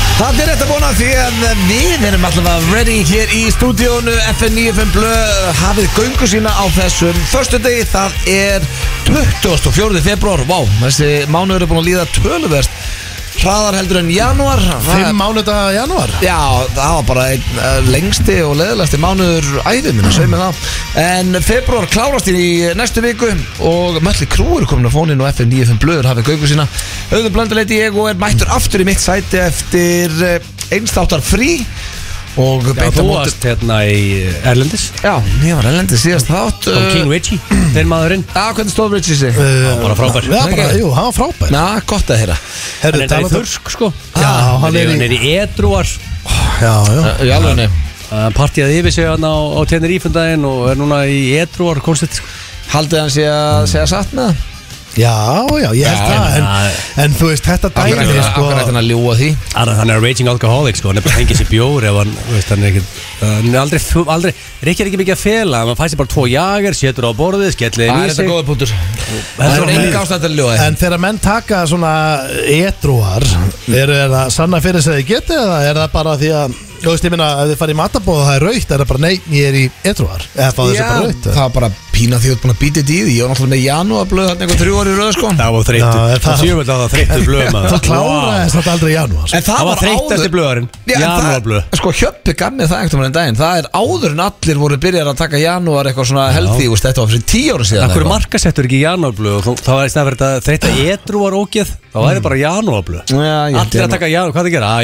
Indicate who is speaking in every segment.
Speaker 1: er búin að því að við erum allavega ready hér í stúdíónu FN95 Blöð hafið göngu sína á þessum förstu degi, það er 24. februar, vá, þessi mánuður er búin að líða töluverst hraðar heldur en janúar Það er-
Speaker 2: Fimm mánuða janúar
Speaker 1: Já, það var bara einn eh, lengsti og leðilegsti mánuður æðinu, segjum við það En februar klárast í næstu viku og mölli krúur komin á fónin og FM95 blöður hafið gaugu sína Auðvitað blönduleiti ég og er mættur aftur í mitt sæti eftir eh, einstáttar frí og
Speaker 3: Já,
Speaker 1: beint á
Speaker 3: þú
Speaker 1: móti-
Speaker 3: varst hérna í Erlendis
Speaker 1: Já, ég var elendið síðast þátt eh,
Speaker 3: Kom King Eh, Richie, þeir maðurinn
Speaker 1: Já, hvernig stóð Richie sig?
Speaker 2: Það
Speaker 3: bara frábær.
Speaker 2: Já, bara, jú, hann var frábær
Speaker 1: Na, gott að heyra
Speaker 3: Hann
Speaker 2: Herru,
Speaker 3: er það í
Speaker 2: talað um-
Speaker 3: þurrsk sko
Speaker 2: Já, hann er í-
Speaker 3: Hann er í Edruar
Speaker 2: Já, já
Speaker 1: Í alveg nefn
Speaker 3: Hann partíði yfir sig hann á, á Tenerífundaginn og er núna í Edruar konsert sko.
Speaker 1: Haldið hann sé að segja satt með það?
Speaker 2: Já, já, ég held
Speaker 3: Já,
Speaker 2: það en,
Speaker 3: en-
Speaker 2: en þú veist, þetta
Speaker 1: Akkur
Speaker 2: dæmi
Speaker 1: ætti
Speaker 2: sko,
Speaker 1: hann að ljúa því
Speaker 3: Arra, Hann er a raging alcoholic sko, hann er bara að hengja sér bjór ef hann, þú veist, hann er ekkert Hann er aldrei, fu- aldrei, Rikki er ekki mikið að fela Hann fæst sér bara tvo jager, setur á borðið,
Speaker 1: Það
Speaker 3: skellir þeim
Speaker 1: er
Speaker 3: í
Speaker 1: þetta
Speaker 3: sig
Speaker 1: góða punktur Það
Speaker 3: Heldur
Speaker 1: er
Speaker 3: hann-
Speaker 1: enga ástæð til að ljúa því
Speaker 2: En þegar menn taka svona edruar eru er það sanna fyrir þess að þið geti eða er það bara því að Þú veist, ég minna, ef þið farið í matabóð og það er raukt er það bara nei, ég er í edruar eða fá þessi bara raukt
Speaker 1: það var bara pína því að þú ert búin að býta þetta í því Ég var náttúrulega með janúarblöð þarna einhver þrjú ári í röð sko
Speaker 3: Það var
Speaker 2: Já,
Speaker 3: þreyttu,
Speaker 2: það-
Speaker 3: það séu vel að það þreyttu blöð maður
Speaker 2: Það kláraði þetta aldrei í janúar sko.
Speaker 1: En það
Speaker 3: Það var
Speaker 1: var
Speaker 3: þreyttasti
Speaker 1: áður
Speaker 3: blöðarinn,
Speaker 1: Já, en það-
Speaker 3: janúarblöð
Speaker 1: Sko hjöppi gammi það einhvern veginn daginn Það er áður en allir voru byrjar að taka janúar eitthvað svona healthy úst, Þetta var fyrir tíu ára síðan
Speaker 3: Akkur
Speaker 1: eitthvað. Ah.
Speaker 3: markasettur ekki janúarblöð og þú- þá er það verið að þreytta edruar ógeð þá væri bara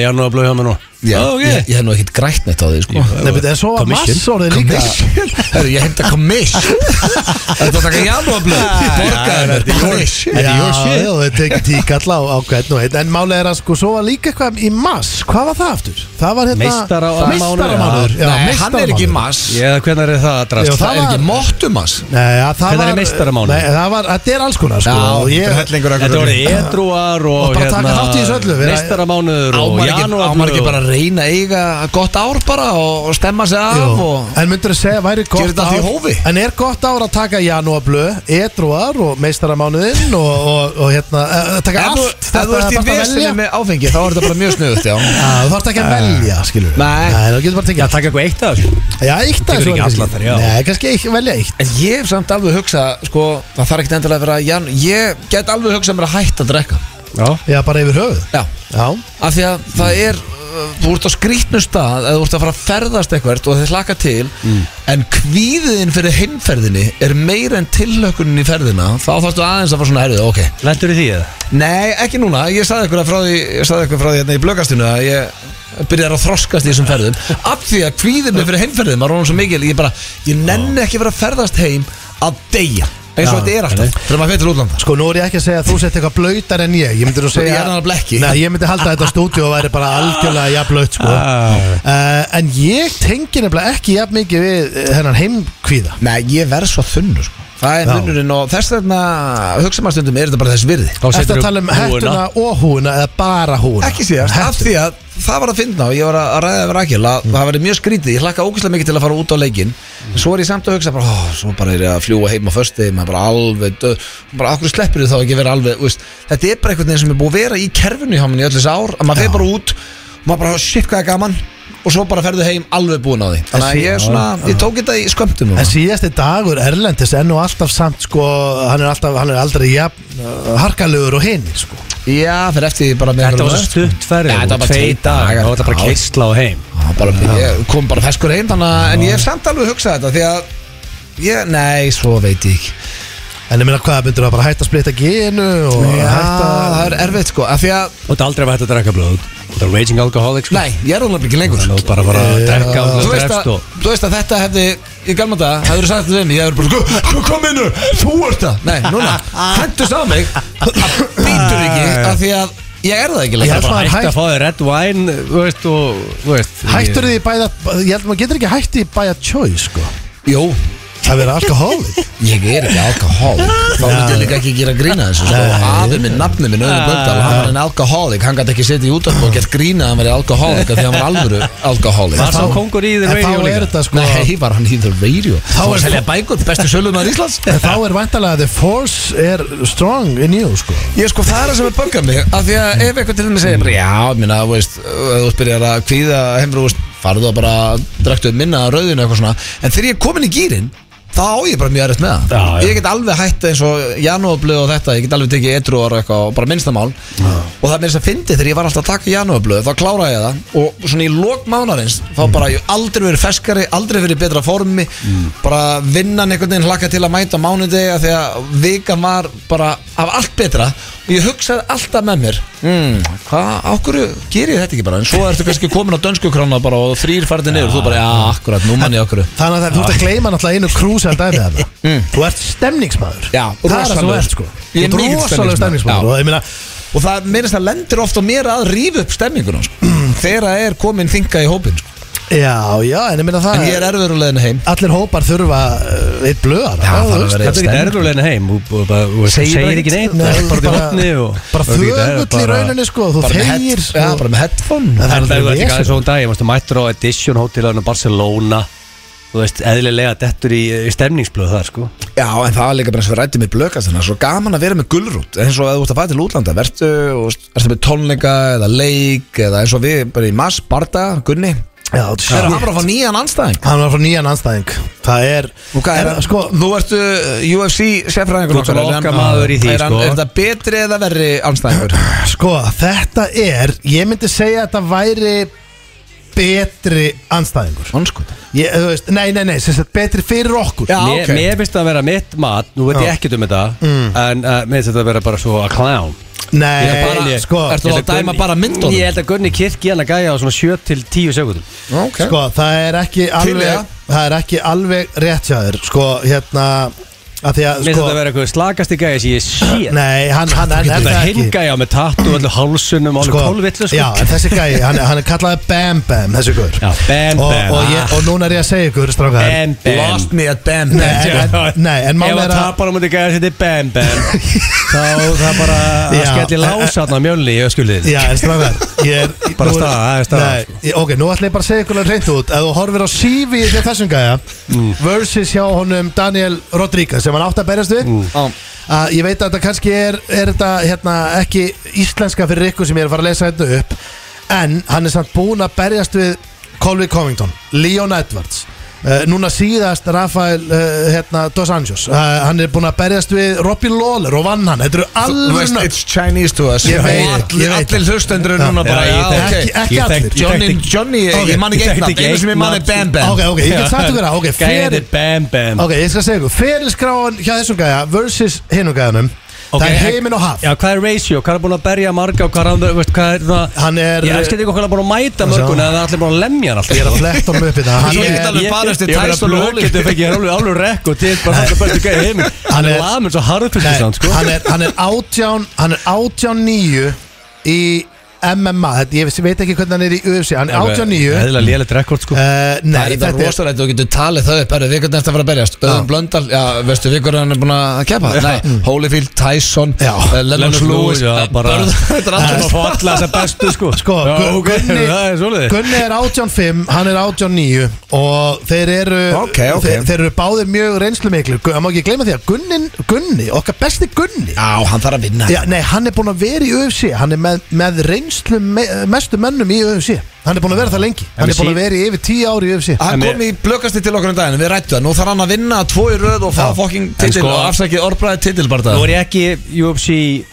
Speaker 3: janúarblöð
Speaker 1: Mm. Já, ég held ég nú-
Speaker 3: Allir að taka janúar, hvað það gera? Að janúarblöð hjá mér nú
Speaker 1: Já,
Speaker 3: Ó, ok.
Speaker 1: ég, ég hef nú ekkert grætt neitt á því sko
Speaker 2: Nei, betur, en svo var
Speaker 3: Commission.
Speaker 2: mass orðið líka
Speaker 1: Commission Herru, ég heimta commission Þetta var taka janúarblöð Borgaði mér commission
Speaker 2: Já,
Speaker 3: Þetta er your shit.
Speaker 2: já, þau tekið tík alla á, á hvern og einn En málega er að sko, svo var líka eitthvað í mass Hvað var það aftur? Það var hérna
Speaker 3: Meistara-
Speaker 2: Meistaramánuður, já,
Speaker 1: Nei, hann er ekki
Speaker 2: meistaramánuður.
Speaker 1: mass
Speaker 3: Já, hvernig er það að
Speaker 2: Já,
Speaker 3: drast?
Speaker 1: Það er
Speaker 2: var-
Speaker 1: ekki mottumass
Speaker 2: Nei, ja, það
Speaker 3: Hvernig er
Speaker 2: var
Speaker 3: meistaramánuður?
Speaker 2: Nei, það var, þetta er alls konar sko og ég,
Speaker 3: Þetta voru edruar og,
Speaker 2: Og bara taka þátt í þessu öllu, vera-
Speaker 3: Meistaramánur og
Speaker 1: Ámar ekki, ámar
Speaker 3: janúarblöð
Speaker 1: ekki bara
Speaker 3: og-
Speaker 1: að reyna að eiga gott ár bara og, og stemma sig af
Speaker 2: Jú,
Speaker 1: og
Speaker 2: En myndur að segja væri
Speaker 1: Gerir
Speaker 2: gott
Speaker 1: þetta allt í hófi?
Speaker 2: En er gott ár að taka janúablö Edruar og meistaramánuðinn Og, og, og hérna eh, Taka
Speaker 1: Ef þú-
Speaker 2: allt
Speaker 1: ef þú ert í
Speaker 2: bara
Speaker 1: vesinni
Speaker 2: velja.
Speaker 1: með áfengi þá er þetta bara mjög snuðut já.
Speaker 2: Já, Þú þarft ekki að velja skilur
Speaker 1: Nei.
Speaker 2: Nei þú getur bara að
Speaker 3: Já,
Speaker 2: tekja
Speaker 3: taka eitthvað eitt af þessu
Speaker 2: Já, eitt
Speaker 3: tekur
Speaker 2: aðeins
Speaker 3: ekki allar þær, já.
Speaker 2: Nei, kannski eitt, velja eitt
Speaker 1: En ég hef samt alveg hugsað sko, það þarf ekkert endilega að vera Jan, ég get alveg hugsað mér að hætta að drekka
Speaker 3: Já
Speaker 2: Já, bara yfir höfuð
Speaker 1: já,
Speaker 2: Já,
Speaker 1: af því að það er uh, þú ert á skrýtnum stað eða þú ert að fara að ferðast eitthvert og þið hlaka til
Speaker 2: Mm.
Speaker 1: en kvíðin fyrir heimferðinni er meira en tillökunin í ferðina þá þarfstu aðeins að fara svona herrið, ok
Speaker 3: Lendur í því eða?
Speaker 1: Nei, ekki núna, ég saði ykkur að frá því ég saði ykkur frá því hérna í blöggastinu að ég byrjar að þroskast í þessum ferðum af því að kvíðum mig fyrir heimferðum var honum svo mikil, ég bara, ég nenni ekki að vera að ferðast heim að deyja eins og
Speaker 2: Já,
Speaker 1: þetta er alltaf, þegar maður fyrir til útlanda
Speaker 2: sko nú er ég ekki að segja að þú sett eitthvað blöytar en ég Ég myndi nú segja
Speaker 1: Ég er annað blekki.
Speaker 2: Nei, ég myndi halda að þetta stúdíu væri bara algjörlega jafnlaut sko
Speaker 1: Ah.
Speaker 2: uh, En ég tengi nefnilega ekki jafn mikið við eh, hennan heimkvíða
Speaker 1: Nei, ég verð svo þunnu sko. það er
Speaker 2: Já.
Speaker 1: munurinn og þess vegna hugsa maður stundum, er þetta bara þess virði
Speaker 3: Þá
Speaker 2: Ertu að
Speaker 3: seturðu
Speaker 2: tala um
Speaker 3: húfuna.
Speaker 2: hettuna og húna eða bara húna?
Speaker 1: ekki síðast, af því að það var að finna og ég var að ræða við Rakel
Speaker 3: Mm.
Speaker 1: að það verið mjög skrítið, ég hlakka ógæslega mikið til að fara út á leikin en svo er ég samt að hugsa bara, ó, svo bara er ég að fljúa heim á föstu maður bara alveg, dö, bara okkur sleppur þið þá ekki að vera alveg, veist, þetta er bara einhvern veginn sem er búið að vera í kerfinu hjá minni í öll þessi ár að maður fer bara út, maður bara shit hvað er gaman og svo bara ferðu heim alveg búin á því þannig að ég, er svona, ég tók þetta í skömmtum
Speaker 2: En síðasti dagur Erlendis enn og alltaf samt sko Hann er, alltaf, hann er aldrei jafn uh, harkalegur og hinn sko
Speaker 1: já, fyrir eftir því bara með
Speaker 3: Þetta var
Speaker 1: einhverjum
Speaker 3: svo
Speaker 1: öðrum.
Speaker 3: stutt ferði
Speaker 1: Já, þetta var bara tveir dagar.
Speaker 3: Það var þetta bara
Speaker 1: Já.
Speaker 3: keisla á heim
Speaker 1: Já, Ah, bara, ég kom bara feskur einn þannig, að- en ég hef samt alveg hugsað þetta því að Ég, nei, svo veit ég ekki
Speaker 2: En ég meina hvað, myndir það bara hætta að splita genu og
Speaker 1: Já,
Speaker 2: hætta
Speaker 1: Sko, það er erfitt sko af því að,
Speaker 3: Þú ert aldrei að hætta að drekka blöð Þú ert raging alcoholic sko
Speaker 1: nei, ég er alveg ekki lengur
Speaker 3: Þú ert bara að fara að drekka og
Speaker 1: þú veist,
Speaker 3: þú drefst
Speaker 1: að,
Speaker 3: og
Speaker 1: þú veist að þetta hefði í gamla dag, hefur sagt þetta við mig ég hefur bara, sko, sko, kom innu, þú ert það nei, núna, hendust á mig það býtur ekki af því að ég er það ekki
Speaker 2: Ég
Speaker 1: lengur
Speaker 2: held
Speaker 3: Bara
Speaker 2: maður
Speaker 3: hætta
Speaker 2: hætt-
Speaker 3: að fá þér red wine Þú veist og Þú veist
Speaker 2: Hættur þið í bæða, ég held maður getur ekki hætti í bæða tjói sko
Speaker 1: jú,
Speaker 2: að vera alkohólik
Speaker 1: Ég er ekki alkohólik Þá myndi ég líka ekki gera grína þessu sko.
Speaker 2: Nei.
Speaker 1: Afi minn, nafni minn, Öðru Blöndal Hann var en alkohólik, hann gæti ekki setið í útöfn og gett grína að hann væri alkohólik af Því hann var alvöru alkohólik
Speaker 3: Var sá kongur í The
Speaker 2: En
Speaker 3: Radio
Speaker 2: þá er
Speaker 3: líka?
Speaker 2: þetta sko
Speaker 1: Nei, var hann í the radio Þá
Speaker 2: er-
Speaker 1: var selja bækur, bestu sölumar Íslands
Speaker 2: En þá er vantalega að the force er strong in you sko
Speaker 1: Ég sko það er það sem er böggað mig Af því að ef eitthvað til þeim segir bara, Já, minna, þú veist, ef þú byrjar að kvíða heimru, þú veist, farðu að bara draktu minna af rauðinu eitthvað svona En þegar ég er komin í gýrin Þá á ég bara mjög erist með það
Speaker 3: Já, já.
Speaker 1: Ég get alveg hætt eins og janúarblöð og þetta Ég get alveg tekið edruar og eitthvað og bara minnstamál Og það er mér þess að fyndi þegar ég var alltaf að taka janúarblöð Þá klára ég það og svona í lok mánarins Þá bara ég hef aldrei verið ferskari, aldrei verið í betra formi Bara vinnan einhvern veginn hlakka til að mæta á mánudegi af Því að vikan var bara af allt betra Og ég hugsaði alltaf með mér mm, Hvað, á hverju ger ég þetta ekki bara En svo ertu kannski komin á dönsku krána bara og þrýr farið niður Þú bara, já, akkurat, nú mann ég okkur
Speaker 2: Þannig að þú ert að gleyma náttúrulega einu krúsal dæmi þarna Þú ert stemningsmaður
Speaker 1: Mm. Já,
Speaker 2: Það er það sem þú
Speaker 1: rosalegur.
Speaker 2: ert sko Þú
Speaker 1: Ég er
Speaker 2: ert
Speaker 1: mikill
Speaker 2: rosalegur
Speaker 1: stemningsmaður.
Speaker 2: stemningsmaður Og ég meina
Speaker 1: og það meðist að lendir ofta mér að rífa upp stemmingunum sko. þegar það er komin þinga í hópin sko.
Speaker 2: Já, já, en ég meina það
Speaker 1: en ég er erfiðurleginu heim
Speaker 2: Allir hópar þurfa uh, eitt blöðar
Speaker 1: Já,
Speaker 2: á,
Speaker 1: það
Speaker 2: þú
Speaker 1: er
Speaker 2: veist.
Speaker 1: verið-
Speaker 3: Þetta er ekki erfurlegin heim Þú þú- bara- þú
Speaker 1: Segir bara
Speaker 3: segir
Speaker 1: ekki
Speaker 3: ekki neitt
Speaker 2: Nei,
Speaker 3: það er bara út í hotni og-
Speaker 2: bara
Speaker 3: Þú getur-
Speaker 2: þögull í
Speaker 3: bara-
Speaker 2: rauninni sko Þú
Speaker 1: bara með,
Speaker 2: þegir sko.
Speaker 1: head, ja, bara með headphone
Speaker 2: En það er
Speaker 3: En það
Speaker 2: aldrei
Speaker 3: er þetta ekki
Speaker 2: vesen.
Speaker 3: aðeins og um dag Ég mástu mættur á Edition Hotelinu Barcelona Þú veist, eðlilega dettur í, í stemningsblöð það sko
Speaker 1: já en það er líka bara eins og við rættum í blökast þannig svo gaman að vera með gulrút eins og að þú ert að fæta til útlanda vertu og ertu með tónleika eða leik eða eins og við bara í mass barda Gunni
Speaker 2: Já, þú
Speaker 1: það er
Speaker 2: sér-
Speaker 1: hann bara að fá nýjan anstæðing
Speaker 2: Hann var frá nýjan anstæðing Það er
Speaker 1: og hvað er
Speaker 2: en,
Speaker 1: það
Speaker 2: Sko,
Speaker 1: þú ertu uh, UFC
Speaker 3: Þú
Speaker 1: sefræðingur
Speaker 3: ert okkar maður í því,
Speaker 1: er, hann-
Speaker 3: sko.
Speaker 1: er þetta betri eða verri anstæðingur
Speaker 2: sko, þetta er Ég myndi segja að þetta væri Betri anstæðingur
Speaker 1: Vanskot.
Speaker 2: ég, þú veist, Nei, nei, nei, sem sagt, betri fyrir okkur
Speaker 1: Já,
Speaker 3: Mér-
Speaker 1: ok.
Speaker 3: Mér finnst það að vera mitt mat Nú veit ég
Speaker 2: Já.
Speaker 3: ekkert um þetta En uh, mér finnst þetta að vera bara svo að clown
Speaker 2: Nei,
Speaker 3: Ég bara- ég-
Speaker 2: sko,
Speaker 1: Ertu
Speaker 3: Ég
Speaker 1: að
Speaker 3: held Gunni-
Speaker 1: dæma bara myndunum?
Speaker 3: Ég held að Gunni Kirk í hann að gæja á svona 7-10 sekundum
Speaker 1: okay.
Speaker 2: sko, það er ekki
Speaker 1: Til í
Speaker 2: alveg
Speaker 1: það.
Speaker 2: Það er ekki alveg rétt hjá þér Sko, hérna að því að,
Speaker 3: Mér finnst
Speaker 2: sko,
Speaker 3: þetta að vera eitthvað slagasti gæja sem ég sé
Speaker 2: Nei, hann, hann, hann er
Speaker 3: Þetta
Speaker 2: það ekki
Speaker 3: hingæja með tattu öllu hálsunum og alveg kólvillu sko
Speaker 2: Já, en þessi gæi, hann, hann er kallaði Bam Bam þessi gaur
Speaker 3: Já, Bam
Speaker 2: og,
Speaker 3: Bam,
Speaker 2: og, ég,
Speaker 3: ah.
Speaker 2: og núna er ég að segja ykkur, strákar
Speaker 3: Bam Bam
Speaker 1: Lost me at Bam
Speaker 2: Nei, en, en, nei, en
Speaker 3: Ef
Speaker 2: máli
Speaker 3: að
Speaker 2: er að
Speaker 3: tapar á múti gæða sér til Bam Bam Þá það bara að
Speaker 2: Já.
Speaker 3: skelli lásatna mjölni í öskulið
Speaker 2: Já, en strákar ég er, nú
Speaker 3: Bara
Speaker 2: er-
Speaker 3: staða, það er staða,
Speaker 2: Nei, ég- Ok, nú ætla ég bara að segja ykkur alveg hreint út Ef þú horfir á CV hjá þessum gæja Versus hjá honum Daniel Rodríguez sem hann átti að berjast við
Speaker 3: Mm.
Speaker 2: að ég veit að þetta kannski er, er þetta, hérna, ekki íslenska fyrir ykkur sem ég er að fara að lesa þetta upp en hann er samt búinn að berjast við Colby Covington, Leon Edwards uh, núna síðast Rafael uh, hérna, Dos Anjos uh, hann er búinn að berjast við Robbie Lawler og vann hann, þetta eru
Speaker 1: Þú
Speaker 2: alveg
Speaker 1: veist,
Speaker 2: nöfn
Speaker 1: it's Chinese to us
Speaker 2: Ég
Speaker 1: Og
Speaker 2: veit,
Speaker 1: allir,
Speaker 2: ég veit.
Speaker 1: allir hlustendur
Speaker 2: Já.
Speaker 1: er núna bara
Speaker 3: Já,
Speaker 1: Já,
Speaker 3: ég þekki-
Speaker 1: ok
Speaker 2: ekki
Speaker 3: ég
Speaker 2: allir.
Speaker 3: þekki- ég
Speaker 1: Johnny,
Speaker 3: þekki-
Speaker 1: Johnny,
Speaker 2: Ok,
Speaker 1: ég man
Speaker 3: ég
Speaker 1: ekki eitt
Speaker 3: þekkti
Speaker 1: nafn
Speaker 3: ekki
Speaker 1: Einu sem
Speaker 3: eitt
Speaker 1: ég man er
Speaker 3: nafn.
Speaker 1: Bam Bam
Speaker 2: ok, ok, ég get sagt ykkur það, ok,
Speaker 3: Gæja
Speaker 2: fyrir
Speaker 3: til Bam Bam
Speaker 2: ok, ég skal segja ykkur, ferilskráan hjá þessum gæja versus hinum gæjanum það er heiminn og haf
Speaker 3: Já, hvað er ratio? Hvað er búin að berja marga og hvað er andur, veist, hvað er það
Speaker 2: Hann er-
Speaker 3: Ég elskar ekki hvað er búin að mæta
Speaker 2: Sjá.
Speaker 3: mörguna en það er allir búin að lemja hann alltaf
Speaker 2: ég er að fletta honum upp í það hann
Speaker 1: Ég
Speaker 2: er,
Speaker 1: get alveg barist við Tyson og
Speaker 3: Ég
Speaker 1: Holyfield.
Speaker 3: getur fengið alveg alveg rekk og til bara það er bestu gæði heim
Speaker 2: Hann
Speaker 3: Hann
Speaker 2: er-
Speaker 3: er lamin svo harðfylgist
Speaker 2: Nei,
Speaker 3: hann, sko
Speaker 2: hann er, hann er átján hann er átján nýju í MMA, þetta, ég veit ekki hvernig hann er í UFC, hann er átján nýju uh,
Speaker 3: Eðlilega lélegt rekord, sko
Speaker 1: Nei,
Speaker 2: nei,
Speaker 1: það er
Speaker 2: þetta er
Speaker 1: rosarætt, þú getur talið það upp Herru, við hvernig eftir að fara að berjast Öðum Blöndal, já, veistu við hvernig hann er búin að keppa Nei, Holyfield, Tyson,
Speaker 2: Já.
Speaker 1: eh, Lennox Lewis
Speaker 3: já,
Speaker 1: eh,
Speaker 3: bara
Speaker 1: Börð- Þetta er
Speaker 3: Hann
Speaker 1: allir
Speaker 3: falla þess að bestu, sko
Speaker 2: sko,
Speaker 3: Já, ok,
Speaker 2: Gunni,
Speaker 3: það er svolítið
Speaker 2: Gunni er átján fimm, hann er átján nýju og þeir eru
Speaker 1: Ok, ok.
Speaker 2: Þeir, þeir eru báðir mjög reynslumiklir Gu- það má ekki gleyma því að Gunni, Gunni okkar besti Gunni
Speaker 1: Já, hann þarf að vinna
Speaker 2: Já, nei, hann er búin að vera í UFC Hann er með, með reynslu me, mestu mönnum í UFC Hann er búin að vera það lengi Hann
Speaker 3: En
Speaker 2: er búin að
Speaker 3: sí-
Speaker 2: vera í yfir tíu ári í UFC
Speaker 1: Hann
Speaker 3: En ég-
Speaker 1: kom í blökasti til okkur um daginn, við rættu það Nú þarf hann að vinna tvo í röð og fá
Speaker 2: Já.
Speaker 1: fokking
Speaker 3: En
Speaker 1: titil
Speaker 3: sko-
Speaker 1: og afsækið orðbræði titil bara
Speaker 3: Nú er ég ekki UFC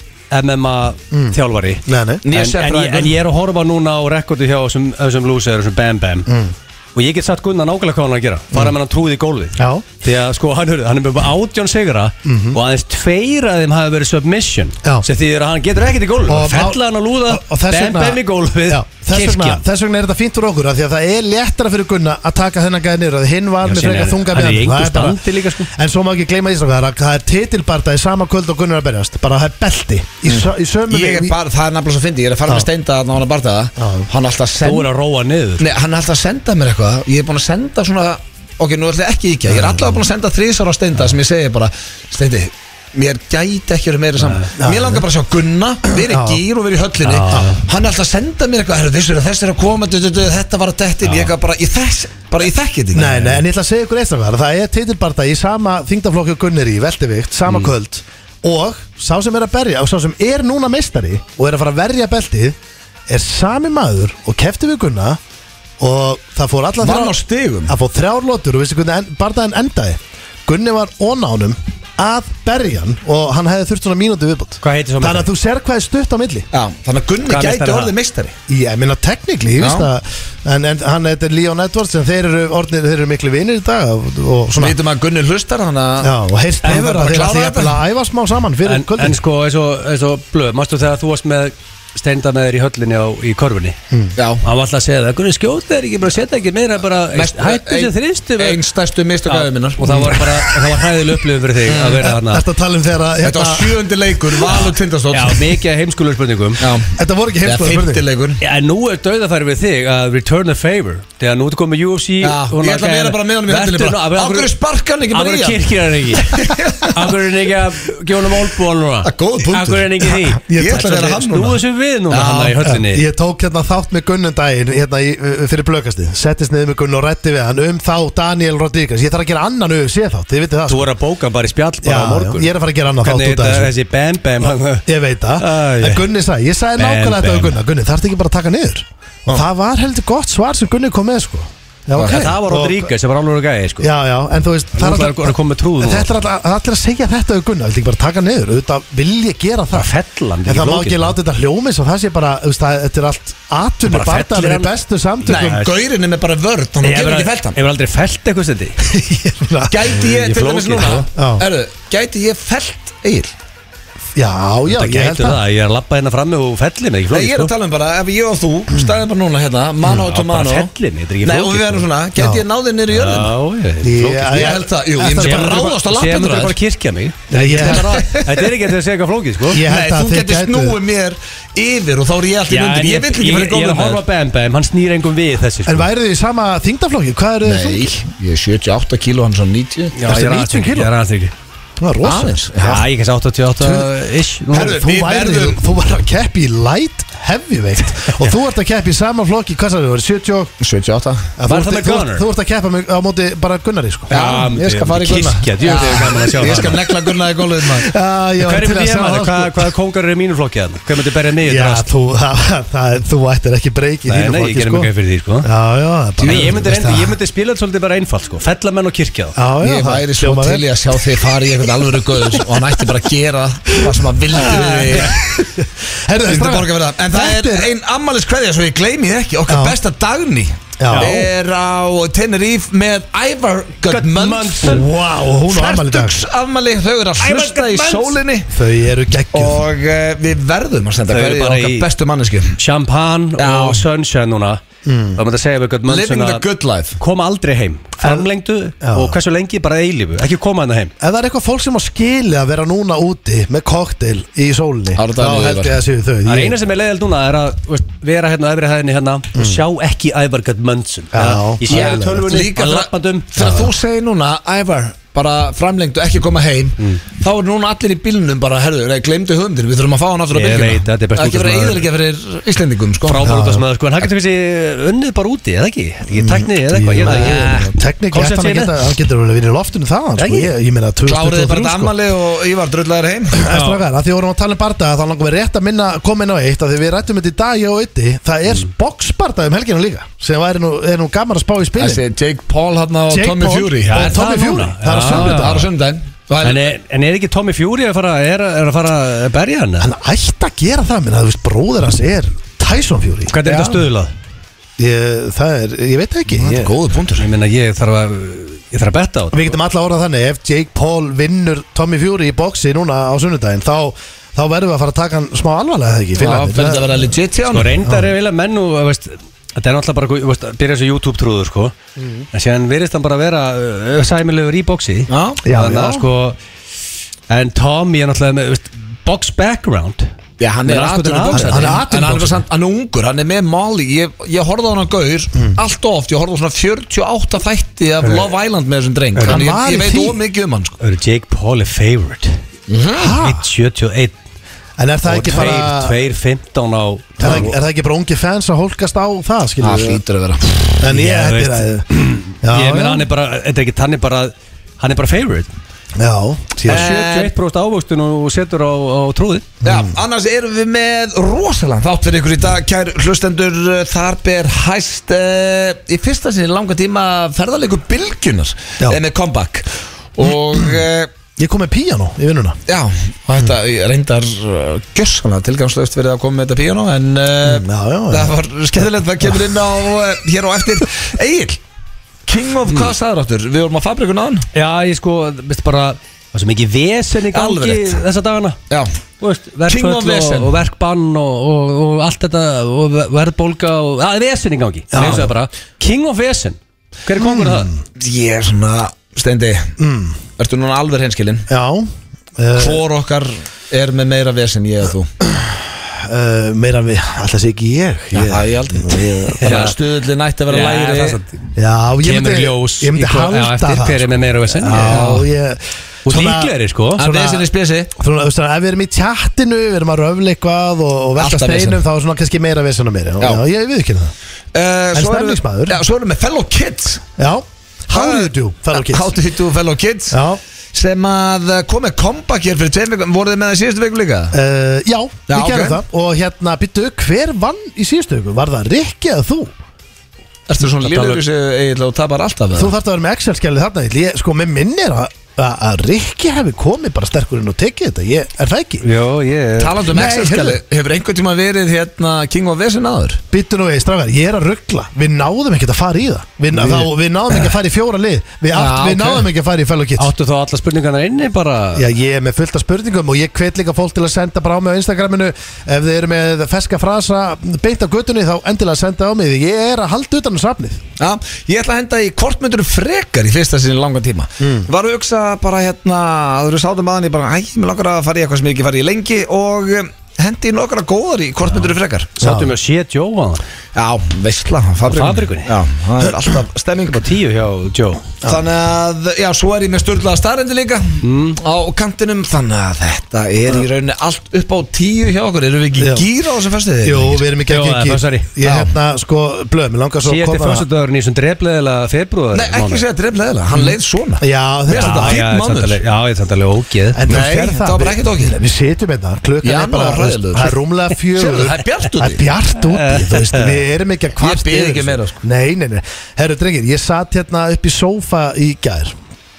Speaker 3: MMA
Speaker 2: Mm.
Speaker 3: þjálfari
Speaker 2: Nei, nei
Speaker 3: en,
Speaker 1: Nýja
Speaker 3: en, ég- en
Speaker 1: sérfræðingur.
Speaker 3: ég er að horfa núna á rekordi hjá þessum, þessum lúsir, þessum Bam Bam
Speaker 2: Mm.
Speaker 3: Og ég get satt Gunnar nákvæmlega hvað hann er að gera Fara með hann trúið í gólfi
Speaker 2: Já.
Speaker 3: Því að sko hann, hörðu, hann er bara átjón sigra Og aðeins tveir af þeim hafi verið submission
Speaker 2: Mhm. Já.
Speaker 3: Sem því að hann getur ekkert í gólfi
Speaker 2: Og-
Speaker 3: Fella hann á lúða,
Speaker 2: og- og þess vegna-
Speaker 3: Bam Bam í gólfið
Speaker 2: Já, þess vegna,
Speaker 3: kirkjan.
Speaker 2: þess vegna er þetta fínt úr okkur af Því að það er léttara fyrir Gunna að taka þennan gæði niður af Því hinn var
Speaker 3: Já,
Speaker 2: með
Speaker 3: síðan
Speaker 2: frekar
Speaker 3: er-
Speaker 2: þunga
Speaker 3: hann er í
Speaker 2: með
Speaker 3: engu standi líka, sko.
Speaker 2: En svo má ekki gleyma því strákar, að Það er titilbarta í sama kvöld og Gunnar er að berjast Bara það er belti Í, mm. í sömu
Speaker 1: Ég er bara, það er nefnilega svo fyndi, ég er að fara með steinda að hann að barða
Speaker 2: Já.
Speaker 1: það Hann er alltaf
Speaker 3: Þú
Speaker 1: send
Speaker 3: er að róa niður
Speaker 1: Nei, hann er alltaf að senda mér eitthvað Ég er búin að senda svona ok, nú ætla ég ekki ekki Ég er allavega búin að senda þrísar á Steinda sem ég segi bara Steindi, mér gæti ekki verið meira saman Mér langar bara að sjá Gunna Verið
Speaker 2: Já.
Speaker 1: gýr og verið í höllinni Hann er alltaf að senda mér eitthvað "Herru, Vissur að þessi er að koma, du, du, du, þetta var að dettin Ég gat bara, ég þess, bara ég þekki þetta ekki.
Speaker 2: Nei, nei, en ég ætla að segja ykkur eitt af það Það er titilbarta í sama þingdaflokki og Gunnir í Veltevikt, sama kvöld Og sá sem er að berja Og sá sem er núna meistari Og er að fara að verja beltið Er sami maður og kefti við Gunna Og það fór alla
Speaker 1: Vann á stigum.
Speaker 2: Það fór þrjár lotur og vissi hvernig en, bardaðin endaði Gunni var onánum að berjan Og hann hefði þurft svona mínúti viðbútt
Speaker 3: Hvað heitir svo
Speaker 2: Þannig
Speaker 3: meistari?
Speaker 2: að þú sér hvað er stutt á milli
Speaker 1: Já, þannig að Gunni
Speaker 3: Hvaða meistari
Speaker 1: gæti
Speaker 3: er
Speaker 1: orðið
Speaker 3: það?
Speaker 1: meistari
Speaker 2: Ég meina teknikli, ég veist
Speaker 1: Já.
Speaker 2: að En, en hann, þetta er Leon Edwards En þeir eru, orðnir, þeir eru miklu vinir í dag Og, og svona
Speaker 1: Vítum að Gunni hlustar, þannig
Speaker 2: Já,
Speaker 1: að
Speaker 2: og heyrst
Speaker 1: En
Speaker 2: hefur
Speaker 1: bara
Speaker 2: að þeir
Speaker 1: klára
Speaker 2: ætti
Speaker 1: þetta.
Speaker 2: jafnvel að æfa smá saman fyrir
Speaker 3: en,
Speaker 2: kvöldin
Speaker 3: en sko, eins og, eins og blöð, mástu þegar þú varst með steinda með þér í höllinni á, í korfunni
Speaker 2: Hmm.
Speaker 1: Já.
Speaker 3: hann var alltaf að segja það, hvernig skjóta þér ekki bara setja ekki meira bara, hættu þessi þrýstu
Speaker 1: Einn stærstu mistök Mm.
Speaker 3: og
Speaker 1: aðeiminnar
Speaker 3: það var bara, það var hæðil upplifun fyrir þig að vera hann
Speaker 2: Þetta tala um þegar að
Speaker 1: Þetta var
Speaker 2: hérna,
Speaker 1: sjöundi leikur, Valur Tindastótt
Speaker 3: já, mikið af heimskulur spurningum
Speaker 1: Já,
Speaker 2: Þetta voru ekki
Speaker 1: eða
Speaker 2: heimskoða
Speaker 1: fymti
Speaker 2: spurning
Speaker 1: leikur
Speaker 3: Já, en nú er dauðafæri við þig að return the favor Þegar nú ertu komið með UFC
Speaker 1: Já,
Speaker 3: hún
Speaker 1: ég ætla að
Speaker 3: langar-
Speaker 1: vera bara með honum í höndinni bara.
Speaker 3: Vertu nú- af- af-
Speaker 1: Af hverju sparkar hann ekki bara í hann?
Speaker 3: Af hverju kirkir hann ekki Af hverju er hann ekki að gefa hann málból núna
Speaker 1: Það er góð punktur.
Speaker 3: Af hverju er hann ekki í því
Speaker 1: Ég ætla að vera hann núna.
Speaker 3: Snúðu þessu við núna
Speaker 1: Já,
Speaker 3: hann í höllinni
Speaker 2: Ég tók hérna þátt með Gunnum daginn hérna í, uh, fyrir blökasti Settist niður með Gunn og rætti við hann um þá Daniel Rodríguez Ég þarf að gera annan UFC þátt, þið vitið það
Speaker 3: Þú
Speaker 2: sko.
Speaker 3: er að bóka hann bara í spjall
Speaker 2: Já,
Speaker 3: bara á morgun
Speaker 2: já, ég er að fara að gera annan þátt
Speaker 3: Hvernig
Speaker 2: út
Speaker 3: er
Speaker 2: af
Speaker 3: þetta
Speaker 2: þessu
Speaker 3: þessi bam bam hann-
Speaker 2: Ég veit það,
Speaker 3: Æ,
Speaker 2: en
Speaker 3: ég-
Speaker 2: Gunni sagði, ég sagði
Speaker 3: Ben,
Speaker 2: nákvæmlega þetta
Speaker 3: Ben.
Speaker 2: á Gunna Gunni, þarf ekki bara að taka niður Og það var heldur gott svar sem Gunni kom með sko Já, ok
Speaker 3: En Það var
Speaker 2: Og-
Speaker 3: Rodríguez sem var alveg gæði sko
Speaker 2: Já, já, en þú veist
Speaker 3: Nú ætlar hann að koma með trúð
Speaker 2: En
Speaker 3: núna.
Speaker 2: Þetta er allir, allir að segja þetta við Gunnar, vildi ekki bara taka niður auðvitað vil ég gera það
Speaker 3: Bara fella hann, þetta
Speaker 2: En það
Speaker 3: er ekki
Speaker 2: má
Speaker 3: flókið.
Speaker 2: ekki láta þetta hljómi svo það sé bara, þú veist, það, þetta er allt atvinni
Speaker 3: Bara
Speaker 2: barndanir í
Speaker 3: fellir hann.
Speaker 2: bestu
Speaker 3: Nei,
Speaker 2: samtökum
Speaker 3: það er-
Speaker 1: Gaurin er með bara vörð, hann
Speaker 3: Ég
Speaker 1: getur
Speaker 3: hef
Speaker 1: ekki felt hann
Speaker 3: ég hef aldrei felt eitthvað stendi
Speaker 2: Ég meina,
Speaker 1: Gæti
Speaker 3: Ég
Speaker 1: ég, til dæmis
Speaker 3: flókið,
Speaker 1: núna
Speaker 2: já.
Speaker 1: Erðu, gæti ég felt Egil?
Speaker 2: Já, já,
Speaker 3: Það
Speaker 2: ég held
Speaker 3: gæti
Speaker 2: það
Speaker 3: það, ég er að labba hérna frammi og felli mig ekki
Speaker 1: Nei, ég er að
Speaker 3: flókið sko
Speaker 1: tala um bara, ef ég og þú stæðum bara núna hérna, mano
Speaker 3: Já,
Speaker 1: to mano
Speaker 3: bara fellir mig, þetta er ekki
Speaker 1: Nei,
Speaker 3: flókið,
Speaker 1: og við verðum
Speaker 3: sko.
Speaker 1: svona, gæti
Speaker 2: Já.
Speaker 1: ég náðið niður í jörðin?
Speaker 3: Já, ég-
Speaker 2: Ég-
Speaker 3: flókið, sko.
Speaker 1: Ég held það, jú, ég myndi
Speaker 2: Ég-
Speaker 1: bara
Speaker 3: Ég-
Speaker 1: ráðast á
Speaker 3: Ég myndi
Speaker 1: lappirnar á
Speaker 3: bara
Speaker 1: þér.
Speaker 3: kirkja mig
Speaker 2: Nei, ég held að-
Speaker 3: Þetta er ekki að segja eitthvað flókið sko
Speaker 2: Ég
Speaker 1: Nei,
Speaker 2: held að
Speaker 1: þú
Speaker 2: þeir
Speaker 1: getur
Speaker 2: gætu-
Speaker 1: snúið mér yfir og þá er ég alltaf í
Speaker 3: en
Speaker 1: undir Ég vill ekki fara í
Speaker 3: ég, ég er
Speaker 1: góðum
Speaker 3: að
Speaker 1: með
Speaker 3: horfa á Bam Bam, hann snýr engum við þessi sko.
Speaker 2: En væru þið í sama þingdaflokki, hvað eru þið þú?
Speaker 1: ég er 78 kíló, hann er svona 90
Speaker 3: Já,
Speaker 2: ertu 90
Speaker 3: ég er aðeins ekki,
Speaker 2: kíló?
Speaker 3: ég er aðeins ekki.
Speaker 2: Það var rosa
Speaker 1: Aðeins,
Speaker 3: Já, ég er kannski 88
Speaker 1: Uh,
Speaker 3: ish nú.
Speaker 1: Herðu,
Speaker 2: Þú
Speaker 1: Við
Speaker 2: væri,
Speaker 1: verðum-
Speaker 2: þú var að keppi í light heavyweight og þú ert að keppi í sama flokki, hvað sagði þú, 70 og-
Speaker 1: 78
Speaker 2: að þú
Speaker 3: Var það
Speaker 2: ert-
Speaker 3: með
Speaker 2: þú ert-
Speaker 3: Gunnar?
Speaker 2: Þú ert að keppa mig á móti bara Gunnari sko
Speaker 1: Já, ég skal fara í Gunna
Speaker 3: Kirkja, djöfull, ég er gaman að sjá
Speaker 1: Ég
Speaker 3: það.
Speaker 1: skal negla Gunna í gólfið maður
Speaker 2: Já, já,
Speaker 3: Hver er
Speaker 2: til
Speaker 3: með
Speaker 2: að
Speaker 3: ég
Speaker 2: sjá
Speaker 3: maður?
Speaker 2: það,
Speaker 3: Hvað-
Speaker 2: sko.
Speaker 3: Hvaða kóngar eru í mínu flokki hann? Hver myndi berja mig í
Speaker 2: Já,
Speaker 3: drast?
Speaker 2: þú, það, það, þú ættir ekki breyk í
Speaker 3: Nei,
Speaker 2: þínu
Speaker 3: nei, ég
Speaker 2: flokki
Speaker 3: gerum
Speaker 2: sko
Speaker 3: ekki fyrir því sko
Speaker 2: Já, já, það er bara-
Speaker 3: Nei, ég myndi,
Speaker 2: veist
Speaker 3: reyndi,
Speaker 2: það.
Speaker 3: ég myndi spila þetta svolítið bara einfalt sko Fellamenn og kirkja það.
Speaker 2: Já, já,
Speaker 1: Ég
Speaker 2: það
Speaker 1: væri svo
Speaker 2: hljómar
Speaker 1: til í
Speaker 2: vel.
Speaker 1: að sjá þig fara í einhvern alvöru gauðs og hann ætti bara að gera það sem hann vildi við þig
Speaker 2: Herðu,
Speaker 1: Ég myndi
Speaker 2: strákar,
Speaker 1: borga fyrir það. En það
Speaker 2: þetta
Speaker 1: er ein ammalis kveðja svo ég gleymi þið ekki Okkar
Speaker 2: Já.
Speaker 1: besta dagni
Speaker 2: Já.
Speaker 1: er á Tenerife með Ævar Gudmundsson
Speaker 2: Vá, hún á afmæli í dag
Speaker 1: Fertugs afmæli, þau eru að
Speaker 3: Ævar
Speaker 1: hlusta í
Speaker 3: Guðmunds.
Speaker 1: sólinni
Speaker 2: Þau eru geggjuð
Speaker 1: Og eh, við verðum að senda
Speaker 3: Þau eru
Speaker 1: hverju
Speaker 3: bara
Speaker 1: okkar
Speaker 3: í-
Speaker 1: bestu mannesku
Speaker 3: Champagne
Speaker 1: Já.
Speaker 3: og sunshine núna
Speaker 2: Mm.
Speaker 3: Það myndi að segja við Gudmundsson
Speaker 1: Living the
Speaker 3: að
Speaker 1: good life
Speaker 3: Koma aldrei heim Framlengdu
Speaker 2: Já.
Speaker 3: og hversu lengi bara eilífu Ekki koma hann heim
Speaker 2: Ef það er eitthvað fólk sem á skili að vera núna úti með koktel í sólinni
Speaker 1: Árni
Speaker 2: þá
Speaker 1: Daníel
Speaker 2: held ég
Speaker 1: Ívar.
Speaker 2: að séu þau
Speaker 3: Það er
Speaker 2: Ég- Mm.
Speaker 3: eina sem er leiðild núna er að þú veist, vera hérna á efri hæðinni hérna og sjá ekki Ævar Gudmundsson
Speaker 2: Já.
Speaker 3: Það- Ég sé
Speaker 2: Já.
Speaker 3: hérna tölvunni
Speaker 1: Líka
Speaker 3: að
Speaker 1: þegar-
Speaker 3: lappandum
Speaker 1: Þegar þú segir núna Ævar, bara framlengdu ekki koma heim Þá er núna allir í bílnum bara Herðu, nei, glemdu höfumdir, við þurfum að fá hann aftur á
Speaker 3: Ég
Speaker 1: bylgjuna
Speaker 3: veit, þetta er best
Speaker 1: Það ekki
Speaker 3: út af
Speaker 1: verið
Speaker 3: svona-
Speaker 1: eðalega fyrir Íslendingum sko.
Speaker 3: frábár út af sem það sko en hann getur kannski unnið bara úti eða ekki Þetta ekki tæknið eða eitthvað ég veit það ekki.
Speaker 2: Teknik, Mm, ég ætti hann að
Speaker 3: Konceptið
Speaker 2: geta, hann getur alveg vinir loftinu þaðan sko.
Speaker 3: Ekki?
Speaker 2: Ég, ég meina 2023
Speaker 1: Kláriði bara
Speaker 2: sko.
Speaker 1: þetta ammali og Ívar drullæðir heim
Speaker 2: En Strákar, að því vorum að tala um bardaga þá langum við rétt að minna koma inn á eitt að því við rættum þetta í dag ég og ytti það er mm. boxbardagi um helginu líka sem væri nú, er nú gaman að spá í spilin
Speaker 1: Þessi Jake Paul hann og
Speaker 2: Jake
Speaker 1: Tommy
Speaker 2: Paul
Speaker 1: Fury
Speaker 2: og
Speaker 3: Já, er
Speaker 2: Tommy
Speaker 3: það
Speaker 2: Fury
Speaker 3: núna?
Speaker 2: það er sömnið
Speaker 3: Já.
Speaker 1: Það er á sunnudaginn Það
Speaker 3: En eh,
Speaker 1: er-
Speaker 3: er, en er ekki Tommy Fury að fara, er, er að fara að berja hann? eða?
Speaker 2: hann ætti að gera það minna þú veist bróður hans er Tyson Fury
Speaker 3: Hvernig er
Speaker 1: Já.
Speaker 3: þetta stöðulað?
Speaker 2: ég, það er, ég veit það ekki
Speaker 1: Þetta er
Speaker 2: ég,
Speaker 1: Góður punktur
Speaker 3: Ég meina ég þarf að, ég þarf að betta á þetta
Speaker 2: við getum alla orðað þannig ef Jake Paul vinnur Tommy Fury í boxi núna á sunnudaginn þá, þá verðum við að fara að taka hann smá alvarlega eða ekki
Speaker 1: Það
Speaker 2: Finnarnir?
Speaker 1: fyrir þetta að vera legit hjá
Speaker 3: Sko
Speaker 1: hann
Speaker 3: reyndar er vilja menn og veist, þetta er náttúrulega bara, þú veist, byrja þessu YouTube trúður sko
Speaker 2: Mhm.
Speaker 3: En síðan virðist hann bara að vera uh, sæmilegur í boxi
Speaker 1: Já.
Speaker 2: Já,
Speaker 3: Þannig að
Speaker 2: já.
Speaker 3: sko, en Tommy er náttúrulega með, veist, box background
Speaker 1: Já, hann er
Speaker 3: Hann er
Speaker 1: atvinnuboksari
Speaker 3: atvinnuboxari.
Speaker 1: Hann er
Speaker 2: Hann er
Speaker 1: atvinnuboksari. En hann, hann er ungur, hann er með Molly Ég, ég horfði á hann að gaur
Speaker 2: Mm.
Speaker 1: allt of oft Ég horfði á svona 48 þætti af Love Island með þessum dreng
Speaker 2: Hann
Speaker 1: Þannig ég,
Speaker 2: var í
Speaker 1: ég veit
Speaker 2: því?
Speaker 1: ómikið um hann sko.
Speaker 3: Eru Jake Paul er favorite
Speaker 2: Ha?
Speaker 3: 1.71
Speaker 2: En er það
Speaker 3: og
Speaker 2: ekki bara
Speaker 3: 2.15 á
Speaker 2: Er það, er það ekki bara ungi fans að hólkast á það,
Speaker 1: Það
Speaker 2: skiljum við?
Speaker 1: hlýtur að vera
Speaker 2: En ég,
Speaker 3: Ég
Speaker 2: þetta er að... Já,
Speaker 3: Ég meina hann
Speaker 2: já,
Speaker 3: er bara, þetta er ekki, hann er bara Hann er bara favorite
Speaker 2: já, síðan
Speaker 3: Eh.
Speaker 2: sjö.
Speaker 3: 71% ávöxtun og setur á, á trúði
Speaker 1: Já, annars erum við með rosalega þátt fyrir ykkur í dag, kær hlustendur uh, þar ber hæst uh, í fyrsta sinni í langa tíma ferðarleikur bylgjunar
Speaker 2: Já.
Speaker 1: eh, með comeback og uh,
Speaker 2: Ég kom með píano í vinnuna
Speaker 1: já, og þetta reyndar uh, gjössanlega tilgangslöst verið að koma með þetta píano en uh,
Speaker 2: Já, já, já.
Speaker 1: það var skemmtilegt það kemur inn á uh, hér á eftir Egil, Hmm. King of hvað sagður áttur? Við vorum á fabrikun á hann?
Speaker 3: Já, ég sko, veist bara Það sem ekki vesen í gangi
Speaker 1: Alveg rétt.
Speaker 3: þessa dagana
Speaker 1: Já,
Speaker 3: Þú veist,
Speaker 1: King
Speaker 3: verkföll
Speaker 1: of vesen.
Speaker 3: og, og verkbann og, og, og allt þetta og ver- verðbólga og það er vesen í gangi
Speaker 2: Já.
Speaker 3: Nei, það er bara, King of vesen Hver er kongur mm.
Speaker 1: ég er svona, Steindi, ertu núna alveg hreinskilinn?
Speaker 2: Já uh,
Speaker 1: Hvor okkar er með meira vesen ég eða þú?
Speaker 2: uh, Meira við, alltaf sé ekki ég
Speaker 1: Já,
Speaker 2: Ég-
Speaker 1: það er ég aldrei Þannig að stuðullin nætti að vera
Speaker 3: Já, það er
Speaker 1: lægri
Speaker 3: satt.
Speaker 2: Já, ég
Speaker 3: það?
Speaker 2: myndi,
Speaker 3: Kemur ljós
Speaker 2: ég myndi
Speaker 3: í hvað-
Speaker 2: halda
Speaker 3: já, eftir,
Speaker 2: það sko.
Speaker 3: Hver er með meira vesen
Speaker 2: Já, ég
Speaker 3: Og líklegri, sko
Speaker 1: Að
Speaker 2: Svona-
Speaker 1: vesen er spesi
Speaker 2: Svona, þú veist, ef við erum í tjattinu, við erum að röfla eitthvað og, og velta
Speaker 1: Alltaf
Speaker 2: steinum,
Speaker 1: vesen.
Speaker 2: þá er svona kannski meira vesen á mér. Já,
Speaker 1: Já.
Speaker 2: já ég við ekki það. En stemningsmaður?
Speaker 1: Já, Eh, svo erum við fellow kids
Speaker 2: Já, how do you do, fellow kids?
Speaker 1: How do you do fellow kids
Speaker 2: Já,
Speaker 1: Sem að eh, kom með comeback hér fyrir tveim vikum Voruð þið með það í síðustu vikum líka?
Speaker 2: uh, já,
Speaker 1: Já,
Speaker 2: við gerum
Speaker 1: ok.
Speaker 2: það. Og hérna, byttu, hver vann í síðustu ykkur? Var það Rikki eða þú?
Speaker 1: Ertu svona
Speaker 3: Þetta
Speaker 1: lífur þessu eiginlega og tapar alltaf
Speaker 2: Þú
Speaker 1: það?
Speaker 2: þarft að vera með Excel-skjælið þarna, Egill. ég, sko, mér minnir að, að, að Rikki hefði komið bara sterkur inn og tekið þetta, ég, er það ekki?
Speaker 3: Jó, ég
Speaker 1: Talandi um
Speaker 2: Nei,
Speaker 1: Excel-skjali Hefur einhvern tíma verið hérna King of Vesen aður?
Speaker 2: Byttu nú við, strafgar, ég er að ruggla Við náðum ekkert að fara í það Við, þá, við náðum ekki að fara í fjóra lið Við,
Speaker 1: Já,
Speaker 2: átt, við
Speaker 1: ok.
Speaker 2: náðum ekki að fara í fellow kids
Speaker 3: Áttu þá alla spurningarna inni bara
Speaker 2: Já, ég er með fullt af spurningum og ég hvet líka fólk til að senda bara á mig á Instagraminu ef þið eru með ferska frasa beint af göttunni þá endilega senda á mig því ég er að halda utan á safnið
Speaker 1: Já, ég ætla að henda í kortmyndur frekar í fyrsta sinni í langan tíma Var að hugsa bara hérna að þú sáðum að hann ég bara, æ, mér langar að fara í eitthvað sem ég hef ekki farið í lengi og um, hendi í nokkra góðar í kortmyndur frekar
Speaker 3: Sáttum við að sé Joe á það
Speaker 1: Já, veistla, fabrikunni
Speaker 3: fabrikunni?
Speaker 1: Já, það er alltaf stemming
Speaker 3: Bara tíu hjá Joe
Speaker 1: Þannig að, já, svo er ég með störla starrendi líka
Speaker 2: Mm.
Speaker 1: á kantinum Þannig að þetta er í rauninni allt upp á tíu hjá okkur Erum við ekki
Speaker 2: Já.
Speaker 1: í gýra á þessum festið?
Speaker 2: Jú, við erum ekki
Speaker 3: Jó,
Speaker 2: ekki
Speaker 3: það er
Speaker 2: ekki
Speaker 3: fössari.
Speaker 2: Ég
Speaker 1: Já.
Speaker 2: hérna, sko, blöð, mér langar svo
Speaker 3: Síðasti föstudagurinn í þessum drefleðilega februar
Speaker 1: Nei, ekki segja dreflega, hann
Speaker 2: Mm.
Speaker 1: leið svona
Speaker 2: Já,
Speaker 1: Mér finnst
Speaker 2: þetta
Speaker 1: þetta
Speaker 3: Já,
Speaker 1: fínn
Speaker 3: ég er
Speaker 1: mánuður.
Speaker 3: samtalið- já, ég er samtalið ógeð
Speaker 2: En þú
Speaker 1: Nei,
Speaker 2: sérð
Speaker 1: það var bara
Speaker 2: við-
Speaker 1: ekkert ógeð.
Speaker 2: Við sitjum hérna, klukkan
Speaker 1: Janúar
Speaker 2: er bara
Speaker 1: var
Speaker 2: þú veist,
Speaker 1: hræðilegur.
Speaker 2: Það er rúmlega fjögur
Speaker 1: Sérðu, það er bjart úti.
Speaker 2: Það er bjart úti, þú veist Við erum ekki að kvart
Speaker 1: bið ekki meira, sko.
Speaker 2: Nei, nei, nei Herru, drengir, ég satt hérna upp í sófa í gær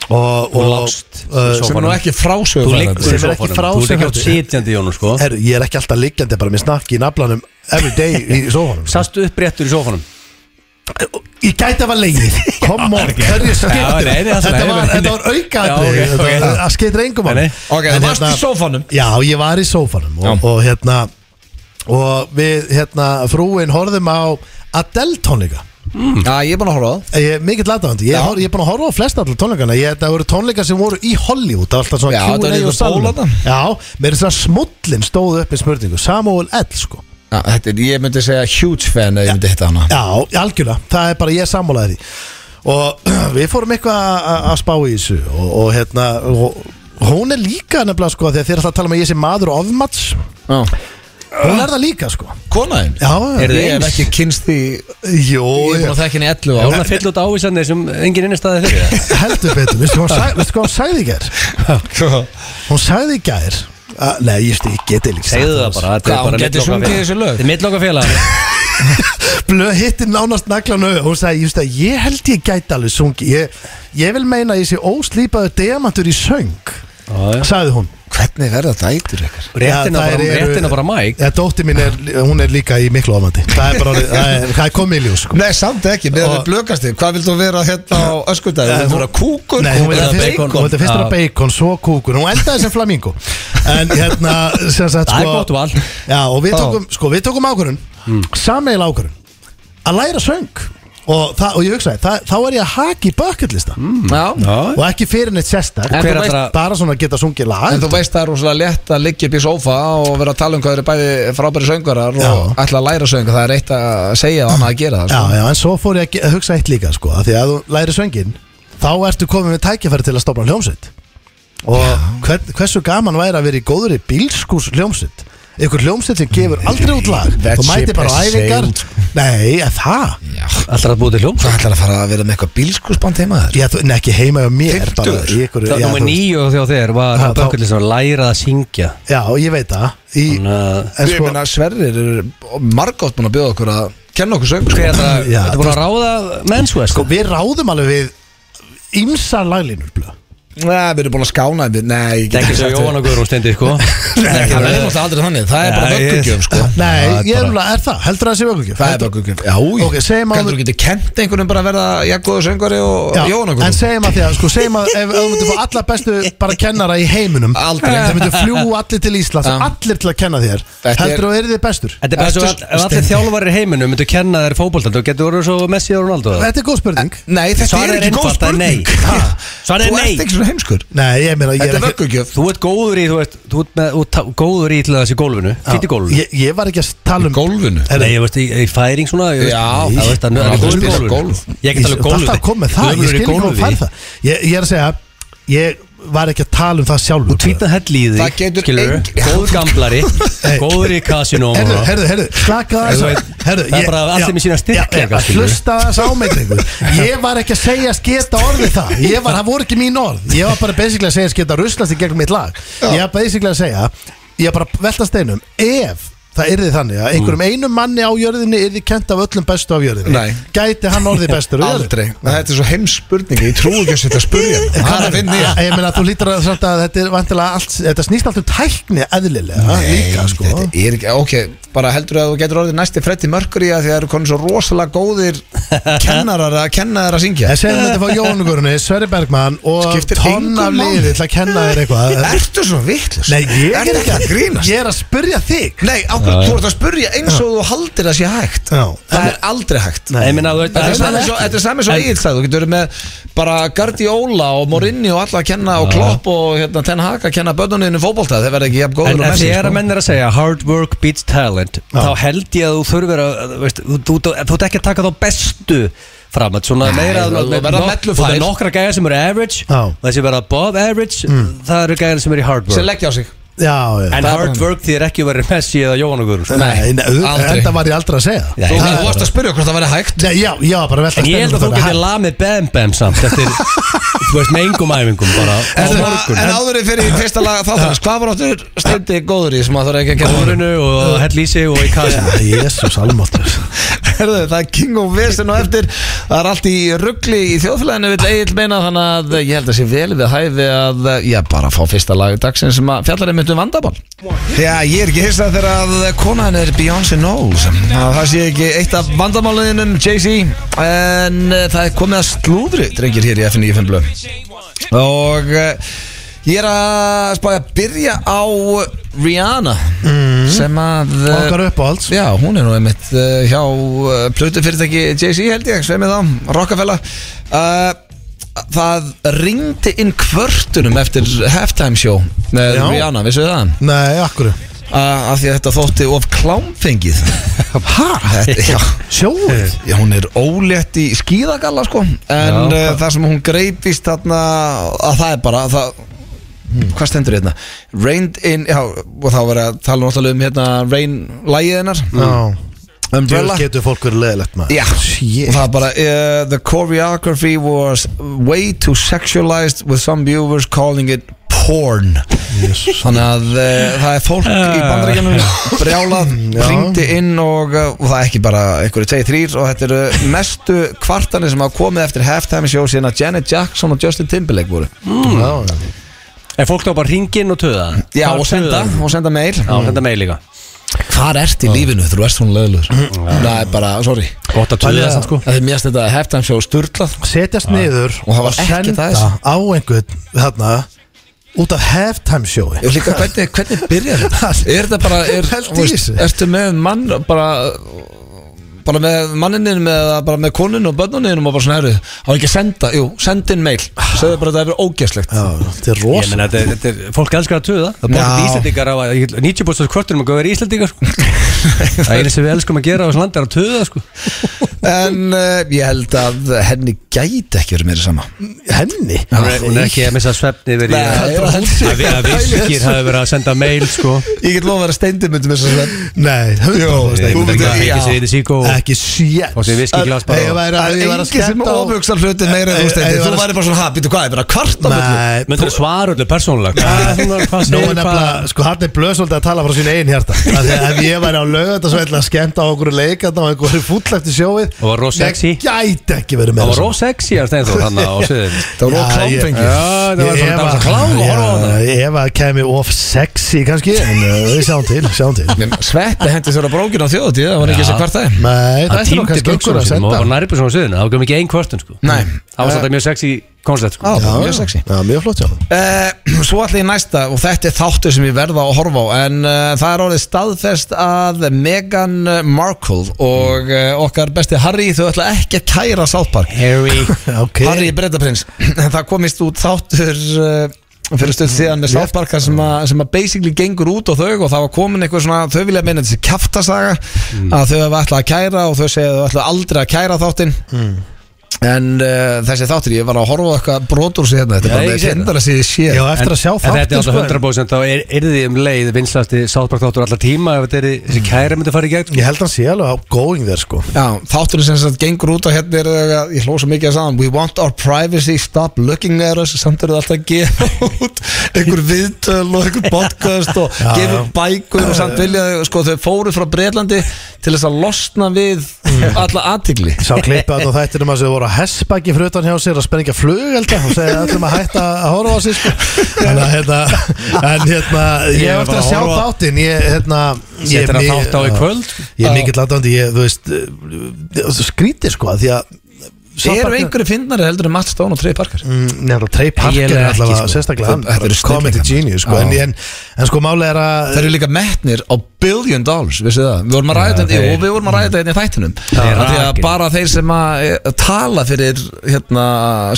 Speaker 2: Og, og
Speaker 3: lagst
Speaker 2: uh,
Speaker 3: í sófa.
Speaker 1: Sem er nú ekki
Speaker 3: Þú
Speaker 1: frásögur
Speaker 3: liggur
Speaker 2: Sem
Speaker 3: í
Speaker 2: er ekki
Speaker 3: sófanum.
Speaker 2: frá
Speaker 3: Þú
Speaker 2: sem
Speaker 3: ert ekki átt
Speaker 2: heldur.
Speaker 3: sitjandi í honum sko
Speaker 2: Herru, ég er ekki alltaf liggjandi bara með snakki í naflanum Every day í sófanum
Speaker 3: Sastu uppréttur í sófanum
Speaker 2: Ég gæti að var leið Come on, hverju
Speaker 3: Já, nei, nei,
Speaker 2: skiptir
Speaker 3: það er
Speaker 2: Þetta
Speaker 3: leið,
Speaker 2: var,
Speaker 3: nei,
Speaker 2: þetta
Speaker 3: nei.
Speaker 2: var auka
Speaker 3: Já, ok, ok.
Speaker 2: Það skiptir engum
Speaker 3: Nei, nei.
Speaker 1: Ok,
Speaker 2: En
Speaker 1: það varst
Speaker 2: hérna-
Speaker 1: í sófanum
Speaker 2: Já, ég var í sófanum og,
Speaker 1: Já.
Speaker 2: og hérna og við hérna frúin horfðum á Adele tónleika
Speaker 1: Já, ég er búin að horfa á það
Speaker 2: ég er mikill aðdáðandi, ég,
Speaker 1: Já.
Speaker 2: hor- ég er búin að horfa á flest allar tónleikana, ég, það voru tónleika sem voru í Hollywood, það var alltaf
Speaker 1: Já, þetta
Speaker 2: svona
Speaker 1: var
Speaker 2: Q&A
Speaker 1: líka
Speaker 2: og salnum.
Speaker 1: bóla þarna.
Speaker 2: Já, mér er svona smullin stóð upp í spurningu, Samuel L sko
Speaker 1: Já, þetta er, ég myndi segja huge fan ef ég myndi hitta hana
Speaker 2: Já, algjörlega, það er bara ég sammálaði því og við fórum eitthvað að- að- að spá í þessu og, og hérna og, hún er líka nefnilega sko þegar þið er alltaf að tala um að ég sé maður og ofmats
Speaker 1: Já.
Speaker 2: hún er það líka sko
Speaker 1: Konaðin?
Speaker 2: Já,
Speaker 3: Er þið
Speaker 1: Ég hef
Speaker 3: eins?
Speaker 1: ekki kynst því
Speaker 2: Jó,
Speaker 1: Ég er búin
Speaker 2: ég-
Speaker 1: að þekka henni í 11
Speaker 3: Já, hún
Speaker 1: ára
Speaker 3: að fylla út ávísanir sem engin innistæði fyrir það
Speaker 2: heldur betur, veistu hvað hún sag- veistu hvað hún sagði í gær? Hún sagði í gær að, Nei, ég, veist, ég geti líka
Speaker 3: Segðu það bara, þetta
Speaker 1: Hvað,
Speaker 3: er bara
Speaker 1: hún geti
Speaker 3: milloka
Speaker 1: sungið
Speaker 3: félag.
Speaker 1: þessi lög?
Speaker 3: Þetta er milloka félag
Speaker 2: Blöð hitti nánast naglanu Hún sagði, ég, veist, að ég held ég gæti alveg sungi Ég, ég vil meina að ég sé óslýpaður demantur í söng Sagði hún
Speaker 1: Hvernig verða það eitur ykkur?
Speaker 3: Réttina
Speaker 2: Já, þær
Speaker 3: bara,
Speaker 2: eru-
Speaker 3: réttina bara mæk
Speaker 2: Já, dóttir mín er, hún er líka í miklu ofandi Það er bara, orðið- það er, það er komið í ljós sko.
Speaker 1: Nei, samt ekki, með
Speaker 2: Og-
Speaker 1: við blökast þig Hvað vildu vera hérna á öskudagi?
Speaker 2: Eh,
Speaker 1: Vildu vera kúkur?
Speaker 2: Nei, hún
Speaker 1: Vildu
Speaker 2: vildi
Speaker 1: vera
Speaker 2: fyrst-
Speaker 1: bacon?
Speaker 2: hún vildi fyrst vera
Speaker 3: Já.
Speaker 2: bacon, svo kúkur Hún endaði sem flamingo En hérna, sem sagt
Speaker 3: Það er
Speaker 2: sko,
Speaker 3: gott val. Hmm.
Speaker 2: Já, og við tókum, sko, við tókum ákvörun mm. Sameil ákvörun Að læra söng og, það, og ég hugsaði, það, þá er ég að haki í bucketlista mm.
Speaker 1: Já
Speaker 2: og ekki fyrir neitt sérstak
Speaker 3: Hmm. En þú veist-
Speaker 2: bara svona geta sungið lag
Speaker 1: En þú veist það er rosalega létt að liggja upp í sófa og vera að tala um hvað þeir eru bæði frábæri söngarar og ætla að læra söngar, það er eitt að segja og annað að gera það
Speaker 2: já,
Speaker 1: sko.
Speaker 2: já, en svo fór ég að, ge- að hugsa eitt líka sko, af því að þú læri söngin þá ertu komið með tækifæri til að stopna hljómsveit og hver, hversu gaman væri að vera í góðri bílskús hljómsveit einhver hljómsveit sem gefur aldrei út lag
Speaker 1: That
Speaker 2: þú mæti
Speaker 1: ship
Speaker 2: bara á
Speaker 1: has
Speaker 2: æfingar
Speaker 1: sailed.
Speaker 2: nei, en það
Speaker 1: Já,
Speaker 3: Alltaf að búið til hljóm
Speaker 1: hvað ætlar að fara að vera með eitthvað bílskursband heima þér?
Speaker 2: Já, þú, nei, ekki heima hjá mér bara í einhverju-
Speaker 3: Það
Speaker 2: já,
Speaker 3: nummer
Speaker 2: þú-
Speaker 3: nýju og þjá þér var
Speaker 2: Ha,
Speaker 3: að
Speaker 2: þá-
Speaker 3: bökkullist að læra að syngja
Speaker 2: Já, ég veit það í,
Speaker 3: Þannig að-
Speaker 2: En
Speaker 1: Ég
Speaker 2: sko,
Speaker 1: meina Sverrir er margátt búin að bjóða okkur að kenna okkur söng
Speaker 3: Hver er
Speaker 1: sko.
Speaker 3: þetta?
Speaker 2: Já,
Speaker 3: Þetta er búin að ráða mennsku
Speaker 2: sko
Speaker 3: sko.
Speaker 2: við ráðum alveg við ymsar laglínur blöð
Speaker 1: Nei, við erum búin að skána þeim Nei, ég
Speaker 3: Það
Speaker 1: get
Speaker 3: er ekki svo Jóhann og Guðrún stendi sko.
Speaker 1: Nei,
Speaker 3: Ekki
Speaker 1: það er
Speaker 3: alveg.
Speaker 1: náttúrulega aldrei þannig Það er
Speaker 3: Já,
Speaker 1: bara
Speaker 3: ég-
Speaker 1: vöggugjöf sko
Speaker 2: Nei, ég er alveg, er það, heldur það að sé vöggugjöf
Speaker 1: Það er vöggugjöf Já, já
Speaker 2: Ok, segjum að-
Speaker 1: Kaldur þú getur kent einhvernum bara að verða jafngóðu söngari og Jóhann og
Speaker 2: En
Speaker 1: Guðrún
Speaker 2: segjum að því að, sko, segjum að ef ef þú myndir fá alla bestu bara kennara í heiminum
Speaker 1: Aldrei.
Speaker 2: Þeir myndir fljú allir til Íslands
Speaker 1: Já.
Speaker 2: allir til að kenna þér
Speaker 1: Þetta er-
Speaker 2: Heldur þú að verið þið bestur?
Speaker 3: Þetta er bara svo að
Speaker 1: Ertu-
Speaker 3: ef allir
Speaker 1: Steindi?
Speaker 3: þjálfarir í heiminum myndu kenna þér fótboltan þú getur orðið svo Messi og Ronaldo
Speaker 2: Þetta er góð spurning
Speaker 1: Nei, þetta
Speaker 3: Svarið
Speaker 1: er
Speaker 3: er
Speaker 1: ekki góð
Speaker 3: einfalt, það er nei.
Speaker 1: spurning
Speaker 3: Ha, svarið er
Speaker 1: Þú
Speaker 3: nei.
Speaker 1: ert ekki svona heimskur
Speaker 2: Nei, ég meina, ég
Speaker 1: Þetta
Speaker 2: er
Speaker 1: er
Speaker 2: ekki
Speaker 1: vöggugjöf
Speaker 3: Þú ert góður í, þú ert, þú ert með, þú ert ta- góður í til þessi gólfinu, fýtt í gólfinu
Speaker 2: ég, ég var ekki að tala um
Speaker 1: Gólfinu
Speaker 2: Herra,
Speaker 3: Nei, ég veist, í, í færing svona ég veist,
Speaker 1: Já.
Speaker 3: ég veist, hann hann
Speaker 1: Já,
Speaker 3: er
Speaker 1: þú
Speaker 3: góður í
Speaker 1: spilar
Speaker 3: gólfinu
Speaker 1: gólf.
Speaker 3: Ég get alveg um gólfið
Speaker 2: Alltaf að koma með það, ég skil ekki hvað fær það ég, ég er að segja, ég var ekki að tala um það sjálfur
Speaker 3: Þú tvítað hell í því,
Speaker 1: Það getur
Speaker 3: skilur
Speaker 1: engin-
Speaker 3: Góður gamblari, góður í kasinó
Speaker 2: Herðu, herðu, herðu, slaka þess
Speaker 3: Þú veit, það er bara allt sem í sína styrkleika, skilur.
Speaker 2: Hlusta þess ámeitingu Ég var ekki að segja sketa orði það Ég var, það voru ekki mín orð Ég var bara basically að segja sketa ruslast í gegnum mitt lag Ég var basically að segja Ég var bara að velta steinum Ef það yrði þannig að einhverjum einum manni á jörðinni yrði kent af öllum bestu af jörðinni
Speaker 1: Mm. Nei.
Speaker 2: Gæti hann orðið bestur á jörðinni?
Speaker 1: Aldrei Þetta er svo heimsspurning Ég trúi ekki að setja að spurja
Speaker 2: hérna.
Speaker 1: hana. Það er að finna ég
Speaker 2: Ég meina þú lítur að, samt að þetta, er vantilega allt, þetta snýst allt um tækni eðlilega líka sko
Speaker 1: Þetta er ekki, ok, bara heldur að þú getur orðið næsti Freddy Mercury að því að það eru konur svo rosalega góðir kennarar að kenna þér að syngja
Speaker 2: En segjum þetta fá Jónugurni, Sverri Bergmann og
Speaker 1: Skiptir
Speaker 2: tonn
Speaker 1: engu
Speaker 2: af
Speaker 1: máli.
Speaker 2: liði til að kenna þér eitthvað
Speaker 1: Ertu svona vittlust?
Speaker 2: Nei, ég er
Speaker 1: Ertu
Speaker 2: ekki
Speaker 1: að grínast?
Speaker 2: Ég er að spyrja þig
Speaker 1: Nei, ákveð, þú ert að spurja eins og þú haldir að sé hægt
Speaker 2: Já.
Speaker 1: Það er aldrei hægt
Speaker 3: Ég meina, þú veit,
Speaker 1: Þetta er
Speaker 3: það
Speaker 1: sami
Speaker 3: er
Speaker 1: svo- þetta er sami svo eigið það, þú getur verið með bara Guardiola og Morinni og alla að kenna og Klopp og hérna, Ten Hag að kenna börnuninu fótbolta, þeir verða ekki jafn góður
Speaker 3: En
Speaker 1: og
Speaker 3: ef
Speaker 1: Messi,
Speaker 3: þið er að
Speaker 1: sko.
Speaker 3: menn er að segja hard work beats talent þá held ég að þú þurfir að þú veist, þú, þú, þú, þú ert ekki að taka þá bestu fram að svona
Speaker 1: þú-
Speaker 3: meira
Speaker 1: þú verður að mellu
Speaker 3: það er
Speaker 1: fær.
Speaker 3: nokkra gæðar sem eru average
Speaker 2: Já.
Speaker 3: og þessi verða above average það eru gæðar sem eru í hard
Speaker 1: Mm. sem
Speaker 3: work
Speaker 1: leggja á sig
Speaker 2: Já, já
Speaker 3: en hard work þýðir ekki að vera Messi eða Jóhann og Guðrún sko.
Speaker 2: Nei, nei,
Speaker 1: aldrei.
Speaker 2: þetta var ég aldrei að segja
Speaker 3: Nei,
Speaker 1: Þú
Speaker 2: Það-
Speaker 1: þú varst að spurja hvort það væri hægt
Speaker 2: Nei, Já, já, bara velta
Speaker 3: en ég held að þú
Speaker 2: steinum
Speaker 3: getur lamið bam bam samt eftir þú veist með engum æfingum bara á
Speaker 1: En,
Speaker 3: morgun
Speaker 1: en áður en fyrir í fyrsta lag þáttanins Hvað var áttur steindi góður í sem að það er ekki að kenna honum?
Speaker 3: Gólfinu og hell í sig og í kasinu
Speaker 2: Já, Jésús almáttur
Speaker 1: Herðu, það er King of Vesen og eftir Það er allt í ruggli í þjóðfélaginu vil Egil meina þannig að eh, ég held að sé vel við hæfi að eh, já, bara fá fyrsta lag dagsinn sem að fjallar einmitt um vandabál Já, ég er ekki hissað þegar að konan er Beyoncé Knowles Að Það sé ekki eitt af vandamálinum Jay-Z En eh, það er komið að slúðri drengir hér í FNÍ5 blöð Og eh, ég er að spája að byrja á Rihanna sem að eh,
Speaker 2: Okkar uppáhalds
Speaker 1: Já, hún er nú einmitt uh, hjá uh, plötufyrirtæki Jay-Z held ég, sveið með þá, Rockafella uh, Það ringdi inn kvörtunum eftir halftime show með
Speaker 2: Já.
Speaker 1: Rihanna, vissu það?
Speaker 2: Nei, akkur
Speaker 1: Uh, af því að þetta þótti of klámfengið Hæ? Já,
Speaker 2: Sjóð
Speaker 1: já, hún er ólétt í skíðagalla sko En
Speaker 3: Já.
Speaker 1: uh, það sem hún greipist þarna að það er bara það, Hvað stendur hérna? Rained in, já, og þá var að tala náttúrulega um hérna Rain lægið hennar
Speaker 2: Já
Speaker 1: Umbrella
Speaker 2: mm. Djöfull Getur fólk verið leðilegt maður
Speaker 1: Já,
Speaker 2: Shit.
Speaker 1: og það er bara uh, The choreography was way too sexualized with some viewers calling it porn
Speaker 2: Mm.
Speaker 1: Þannig að uh, það er fólk
Speaker 3: Ah.
Speaker 1: í bandaríkjanum brjálað, ringdi inn og, uh, og það er ekki bara einhverju tveið þrýr og þetta eru uh, mestu kvartanir sem hafa komið eftir halftime show síðan að Janet Jackson og Justin Timberlake voru
Speaker 2: Já, já.
Speaker 3: en fólk þá bara ringin og töða
Speaker 1: Já,
Speaker 3: Bara
Speaker 1: og senda,
Speaker 3: tuða.
Speaker 1: og senda mail
Speaker 3: Já, senda mig líka
Speaker 1: Hvar ert í lífinu þú ert svona lögulur? Það er bara, sorry
Speaker 3: gott að töða samt sko
Speaker 1: Það er mjög stendað að halftime show sturglað
Speaker 2: setjast niður
Speaker 1: Og það var ekkert
Speaker 2: senda
Speaker 1: að þessu.
Speaker 2: á einhvern þarna út af halftime sjói
Speaker 1: Og líka hvernig, hvernig byrjar þetta? Er þetta bara, er,
Speaker 2: Pældu í
Speaker 1: þú veist,
Speaker 2: þessu.
Speaker 1: ertu með mann bara, bara með manninum eða bara með konunum og börnunum og bara svona herru á ekki að senda, jú, senda inn mail segðu bara að það hefur ógæslegt
Speaker 2: Já, þetta er
Speaker 3: Ég
Speaker 2: rosa
Speaker 3: meina, þetta, þetta er, fólk elskar að tuða Það er bara
Speaker 1: Já.
Speaker 3: Íslandingar á að, ég- 90% kvörtunum að góða er Íslandingar sko. Það er eins sem við elskum að gera á þessu landi er að tuða sko.
Speaker 2: Ah,
Speaker 1: en uh, ég held að henni gæti ekki verið meira sama
Speaker 2: Henni?
Speaker 3: Hún er- Hún er ekki að missa svefni yfir í
Speaker 1: Nei,
Speaker 3: að,
Speaker 1: bara
Speaker 3: að,
Speaker 1: útsýn.
Speaker 3: vi- að viskir hafi verið að senda mail sko.
Speaker 1: ég get lofa að vera steindimundum þess að
Speaker 2: Nei,
Speaker 3: Ég myndi ekki
Speaker 1: myndir-
Speaker 2: hundra
Speaker 3: að fengi
Speaker 1: já.
Speaker 3: sér í síkó og
Speaker 2: Ekki sétt
Speaker 3: og sér viski glas bara
Speaker 2: Ég
Speaker 3: og-
Speaker 2: væri að- ef ég væri að
Speaker 1: enginn sem
Speaker 2: skemmta á-
Speaker 1: ofhugsar hlutin meira en
Speaker 2: Ef-
Speaker 1: þú
Speaker 2: ef ég
Speaker 1: steindir
Speaker 2: væri
Speaker 1: þú
Speaker 2: að-
Speaker 1: væri bara svona, ha, býtu hvað, ég er bara að kvarta á fullu?"
Speaker 2: Nei,
Speaker 3: Myndir þú svara öllu persónulega? Hvað- svona, Hvað
Speaker 2: Nú er
Speaker 3: segir hvað?
Speaker 2: nefnilega, sko hann er blöðsvöld að tala frá sín eigin hjarta Af því að Ef ég væri á lögðardasvöld að skemmta á okkur leikand og einhverju fúll eftir sjóið
Speaker 3: Og var rosa
Speaker 2: ég
Speaker 3: sexy.
Speaker 2: Gæti ekki verið
Speaker 3: Það
Speaker 2: með
Speaker 3: var ró sexy að steina þú þannig á sviðinu
Speaker 1: það var
Speaker 2: Já, ég-
Speaker 1: klámfengi
Speaker 3: Já, það var svona- það var svona klám og horfa á hana.
Speaker 2: Ef að kemi of sexy kannski En uh, við sjáum til, sjáum til
Speaker 1: Sveppi hendi sér á brókinu á þjóðutíð það var ekki
Speaker 3: Já.
Speaker 1: þess að kvarta þeim
Speaker 2: Nei, það ætti
Speaker 3: Hann
Speaker 2: nú
Speaker 3: týndi
Speaker 2: kannski einhver að
Speaker 3: buksunum sínum og
Speaker 2: senda
Speaker 3: var nærið svona á sviðinu Það kom ekki ein kvörtun sko
Speaker 1: Nei.
Speaker 3: Það var svolítið mjög sexy koncept sko
Speaker 1: Já,
Speaker 2: Já,
Speaker 1: mjög sexy
Speaker 2: Já, mjög flott já
Speaker 1: Uh, svo ætla ég næsta og þetta er þáttur sem ég verða að horfa á en uh, það er orðið staðfest að Meghan Markle og uh, okkar besti Harry þau ætla ekki að kæra South Park
Speaker 3: Harry
Speaker 2: Ok
Speaker 1: Harry Breitaprins það komist út þáttur uh, fyrir stöld síðan
Speaker 3: Mm,
Speaker 1: með South Park þar sem, að, sem að basically gengur út á þau og það var komin eitthvað svona þau vilja meina þessi kjaftasaga
Speaker 3: Mm.
Speaker 1: að þau hafa ætla að kæra og þau segja að þau ætla aldrei að kæra þáttinn
Speaker 3: Mm.
Speaker 1: en uh, þessi þáttur ég var að horfa á eitthvað brotur sér hérna þetta
Speaker 3: Já,
Speaker 1: er bara
Speaker 3: ég
Speaker 1: með
Speaker 3: sé það.
Speaker 1: fyndara sér sér
Speaker 2: Já, eftir að sjá
Speaker 3: En þetta er
Speaker 2: þáttinn,
Speaker 3: alltaf
Speaker 2: sko,
Speaker 3: 100% og er, er því um leið vinstlasti Southpark þáttur allar tíma ef þetta er
Speaker 2: Mm.
Speaker 3: þessi kæra myndi fara í gegn
Speaker 2: Ég held að hann sé alveg á going there sko
Speaker 1: Já, þátturinn sem sagt gengur út á hérna er það, ég hló svo mikið að saðan We want our privacy, stop looking at us samt eru það alltaf að gefa út einhver viðtöl og einhver podcast og
Speaker 2: Já,
Speaker 1: gefa
Speaker 2: já.
Speaker 1: út bækur og samt vilja sko þau fóru frá Breitlandi til þess að losna við
Speaker 2: Mm.
Speaker 1: alla aðtigli
Speaker 2: Sá klippið að þættinum að þau voru að hessbæki frutan hjá sér að spenninga flugelda og segja öllum að hætta að horfa á sér sko. en, hérna, en hérna ég hef eftir
Speaker 3: Ég var bara
Speaker 2: að
Speaker 3: að
Speaker 2: sjá
Speaker 3: horfa-
Speaker 2: þáttinn ég, hérna, ég,
Speaker 3: Settir að
Speaker 2: mi-
Speaker 3: þátt á í kvöld
Speaker 2: ég er mikill aðdóndi ég, þú veist, eh, skrítið sko því að
Speaker 1: Eru einhverju finnari heldur en Matt Stone og Trey Parker?
Speaker 2: Nefnilega Trey Parker
Speaker 3: Eiginlega
Speaker 2: er
Speaker 3: ekki,
Speaker 2: allavega
Speaker 3: sko.
Speaker 2: sérstaklega hann,
Speaker 1: Þetta eru
Speaker 2: bara
Speaker 1: snillingar.
Speaker 2: comedy genius sko,
Speaker 1: Já.
Speaker 2: en, en, en sko máli er að
Speaker 1: Það eru líka metnir á billion dollars, vissið það Við vorum að ræða þetta,
Speaker 3: þeir-
Speaker 1: og við vorum að ræða þetta í þættinum
Speaker 3: Þeir
Speaker 1: Af Því að
Speaker 3: rakin.
Speaker 1: bara þeir sem að e, tala fyrir hérna,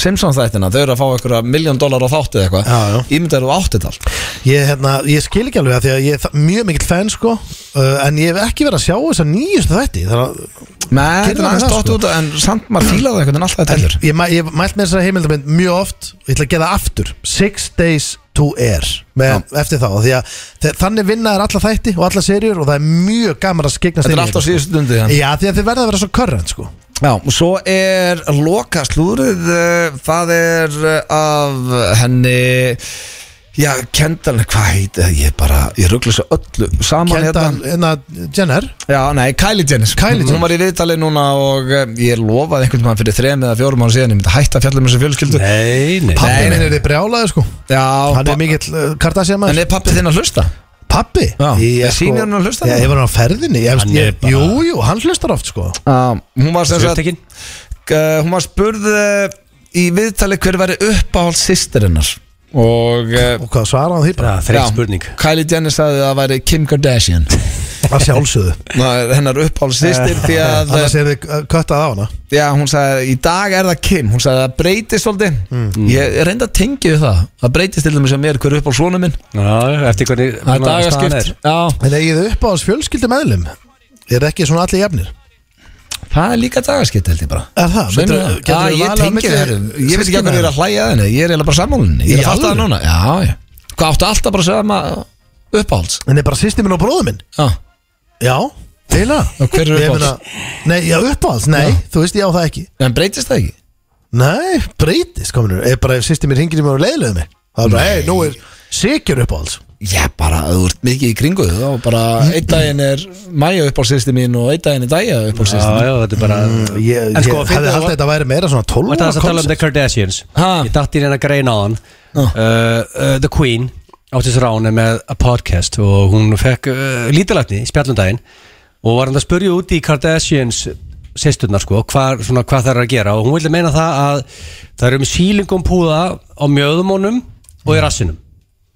Speaker 1: Simpsons þættina Þau eru að fá einhverja miljón dólar á þáttið eitthvað
Speaker 2: Já, já.
Speaker 1: Ímyndar þú áttið allt
Speaker 2: Ég, hérna, ég skil ekki alveg að því að ég er þa- mjög mikill fan sko uh, En ég hef ekki verið að sjá þess að nýjustu þætti Þannig að
Speaker 1: Nei,
Speaker 2: Getur
Speaker 1: þetta er aðeins
Speaker 2: það,
Speaker 1: dott
Speaker 2: sko?
Speaker 1: út En samt maður fílaði einhvern veginn alltaf þetta
Speaker 2: En
Speaker 1: heldur
Speaker 2: ég, mæ- ég hef mælt með þessari heimildamind mjög oft og ég ætla að gera það aftur Six Days to Air með, eftir þá því að þe- þannig vinna er alla þætti og alla serjur og það er mjög gaman að skikna
Speaker 1: Þetta er allt á síðustu stundi þannig.
Speaker 2: sko. Já, því að þið verða að vera svo körrent sko
Speaker 1: Já, og svo er loka slúrið uh, Það er uh, af henni Já, Kendall, hvað heiti það? Ég bara, ég ruggla svo öllu saman
Speaker 2: Kendall, hérna, Jenner
Speaker 1: Já, nei, Kylie Jenner
Speaker 2: Kylie Jenner.
Speaker 1: Hún var í viðtali núna og eh, ég lofaði einhvern veginn fyrir þrem eða fjórum ára síðan Ég myndi hætta að fjalla um þessu fjölskyldu
Speaker 3: Nei, nei
Speaker 1: Nei,
Speaker 2: Pappi
Speaker 1: nei,
Speaker 2: minn er þið brjálaði sko
Speaker 1: Já,
Speaker 2: Hann
Speaker 1: pa-
Speaker 2: er mikill uh, Kardashian
Speaker 1: en
Speaker 2: maður
Speaker 1: er pappi þinn að hlusta?
Speaker 2: Pappi?
Speaker 1: Já,
Speaker 2: Ég, sko,
Speaker 1: er senior hann að hlusta
Speaker 2: Já,
Speaker 1: núna?
Speaker 2: ég var á ferðinni ég,
Speaker 3: Hann er
Speaker 2: ég,
Speaker 3: bara-
Speaker 2: Jú, jú, hann hlustar oft sko
Speaker 1: Já, hún var sem sagt
Speaker 3: Svöldtekinn
Speaker 1: eh, Hún var spurð eh, í viðtali hver væri uppáhald sýstirinnar Og eh,
Speaker 2: Og hvað svaraði hann því bara?
Speaker 3: Þreitt spurning
Speaker 1: Kylie Jenner sagði að það væri Kim Kardashian
Speaker 2: Að sjálfsögðu
Speaker 1: Ná, Hennar uppáhald sýstir því að eh,
Speaker 2: Annars er þið uh, köttað á hana
Speaker 1: Já, hún sagði, í dag er það Kim Hún sagði, það breytist svolítið
Speaker 2: Mm.
Speaker 1: Ég reynda að tengja við það Það breytist til dæmis að mér hver uppáhald svona minn
Speaker 3: Já, eftir
Speaker 1: Það er
Speaker 3: hvernig staðan er.
Speaker 1: dagaskipt Já,
Speaker 2: En eigið þið upp á hans fjölskyldi meðlum Er ekki svona allir jafnir?
Speaker 1: Það er líka dagaskipt held ég bara
Speaker 2: Er það?
Speaker 1: Sveinur,
Speaker 2: Myndirðu-
Speaker 1: Já,
Speaker 2: geturðu
Speaker 1: ah, ég
Speaker 2: valið á
Speaker 1: tengi
Speaker 2: milli
Speaker 1: það Ég veit ekki hvað
Speaker 2: systkina?
Speaker 1: ég er að hlæja að henni Ég er eiginlega bara sammálinni Ég
Speaker 2: Í
Speaker 1: er að fatta það
Speaker 2: alvöru?
Speaker 1: núna Já, já Hvað áttu alltaf bara að segja maður uppáhalds
Speaker 2: En er bara sýsti minn og bróðu minn?
Speaker 1: Já,
Speaker 2: Já, eiginlega
Speaker 1: Og hver eru
Speaker 2: Ég
Speaker 1: uppáhalds?
Speaker 2: meina- Nei, já, uppáhalds, nei, þú veist ég á það ekki
Speaker 1: en breytist það ekki?
Speaker 2: Nei, breytist kominur Er bara ef sýsti minn hringir í mig og leiðilegðu mig Það er bara, hei, nú er sigur uppáhalds
Speaker 1: Já, bara, að þú ert mikið í kringu Þá bara, einn daginn er Maja uppáhaldsýsti mín og einn daginn er Dæja
Speaker 3: Já,
Speaker 1: uppáhaldsýsti
Speaker 3: já, þetta er bara
Speaker 2: Ég, Mm, ég
Speaker 3: En sko,
Speaker 2: hefði
Speaker 3: fyndið
Speaker 2: haldið að
Speaker 3: var-
Speaker 2: þetta væri meira svona 12
Speaker 3: Var það
Speaker 2: ára
Speaker 3: þess að tala um
Speaker 2: konsept.
Speaker 3: The Kardashians
Speaker 1: Ha?
Speaker 3: Ég datt í reyna grein á hann Uh,
Speaker 1: Já.
Speaker 3: The Queen Áttis Rán er með a podcast og hún fekk uh, lítilætni í spjallundaginn og var hann að spurja út í Kardashians sesturnar sko, hvað, svona, hvað það er að gera og hún vildi meina það að það er um sílingum púða
Speaker 1: Mm.
Speaker 3: á mjöðumónum og í rassinum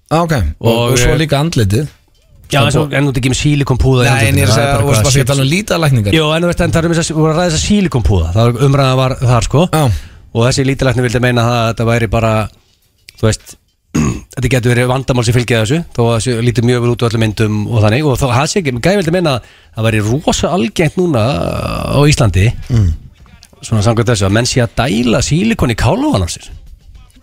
Speaker 1: Já, ok, og, eh, og,
Speaker 3: Og-
Speaker 1: svo líka andlitið
Speaker 3: Já, Sko, en svo- en þú ert ekki með sílikompúða
Speaker 1: Nei,
Speaker 3: í
Speaker 1: en
Speaker 3: andlitinu,
Speaker 1: ég er að
Speaker 3: það
Speaker 1: segja,
Speaker 3: bara
Speaker 1: þú veist
Speaker 3: eitthvað
Speaker 1: bara fyrir að tala um lítalækningar
Speaker 3: Jó, en þú veist, en það er um þess að voru að ræða þess að sílikompúða Það var umræða var þar, sko
Speaker 1: Já.
Speaker 3: Og þessi lítilækni vildi meina það að þetta væri bara Þú veist Þetta getur verið vandamál sem fylgja þessu Þó að þessu lítið mjög vel út á öllum myndum og þannig Og þá það sé ekki, gæði vildi meina að það væri rosa algengt núna á Íslandi
Speaker 2: Mm.
Speaker 3: Svona samkvæmt þessu að menn sé að dæla sílikon í kálóðan á sér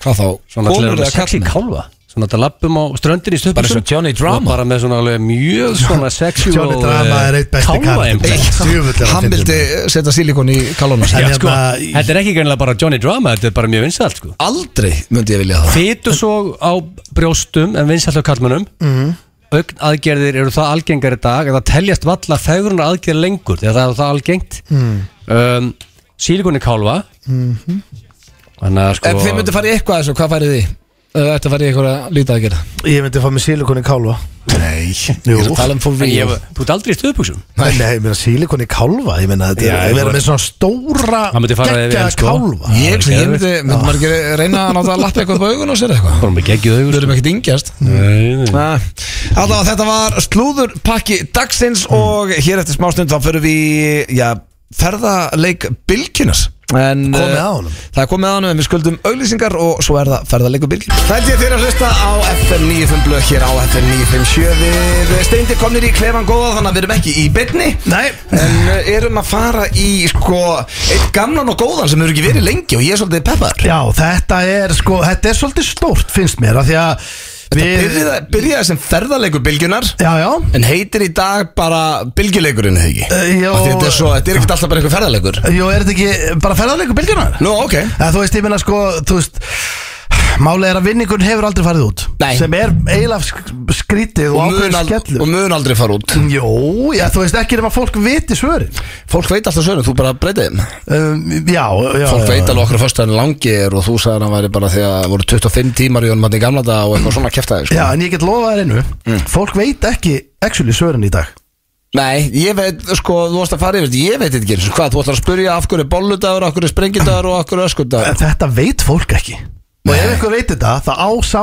Speaker 1: Hvað þá?
Speaker 3: Svona til að
Speaker 1: Konur
Speaker 3: vera
Speaker 1: eða
Speaker 3: sexy
Speaker 1: karlmenn?
Speaker 3: kálva Svona til að lappum á ströndinni í stöpum
Speaker 1: Bara eins og Johnny Drama.
Speaker 3: Og bara með svona alveg mjög svona eh, sexual
Speaker 2: Johnny Drama er eitt besti
Speaker 3: kálva
Speaker 2: karakter. Djöfull er hann
Speaker 1: Hann vildi setja silikon í kalóna
Speaker 2: En
Speaker 3: Já,
Speaker 2: hérna,
Speaker 3: sko,
Speaker 2: í-
Speaker 3: þetta er ekki greinlega bara Johnny Drama, þetta er bara mjög vinsælt sko.
Speaker 1: Aldrei myndi ég vilja það
Speaker 3: Fytu svo á brjóstum en vinsælt á kallmönnum mm.
Speaker 1: Mhm.
Speaker 3: Augn aðgerðir eru það algengar í dag en það teljast valla fegrunar aðgerðir lengur þegar það er það algengt mm. um, Sílikon er kálfa Þannig að sko
Speaker 1: Mhm. Ef þið myndi fara í eitthvað af þessu, hvað færið þið? Ef Þú ætti að fara í eitthvað að líta að gera
Speaker 2: Ég myndi að fá mig sílikon í kálva
Speaker 1: Nei, ég er að tala um for
Speaker 3: En ég,
Speaker 1: real
Speaker 3: þú ert aldrei í stöðbuksum
Speaker 2: Nei, ég meina sílikon í kálva Ég meina, þetta er
Speaker 3: Já, ég
Speaker 2: að vera
Speaker 3: var-
Speaker 2: með svona stóra
Speaker 3: Það myndi fara yfir
Speaker 2: geggjaða
Speaker 3: hann, sko.
Speaker 2: kálfa
Speaker 1: Ég, ég myndi, myndi maður ekki reyna að náta að lappa eitthvað upp á augun og sér eitthvað
Speaker 3: Bara með geggjuð
Speaker 1: Ah.
Speaker 3: sko.
Speaker 1: Við
Speaker 3: augur
Speaker 1: erum ekkert yngjast Allá, þetta var slúðurpakki dagsins og hér eftir smástund þá förum við í, já, ferðarleik Bilkinas En,
Speaker 2: Komið
Speaker 1: eh,
Speaker 2: að honum.
Speaker 1: Það er komið að honum en við skuldum auglýsingar og svo er það ferðarleik Bilkinas Þetta er fyrir að hlusta á FM 95 blöð hér á FM 957 Við eh, steindi komnir í klefan góða þannig að við erum ekki í byrni
Speaker 2: Nei,
Speaker 1: En eh, erum að fara í sko eitt gamlan og góðan sem hefur ekki verið lengi og ég er svolítið peppar
Speaker 2: já, þetta er sko Þetta er svolítið stórt, finnst mér af Því að við
Speaker 1: Byrjaði, byrjaði sem ferðarleikur Bilkinar
Speaker 2: Já, já
Speaker 1: En heitir í dag bara bylgjuleikurinn eða ekki?
Speaker 2: Eh, já.
Speaker 1: Af því Þetta er, svo, þetta er ekkert alltaf bara einhver ferðarleikur
Speaker 2: Jó, er þetta ekki bara ferðarleikur bylgjunar?
Speaker 1: Nú, ok
Speaker 2: Eða, þú veist, ég meina sko, þú veist Málið er að vinningun hefur aldrei farið út
Speaker 1: Nei.
Speaker 2: Sem er eiginlega sk- skrítið og,
Speaker 1: Og
Speaker 2: og
Speaker 1: mun,
Speaker 2: ákveðin
Speaker 1: al, og
Speaker 2: skellur
Speaker 1: mun aldrei fara út
Speaker 2: Jó, já, þú veist ekki nema fólk viti svörin
Speaker 1: Fólk veit alltaf svörum, þú bara breytið þeim
Speaker 2: um, Já, já
Speaker 1: Fólk
Speaker 2: já,
Speaker 1: veit alveg okkur að föstaðan langi er og þú sagði hann væri bara því að voru 25 tímar í honum hann í gamla dag og eitthvað svona kæftæði sko.
Speaker 2: Já, en ég get lofað þér einu Fólk veit ekki actually svörin í dag
Speaker 1: Nei, ég veit, sko, þú varst að fara yfir þetta, ég veit þetta ekki eins og Hvað, þú ætlar að spyrja af hverju er bolludagur, af hverju er sprengidagur og af hverju er öskudagur
Speaker 2: En þetta veit fólk ekki Og ef einhver veit þetta, það ásá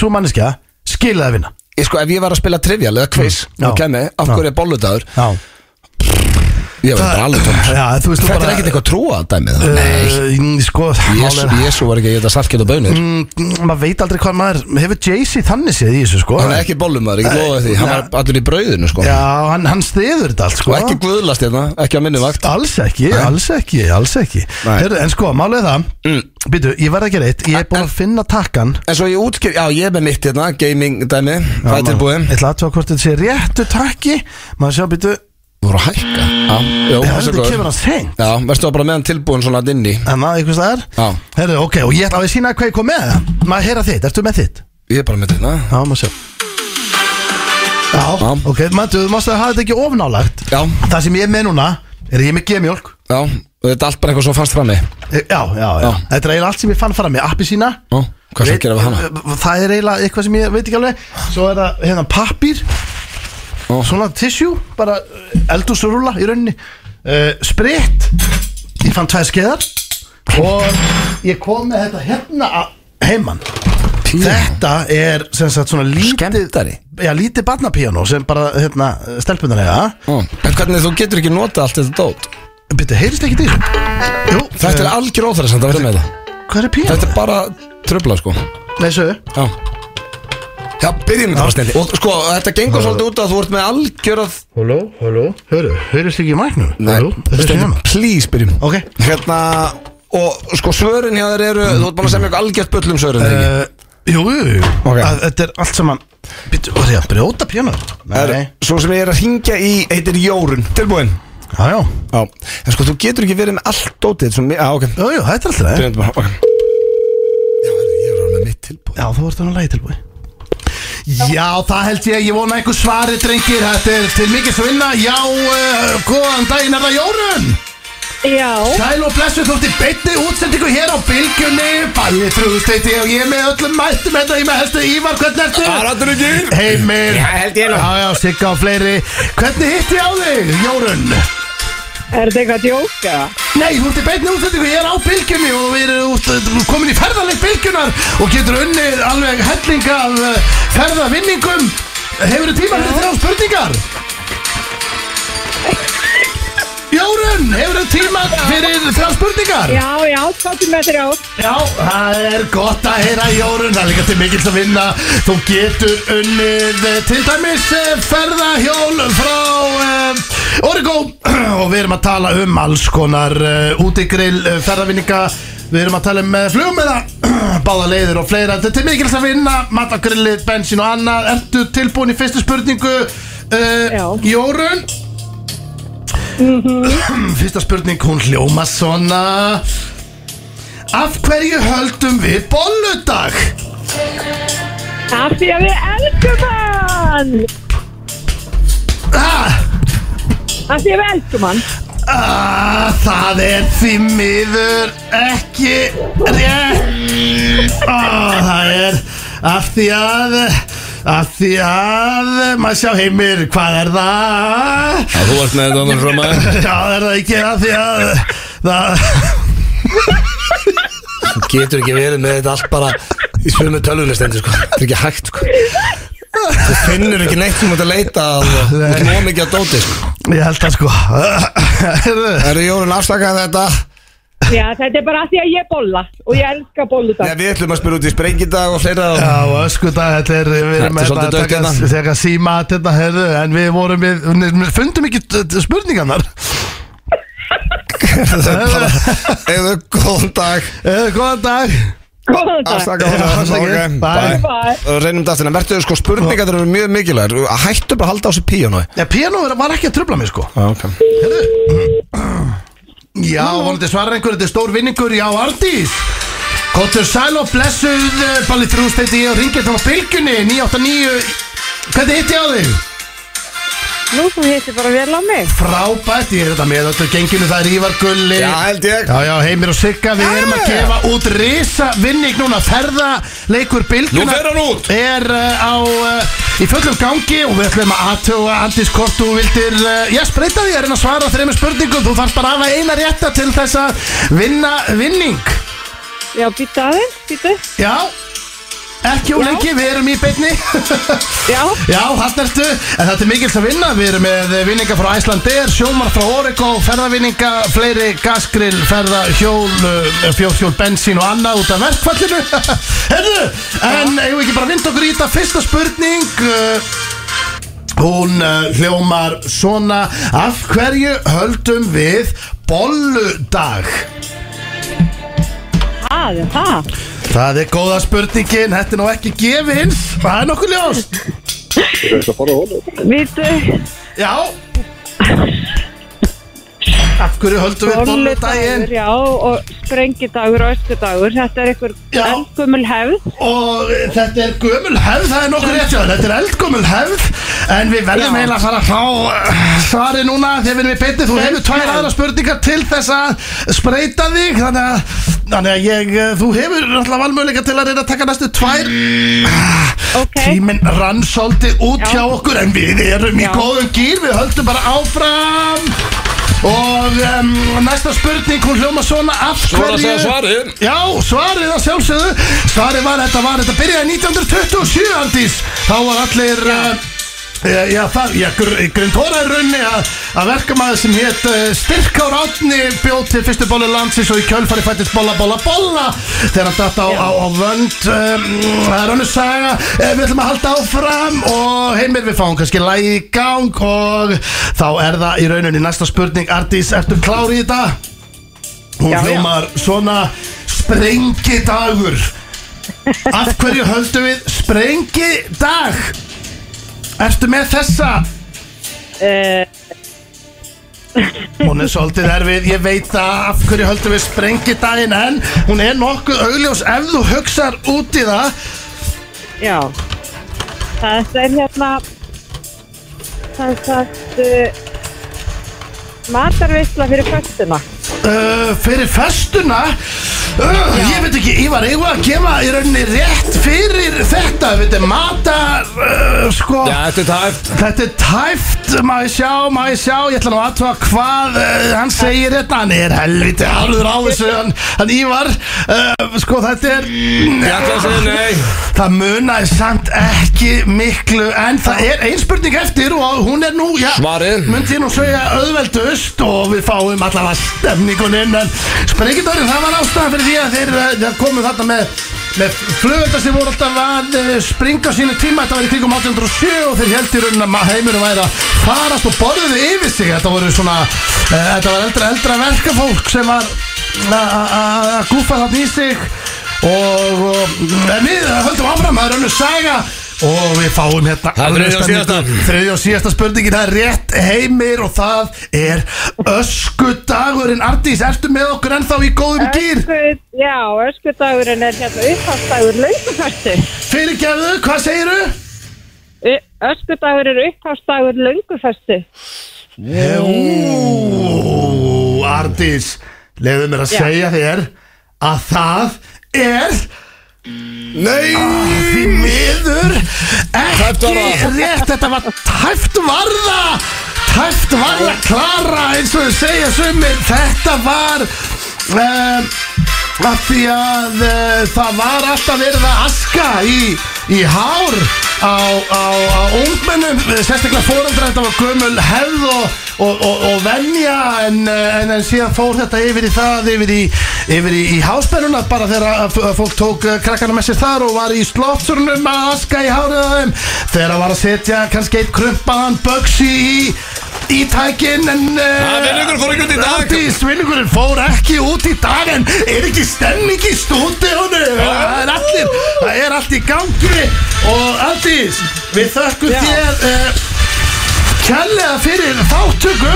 Speaker 2: Svo uh, manneskja, skilja það vinna
Speaker 1: Ég sko, ef ég var að spila trivial eða quiz
Speaker 2: Mm. Já.
Speaker 1: og kemmi, af
Speaker 2: Já.
Speaker 1: hverju er bolludagur
Speaker 2: Já,
Speaker 1: Ég veit bara alveg tómur
Speaker 2: já þú veist þú
Speaker 1: Þetta
Speaker 2: bara
Speaker 1: er ekkert eitthvað trúa dæmið það? Nei
Speaker 2: uh, Sko, málið
Speaker 1: Jésu,
Speaker 2: er
Speaker 1: Jésu var ekki að geta salkið og bönir mm,
Speaker 2: Mm, maður veit aldrei hvað maður hefur Jay-Z þannig séð í þessu sko
Speaker 1: Hann er ekki bollumar, ekki lofa því Hann var allur í brauðinu sko
Speaker 2: já, hann, hann stiður þetta allt sko
Speaker 1: Og ekki guðlast hérna, ekki á minni vakt
Speaker 2: alls ekki, alls ekki, alls ekki
Speaker 1: Nei.
Speaker 2: Heru, en sko, málið er það
Speaker 1: Mm.
Speaker 2: býtu, ég verð ekki reitt, ég er búin að finna takkan
Speaker 1: En svo ég útskýr, já ég er með mitt hérna Gaming dæmi, það er tilbúin
Speaker 2: ég ætla að tjóða hvort þetta sé réttu takki maður sjá, býtu,
Speaker 1: Þú voru að hækka Já, já,
Speaker 2: þetta
Speaker 1: þessi
Speaker 2: kemur
Speaker 1: góður
Speaker 2: hann seint
Speaker 1: Já, verðstu bara með hann tilbúin svona inn í
Speaker 2: en það, eitthvað það
Speaker 1: Já.
Speaker 2: er, herru, ok og ég ætla að við sína hvað ég kom með það. maður heyra þitt, ertu með þitt?
Speaker 1: Ég er bara með þetta
Speaker 2: já, maður sjá já,
Speaker 1: Já.
Speaker 2: ok, maður, þú mást að hafa þetta ekki ofnálagt
Speaker 1: Já,
Speaker 2: það sem ég er með núna, er að ég er með gemjólk
Speaker 1: já, og þetta er allt bara eitthvað svo fast frammi
Speaker 2: Eh, Já, já, já.
Speaker 1: Já.
Speaker 2: Þetta er eiginlega allt sem ég fann fara með appi sína
Speaker 1: Ó, Hvað sem gera við hana?
Speaker 2: eh, Það er eiginlega eitthvað sem ég veit ekki alveg Svo er það hérna pappír
Speaker 1: Ó.
Speaker 2: Svona tissue, bara eldúsrúla í rauninni uh, Sprit Ég fann tvær skeiðar Og ég kom með þetta hérna að- heiman
Speaker 1: Píanó.
Speaker 2: Þetta er sem sagt svona lítið
Speaker 1: Skemmtari
Speaker 2: Já, lítið barnapíanó sem bara hérna, stelpunar eiga
Speaker 1: Ó, En hvernig þú getur ekki nota allt þetta dót
Speaker 2: Býttu, heyrist ekki til Jú,
Speaker 1: Þetta er algjör óþræsand að verða með þetta
Speaker 2: hvað er píanó?
Speaker 1: Þetta er bara tröfla sko
Speaker 2: Nei, sögðu
Speaker 1: Já Já, byrjum þetta bara snill Og sko, þetta gengur svolítið út að þú ert með algjörað
Speaker 2: Halló, halló Hörru, hörust ekki í mæknu? Halló, þetta er
Speaker 1: stendi,
Speaker 2: hérna
Speaker 1: please byrjum
Speaker 2: Ok.
Speaker 1: Hérna, og sko svörin hjá þér eru Þú ert búin að semja eitthvað algjört bull um svörin uh,
Speaker 2: uh, Jú, jú, jú
Speaker 1: Ok.
Speaker 2: að, Þetta er allt saman Býttu, var ég að brjóta pjánur?
Speaker 1: Svo sem ég er að hringja í, heitir Jórun Tilbúin
Speaker 2: Já, já Jú,
Speaker 1: Já En sko, þú getur ekki verið með allt dótið sem, Já, ok
Speaker 2: jú, þetta er alltaf það
Speaker 1: Byrjum þetta bara, ok Já, herri, ég er alveg mitt tilbúin
Speaker 2: Já, þú ert hann að lægi tilbúi Já, það held ég, ég vona einhver svari, drengir Þetta er til mikið svinna Já, uh, góðan daginn, er það Jórun?
Speaker 4: Já,
Speaker 2: Sæl og blessu, þú ert í beinni útsendingu hér á Bilgjunni Bæði trúðsteiti og ég er með öllum mættum Þetta er ég með helstu Ívar, hvernig ertu?
Speaker 1: Arandur ekki
Speaker 2: Heimir
Speaker 1: Já, held ég nú.
Speaker 2: Já, já, Sigga og fleiri Hvernig hitt ég á þig, Jórun?
Speaker 4: er þetta eitthvað að djóka?
Speaker 2: Nei, þú ert í beinni útsendingu, ég er á bylgjunni og við erum út, þú ert komin í ferðarleik bylgjunar og getur unnið alveg helling af uh, eh, ferðavinningum Hefur þið tíma fyrir þrjá spurningar? Jórun, hefur þið tíma fyrir þrjá spurningar?
Speaker 4: Já, já, þáttum með þér á
Speaker 2: Já, það er gott að heyra Jórun, það er líka til mikill að vinna Þú getur unnið eh, til dæmis eh, ferðahjól frá uh, Origo og við erum að tala um alls konar uh, útigrill uh, ferðavinninga Við erum að tala um uh, flugmiða, báða leiðir og fleira Þetta er til mikill að vinna, matagrilli, bensín og annað Ertu tilbúin í fyrstu spurningu? Uh,
Speaker 4: Já.
Speaker 2: Jórun Fyrsta spurning, hún hljóma svona Af hverju höldum við bolludag?
Speaker 4: Af því að við elskum hann
Speaker 2: Ah,
Speaker 4: Af því að við elskum hann
Speaker 2: ah, það er því miður ekki rétt ah, Það er af því að af því að maður sjá heimir hvað er það?
Speaker 5: Já, þú varst með þetta annar frá maður
Speaker 2: Já, er það ekki af því að það
Speaker 5: Þú getur ekki verið með þetta allt bara í svömu tölvunestendur sko Þetta er ekki hægt sko Þú finnur ekki neitt sem þú mátt að leita að og þú ert nóg mikið að dóti sko
Speaker 2: Ég held það sko Heyrðu,
Speaker 5: Það eru Jórun afstakað þetta
Speaker 4: Já, þetta er bara af því að ég bolla Og ég elska bolludag
Speaker 5: Nei, við ætlum að spyrja út í sprengidag og fleira og...
Speaker 2: Já, og öskudag, þetta er, við erum
Speaker 5: Þetta er
Speaker 2: með
Speaker 5: svolítið
Speaker 2: þetta að
Speaker 5: dökkt
Speaker 2: taka,
Speaker 5: hérna.
Speaker 2: taka síma að þetta, herðu, en við vorum við, við fundum ekki t- t- spurningarnar.
Speaker 5: Það er bara, eða góðan dag
Speaker 2: Eða, Eh, góðan dag.
Speaker 4: Góðan dag
Speaker 5: Afstakað
Speaker 2: Já, afsakið.
Speaker 5: þetta
Speaker 2: Bye.
Speaker 5: Bæ
Speaker 4: Bye.
Speaker 5: Og reynum þetta aftur, en verður sko spurningar eru mjög mikilvægir Hættu bara að halda á sér píjónu
Speaker 2: Já, piano var ekki að tröfla mig, sko.
Speaker 5: okay.
Speaker 2: Já, vonandi svarar einhver, þetta er stór vinningur, já, Ardís. Kóttur sæl og blessuð, eh, Balli Þrúst heiti ég og ringið þá á bylgunni, 989, hvernig hitti ég á þig?
Speaker 4: Nú sem heitir bara vel á mig
Speaker 2: Frábært, ég er þetta með öllu genginu, það er Ívar Gulli.
Speaker 5: Já, held ég
Speaker 2: Já, já, heimir og sigga, við erum að gefa út risa vinning núna, ferða leikur bylguna
Speaker 5: Nú fer hann út.
Speaker 2: Er uh, á, uh, í fullum gangi og við ætlum að aðtöga Andís hvort þú vildir, uh, já, spreita því að reyna að svara þreymur spurningum, þú þarf bara að hafa eina rétta til þess að vinna vinning
Speaker 4: Já, býta aðeins, býta
Speaker 2: Já, ekki úr
Speaker 4: Já.
Speaker 2: lengi, við erum í beinni
Speaker 4: Já,
Speaker 2: Já, hann ertu, en þetta er mikils að vinna Við erum með vinninga frá Æslandir, sjómar frá Origo Ferðavinninga, fleiri gasgrill, ferða, hjól, uh, fjórhjól, bensín og annað út af verkfallinu Herðu, en eigum við ekki bara að vinda okkur í þetta Fyrsta spurning uh, Hún uh, hljómar svona Af hverju höldum við bolludag?
Speaker 4: það er það
Speaker 2: Það er góða spurningin, þetta er nú ekki gefin Það er nokkuð ljóst
Speaker 4: Býtu,
Speaker 2: Já Af hverju höldum við bolludaginn
Speaker 4: bolludagur, já Og sprengidagur og öskudagur Þetta er einhver
Speaker 2: Já.
Speaker 4: eldgumul hefð
Speaker 2: og eh, þetta er gömul hefð það er nokkur rétt hjá þér, þetta er eldgömul hefð en við verðum
Speaker 4: Já.
Speaker 2: eiginlega að fara að fá eh, svari núna þegar við erum í beinni þú hefur tvær aðra spurningar til þess að spreita þig þannig að, þannig að ég, eh, þú hefur alltaf valmöðleika til að reyna að taka næstu tvær
Speaker 4: Ok,
Speaker 2: tíminn rann svolítið út
Speaker 4: Já.
Speaker 2: hjá okkur en við erum í
Speaker 4: Já.
Speaker 2: góðum gýr við höldum bara áfram og um, næsta spurning hún hljóma svona af
Speaker 5: Svona
Speaker 2: hverju
Speaker 5: segja svarið.
Speaker 2: já, svarið að sjálfsögðu svarið var þetta var þetta byrjaði 1927 andís þá var allir uh, Já, já, það, já, Grindóra er raunni að, að verkamaður sem hétt uh, Styrkár Átni bjóð til fyrstu bólu landsins og í kjölfari fættist bolla, bolla, bolla þegar hann datt á, á, á vönd um, það er hannu saga Eh, við ætlum að halda áfram og heimir við fáum kannski lægi í gang og þá er það í rauninni næsta spurning Ardís, ertu klár í þetta? Hún
Speaker 4: Já, já.
Speaker 2: hljómar svona sprengidagur Af hverju höldum við sprengidag? Ertu með þessa?
Speaker 4: uh,
Speaker 2: Hún er svolítið erfið, ég veit það af hverju höldum við sprengidaginn en hún er nokkuð augljós ef þú hugsar út í það
Speaker 4: já Þetta er hérna Það er sagt uh, Matarveisla fyrir föstuna
Speaker 2: uh, fyrir festuna uh, Ég veit ekki, ég var eiga að gefa í rauninni rétt fyrir þetta, við þetta matar uh, sko
Speaker 5: Já, þetta er tæft
Speaker 2: Þetta er tæft Má ég sjá, má ég sjá Ég ætla nú aðtúa hvað uh, hann segir þetta Hann er helviti hálfur á þessu Hann, hann Ívar uh, Sko þetta er
Speaker 1: Ég ætla að segja nei
Speaker 2: Það munaði samt ekki miklu En það er ein spurning eftir Og hún er nú, já
Speaker 1: Svarið.
Speaker 2: Mundi ég nú segja auðveldust Og við fáum allavega stemninguninn En sprengjadörinn, það var ástæðan fyrir því að þeir, eh, þeir komu þarna með Með flugöldar sem voru alltaf að eh, springa á sínu tíma Þetta var í kringum 1807 og þeir held í raunin að ma- heimurinn væri að farast og borðuðu yfir sig Þetta voru svona, uh, þetta var eldra, eldra verkafólk sem var a- a- a- að gúfa þarna í sig og, og en við höldum áfram, það er önnur saga og við fáum hérna
Speaker 1: Það er
Speaker 2: alveg
Speaker 1: þriðja og
Speaker 2: stemningu.
Speaker 1: síðasta.
Speaker 2: þriðja og síðasta spurningin, það er rétt heimir og það er öskudagurinn Ardís, ertu með okkur ennþá í góðum gýr?
Speaker 4: Ösku- Já, öskudagurinn er hérna upphástagur lönguföstu.
Speaker 2: Fyrirgefðu, hvað segiru?
Speaker 4: Öskudagur er upphástagur lönguföstu.
Speaker 2: Ú, Ardís leiðu mér að
Speaker 4: Já.
Speaker 2: segja þér að það er
Speaker 1: Nei
Speaker 2: því miður
Speaker 1: Tæpt
Speaker 2: ekki
Speaker 1: varða.
Speaker 2: rétt þetta var tæft varða tæft varða klara eins og þau segja sumir þetta var um, af því að uh, það var alltaf verið að aska í, í hár á, á, á ungmennum eh, sérstaklega fórandra þetta var gömul hefð og, og, og, og venja en, eh, en, en síðan fór þetta yfir í það yfir í, yfir í, í háspennuna bara þegar að f- að fólk tók eh, krakkana með sér þar og var í slotturnum að aska í hárið á þeim þegar að var að setja kannski eitt krumpaðan bögsi í í tækin en eh,
Speaker 1: Það er vinningur fór ekki út í dag.
Speaker 2: Ardís, vinningurinn fór ekki út í dag en er ekki stemning í stúdíónu það er allir það er allt í gangi og Ardís, við þökkum
Speaker 4: Já.
Speaker 2: þér uh, kærlega fyrir þáttöku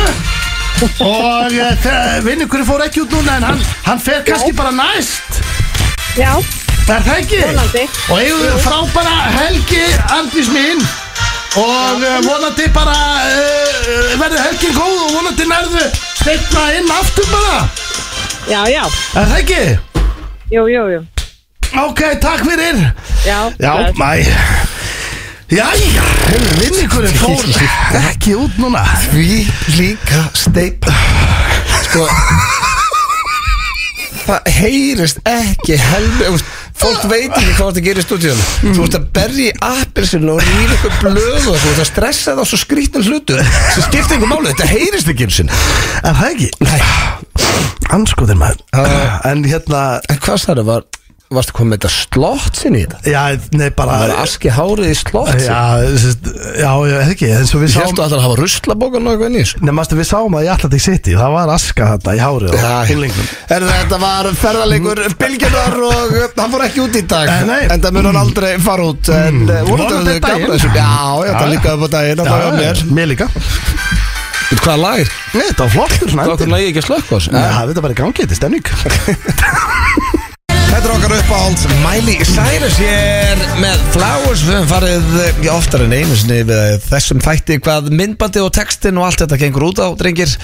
Speaker 2: og uh, vinningurinn fór ekki út núna en hann, hann fer kannski bara næst
Speaker 4: Já,
Speaker 2: er það ekki?
Speaker 4: Vonandi.
Speaker 2: og eigum við frábæra helgi Ardís mín og uh, vonandi bara uh, verður helgin góð og vonandi nærðu stefna inn aftur bara
Speaker 4: já, já.
Speaker 2: Er það ekki?
Speaker 4: Jú, jú, jú.
Speaker 2: Ok, takk fyrir
Speaker 4: Já,
Speaker 2: Já,
Speaker 4: bless.
Speaker 2: mæ Jæja, hefur vinningurinn fór ekki út núna
Speaker 1: Því líka steip Sko Það heyrist ekki helmi Fólk veit ekki hvað það gerir í stúdíun Þú ert að berja í appelsinu og rýra ykkur blöð og þú ert að stressa það á svo skrýtnum hlutum sem skiptir ykkur máli, þetta heyrist ekki einu sinni
Speaker 2: Er það ekki?
Speaker 1: Nei, Ah.
Speaker 2: Anskoðin maður En hérna
Speaker 1: en hvað sagði var Varstu komið með þetta slott sinni í þetta?
Speaker 2: Já, nei bara
Speaker 1: Það var aski hárið í slott sinni
Speaker 2: Já, sest, já, já, er það ekki En svo við
Speaker 1: Ég
Speaker 2: sáum
Speaker 1: held að það hafa ruslabókan og eitthvað nýs
Speaker 2: Nei, mástu við sáum að í Atlantic City Það var aska þetta í hárið á unglingum.
Speaker 1: Er þetta var ferðarleikur Bilgjunar og uh, hann fór ekki út í dag
Speaker 2: Eh, nei. Mm.
Speaker 1: En það mun hann aldrei fara út En uh,
Speaker 2: Vonandi
Speaker 1: vonandi er
Speaker 2: daginn.
Speaker 1: gaman þessu Já, já, það
Speaker 2: Já,
Speaker 1: er líka upp á daginn að það var mér
Speaker 2: mér líka Nei,
Speaker 1: Hvað lagir?
Speaker 2: þetta var flottur svona endir.
Speaker 1: lagi ekki að slökka þessu?
Speaker 2: Nei, það er bara í gangi, þetta er stemning
Speaker 1: Þetta er okkar uppáhald Miley Cyrus hér með Flowers Við höfum farið eh, já, oftar en einu sinni við eh, þessum þætti hvað myndbandi og textin og allt þetta gengur út á, drengir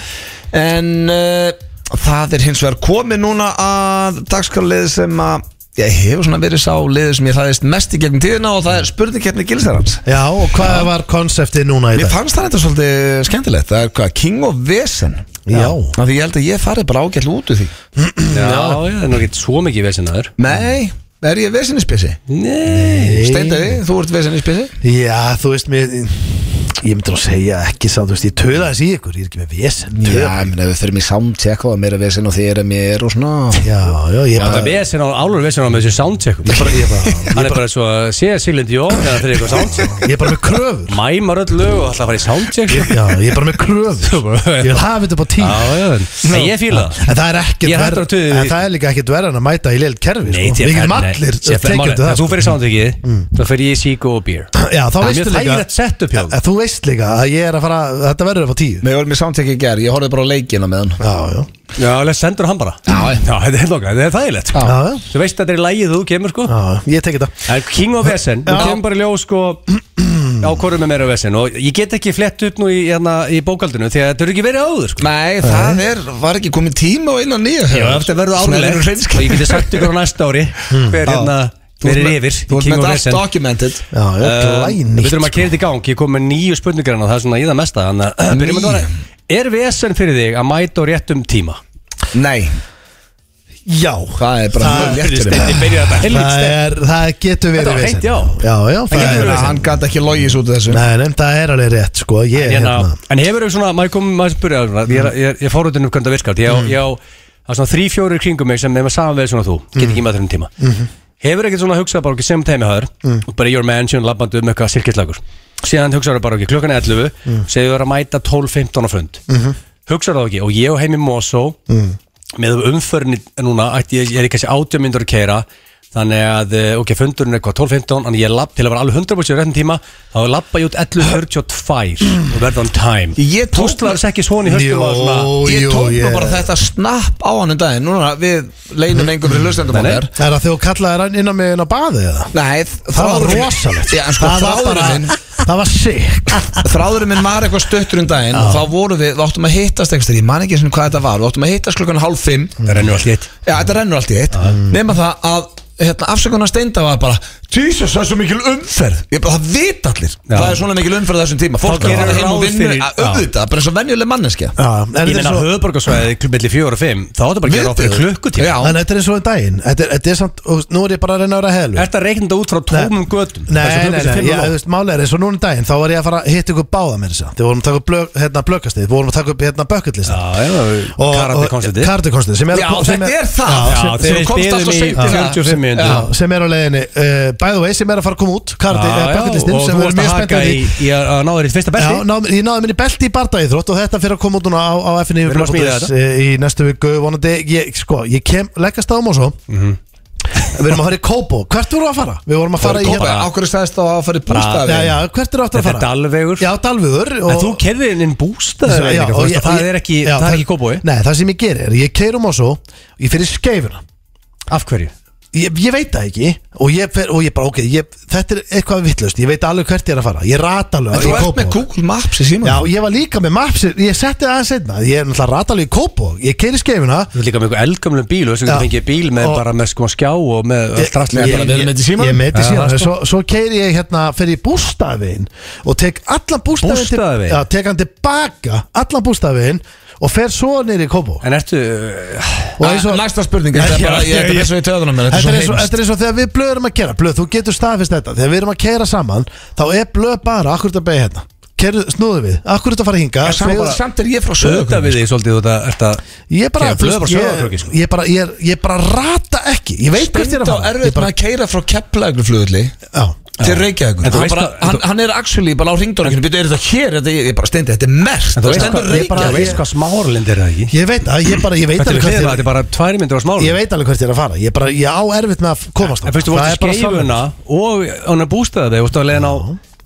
Speaker 1: En uh, það er hins vegar komið núna að dagskarlið sem að ég hefur svona verið sá liðið sem ég hlæðist mest í gegnum tíðina og það er spurningkeppni gilsarans
Speaker 2: Já, og hvað var konseptið núna í
Speaker 1: Mér
Speaker 2: dag?
Speaker 1: fannst það þetta svolítið skemmtilegt Það er hvað, King of Vesen
Speaker 2: Já.
Speaker 1: Af Því ég held að ég farið bara ágætlu út úr því
Speaker 3: Já, já, það er nú ekki svo mikið vesen aður
Speaker 1: Nei, er ég vesenispesi?
Speaker 3: Nei
Speaker 1: Steindaði, þú ert vesenispesi?
Speaker 2: Já, þú veist, mér, ég myndi nú segja ekki sá, þú veist, ég töða þess í ykkur, ég er ekki með vesen.
Speaker 1: Já, ég meina, við förum í soundcheck og það er meira vesen og þér er mér og svona
Speaker 2: Já, já, ég
Speaker 3: Já, það er
Speaker 2: bara,
Speaker 3: vesen á, álur vesen á með þessu soundcheckum
Speaker 2: bara- ég bara-
Speaker 3: Hann er bara svo að sé Siglind Jó þegar fyrir eitthvað soundcheck
Speaker 2: ég er bara með kröfur.
Speaker 3: Mæmar öll lög og alltaf að fara í soundcheck
Speaker 2: Ég- Já, ég er bara með
Speaker 3: Þú
Speaker 2: kröfur.
Speaker 3: bara-
Speaker 2: Ég vil hafa þetta upp á tíma.
Speaker 3: Já, já, en ég fíla það
Speaker 2: En það er ekki,
Speaker 3: Ég er hættur að tuða því.
Speaker 2: en það er líka ekki dverðan að mæta í leild kerfi,
Speaker 3: Nei,
Speaker 2: sko.
Speaker 3: ég
Speaker 2: Við getum
Speaker 3: fer- nei,
Speaker 2: allir
Speaker 3: ég fer-
Speaker 2: tekjandi
Speaker 3: málið-
Speaker 2: það,
Speaker 3: ef
Speaker 2: sko.
Speaker 3: Þú fyrir soundcheckið, þá fyrir ég sík og bír
Speaker 2: Já, þá
Speaker 3: Það er
Speaker 2: veistu
Speaker 3: mjög
Speaker 2: líka,
Speaker 3: þægilegt setup hjá
Speaker 2: en þú veist líka að ég er að fara, þetta verður upp á tíu.
Speaker 1: Við vorum í soundcheck í gerð, ég horfði bara á leikina með hann
Speaker 2: Já, já,
Speaker 3: Já, alveg sendur hann bara
Speaker 1: Já, já.
Speaker 3: já þetta er nokkað, þetta er þægilegt
Speaker 2: já, já,
Speaker 3: Þú veist að þetta er í lægið þú kemur sko
Speaker 2: já, ég tek þetta.
Speaker 3: En King of Vesen, þú kemur bara í ljós sko á hvorum er meira Vesen og ég get ekki flett upp nú í, hérna, í bókaldinu því að þetta eru ekki verið áður sko
Speaker 1: Nei, það er, var ekki komið tíma og inn á nýja sko.
Speaker 3: Já, þetta verður árlegt og ég geti sagt ykkur á næsta ári hver hérna Verið yfir
Speaker 1: Þú Hmm. ert
Speaker 3: King
Speaker 1: með
Speaker 3: of
Speaker 1: þetta
Speaker 3: Risen.
Speaker 1: allt documented
Speaker 2: Já, já, glænýtt,
Speaker 3: Eh, Ehm, Við
Speaker 1: sko.
Speaker 3: þurfum að keira þetta í gang Ég kom með nýju spurningar hérna og Það er svona í það mesta Þannig að byrjum að
Speaker 1: Níu?
Speaker 3: vera Er vesen fyrir þig að mæta á réttum tíma?
Speaker 1: Nei,
Speaker 2: Já,
Speaker 1: það er bara mjög létt fyrir mig
Speaker 3: byrja þetta Helvíts
Speaker 2: það,
Speaker 3: stefn
Speaker 2: er, það getur verið
Speaker 3: Þetta var
Speaker 2: vesen.
Speaker 3: hreint, já.
Speaker 2: Já, já, það
Speaker 3: getur
Speaker 2: er
Speaker 1: Þannig
Speaker 3: verið
Speaker 1: að Hann gæti ekki logis út af þessu
Speaker 2: Nei, nei, það er alveg rétt, sko Ég,
Speaker 3: En,
Speaker 2: hérna,
Speaker 3: hérna, en hefur þau svona, maður komið maður spyrja svona, ég, er- ég, er- ég fór út um hvernig það virkar ég, á- ég á það er svona þrý fjóri kringum mig sem er maður saman við svona þú, get ekki maður þurrum tíma hefur ekkert svona hugsað bara okkur sem teimi haður og bara your mansion labbandi um eitthvað sirkislagur síðan hugsaður bara okkur klukkan er 11 mm. segðu þau að mæta 12-15 á fund mm -hmm. hugsaður það ekki og ég og heimi Mosó mm. með umförni núna ætti ég, ég er í kannski átjömyndur að keira Þannig að, eh, ok, fundurinn er eitthvað 12-15 Þannig ég lapp til að vera alveg 100% í réttin tíma Þá lappa ég út 11.42 Og verða on time
Speaker 1: Ég tók-
Speaker 3: Pústlaður þess ekki svona í höstum og svona
Speaker 2: Jó,
Speaker 1: Ég
Speaker 2: jú,
Speaker 1: tók nú
Speaker 2: ég
Speaker 1: bara þetta snapp á hann um daginn Núna við
Speaker 2: Mhm.
Speaker 1: leinum engum fyrir hlustendum
Speaker 3: Nei, nei.
Speaker 1: okkar
Speaker 2: Er það þegar þú kallaðir hann inn á mig inn á baði eða?
Speaker 1: Nei,
Speaker 2: Það var
Speaker 1: þráðurinn-
Speaker 2: rosalegt
Speaker 1: Já, en sko,
Speaker 2: Það var bara,
Speaker 1: þráðurinn minn
Speaker 2: það var sick
Speaker 1: Þráðurinn minn var eitthvað stöttur um daginn Og þá vorum við, við áttum að hittast eitthvað Ég man ekki sem hvað þetta var Við áttum að hittast klukkan hálf fimm
Speaker 3: Það rennur allt í eitt
Speaker 1: Já, þetta rennur allt í eitt Nefna það að hérna, afsökunar steinda var bara Jesus, það er svo mikil umferð Ég bara, það vita allir
Speaker 3: Já.
Speaker 1: Það er svona mikil umferð á þessum tíma Fólk
Speaker 3: Þá
Speaker 1: er að
Speaker 3: gerir
Speaker 1: fara heim
Speaker 3: ráð
Speaker 1: og vinnu
Speaker 3: fyrir-
Speaker 1: að auðvitað Bara eins og venjuleg manneskja
Speaker 2: Já, en
Speaker 3: Ég
Speaker 2: þetta er
Speaker 3: meina
Speaker 2: svo-
Speaker 3: höfðborgarsvæði millir 4 og 5 Þá áttu bara að gera á fyrir
Speaker 1: Viðbjóður.
Speaker 3: klukkutíma
Speaker 1: Já.
Speaker 2: En þetta er eins og um daginn Þetta er- þetta er samt, og nú er ég bara að reyna að vera heilur
Speaker 3: Er þetta reiknda út frá tómum gödum?
Speaker 2: Nei, nei, nei, ég, þú veist, málega er eins og núna um daginn Þá var ég að fara að hitta ykkur báða með þess að Þið vorum að taka upp blög- hérna, blökastið, við vorum að taka upp hérna bökkullista
Speaker 3: Já, já, karandi konstantið
Speaker 2: Karatekonstið sem er að
Speaker 1: Já,
Speaker 2: ko- sem
Speaker 1: þetta er það
Speaker 2: Já,
Speaker 3: Já,
Speaker 1: Sem
Speaker 3: þeir
Speaker 1: komst
Speaker 3: biðu
Speaker 1: alltaf
Speaker 3: mig í
Speaker 1: seint í það.
Speaker 3: 45 mínútur.
Speaker 2: Já, sem er á leiðinni uh, By the way, sem er að fara að koma út Karate,
Speaker 3: Já,
Speaker 2: uh,
Speaker 3: já,
Speaker 2: bucketlistin,
Speaker 3: og
Speaker 2: sem
Speaker 3: þú
Speaker 2: við
Speaker 3: varst
Speaker 2: erum mjög
Speaker 3: að haka
Speaker 2: spenntið
Speaker 3: í, í að að ná þér í fyrsta
Speaker 2: Já,
Speaker 3: belti
Speaker 2: ná, ég náði minni belti í bardaíþrótt og þetta fyrir að koma út núna á, á FNI
Speaker 3: Við erum að smíða
Speaker 2: Plus, eh, í næstu viku vonandi, ég, sko, ég kem leggast á Mosó
Speaker 3: Mhm.
Speaker 2: við erum að fara í Kóbo hvert vorum við að fara? við vorum að fara í hérna-
Speaker 1: Kópa, á hverju staðist þá að fara í bústafi
Speaker 2: já, já, hvert er aftur að
Speaker 3: Þetta er
Speaker 2: fara?
Speaker 3: Dalvegur.
Speaker 2: já, Dalvegur
Speaker 3: En þú kerðir inn inn bústaður
Speaker 2: Já, og ég-
Speaker 3: Það er ekki,
Speaker 2: já,
Speaker 3: það er ekki kóbói
Speaker 2: nei, það sem ég gerir er ég keirum á svo ég fyrir skeifuna
Speaker 3: Af hverju?
Speaker 2: Ég, ég veit það ekki og ég, fer, og ég bara, ok, ég, þetta er eitthvað vittlust ég veit alveg hvert ég er að fara, ég rata alveg
Speaker 1: Þú
Speaker 2: í
Speaker 1: ert
Speaker 2: Kópavog.
Speaker 1: með Google Maps í síma
Speaker 2: Já, ég var líka með maps Ég setti það aðeins einna Ég er náttúrulega ratalegu í Kópo Ég keiri skeifuna
Speaker 3: Þú ert líka með eitthvað eldgamlum bíl og þess að
Speaker 2: Já.
Speaker 3: þú fengið bíl með
Speaker 2: Og-
Speaker 3: bara með sko skjá og með
Speaker 2: Ég-
Speaker 3: allt rastlið.
Speaker 1: bara
Speaker 2: ég-
Speaker 1: verið með þetta í símanum?
Speaker 2: Ég sko. meiti
Speaker 3: Já,
Speaker 2: síðan
Speaker 3: það er
Speaker 2: Svo, svo keiri ég hérna fyrir bústafin Og tek allan bústafin
Speaker 3: Bústaðaveginn?
Speaker 2: Já, tek hann tilbaka Allan bústafin Og fer svo nýri í Kópo
Speaker 3: En ertu uh,
Speaker 2: Og eins og
Speaker 1: Næsta spurning Þetta er bara,
Speaker 3: Já,
Speaker 1: ég Eh, þetta er eins og í töðunum minn,
Speaker 2: Þetta er, eins og,
Speaker 1: svo heimst
Speaker 2: þetta er eins og þegar við blöðum að kera Blöð, þú getur staðfist þetta Þegar við erum að kera saman Þá er blöð bara Akkur þetta beigja hérna Keru, snúðu við Akkur þetta fara hinga
Speaker 1: Samt- Samt er ég frá
Speaker 3: sögða
Speaker 1: sögum
Speaker 3: við þig svolítið út að ertu að
Speaker 2: Ég bara,
Speaker 3: Keyra blöð
Speaker 2: þú
Speaker 3: bara
Speaker 2: veist,
Speaker 3: Sauðárkróki,
Speaker 2: ég,
Speaker 3: sko.
Speaker 2: ég bara, ég, er- ég bara rata ekki Ég veit hvert ég er að
Speaker 1: Steind á
Speaker 2: fara Ég
Speaker 1: erfitt með
Speaker 2: bara,
Speaker 1: að keira frá kepplægurflugulli
Speaker 2: já,
Speaker 1: til Reykjavíkur
Speaker 3: En þú
Speaker 1: hann,
Speaker 3: veist
Speaker 1: bara,
Speaker 3: hvað-
Speaker 1: hann,
Speaker 3: þú-
Speaker 1: hann er actually bara á ringdorginu byrju, er þetta hér, þetta, ég, ég bara steindi, þetta er merkt
Speaker 3: Þú
Speaker 1: það
Speaker 3: veist
Speaker 1: stendur
Speaker 3: hvað-
Speaker 2: ég bara-
Speaker 3: þú
Speaker 1: Reykjavík
Speaker 3: veist hvað smáralind er það ekki?
Speaker 2: ég veit að ég bara, ég veit
Speaker 3: Þetta er
Speaker 2: alveg hvert
Speaker 3: við hliðina,
Speaker 2: ég
Speaker 3: þetta
Speaker 2: er
Speaker 3: er bara tværi myndir á
Speaker 2: Ég
Speaker 3: smáralind
Speaker 2: veit alveg hvert ég er að fara Ég bara, ég á erfitt með að komast
Speaker 3: En fyrstu,
Speaker 2: þangað.
Speaker 3: vorstu
Speaker 2: bara sannleikurinn.
Speaker 3: skeifuna og hann er bústaðið þig, vorstu að leiðin á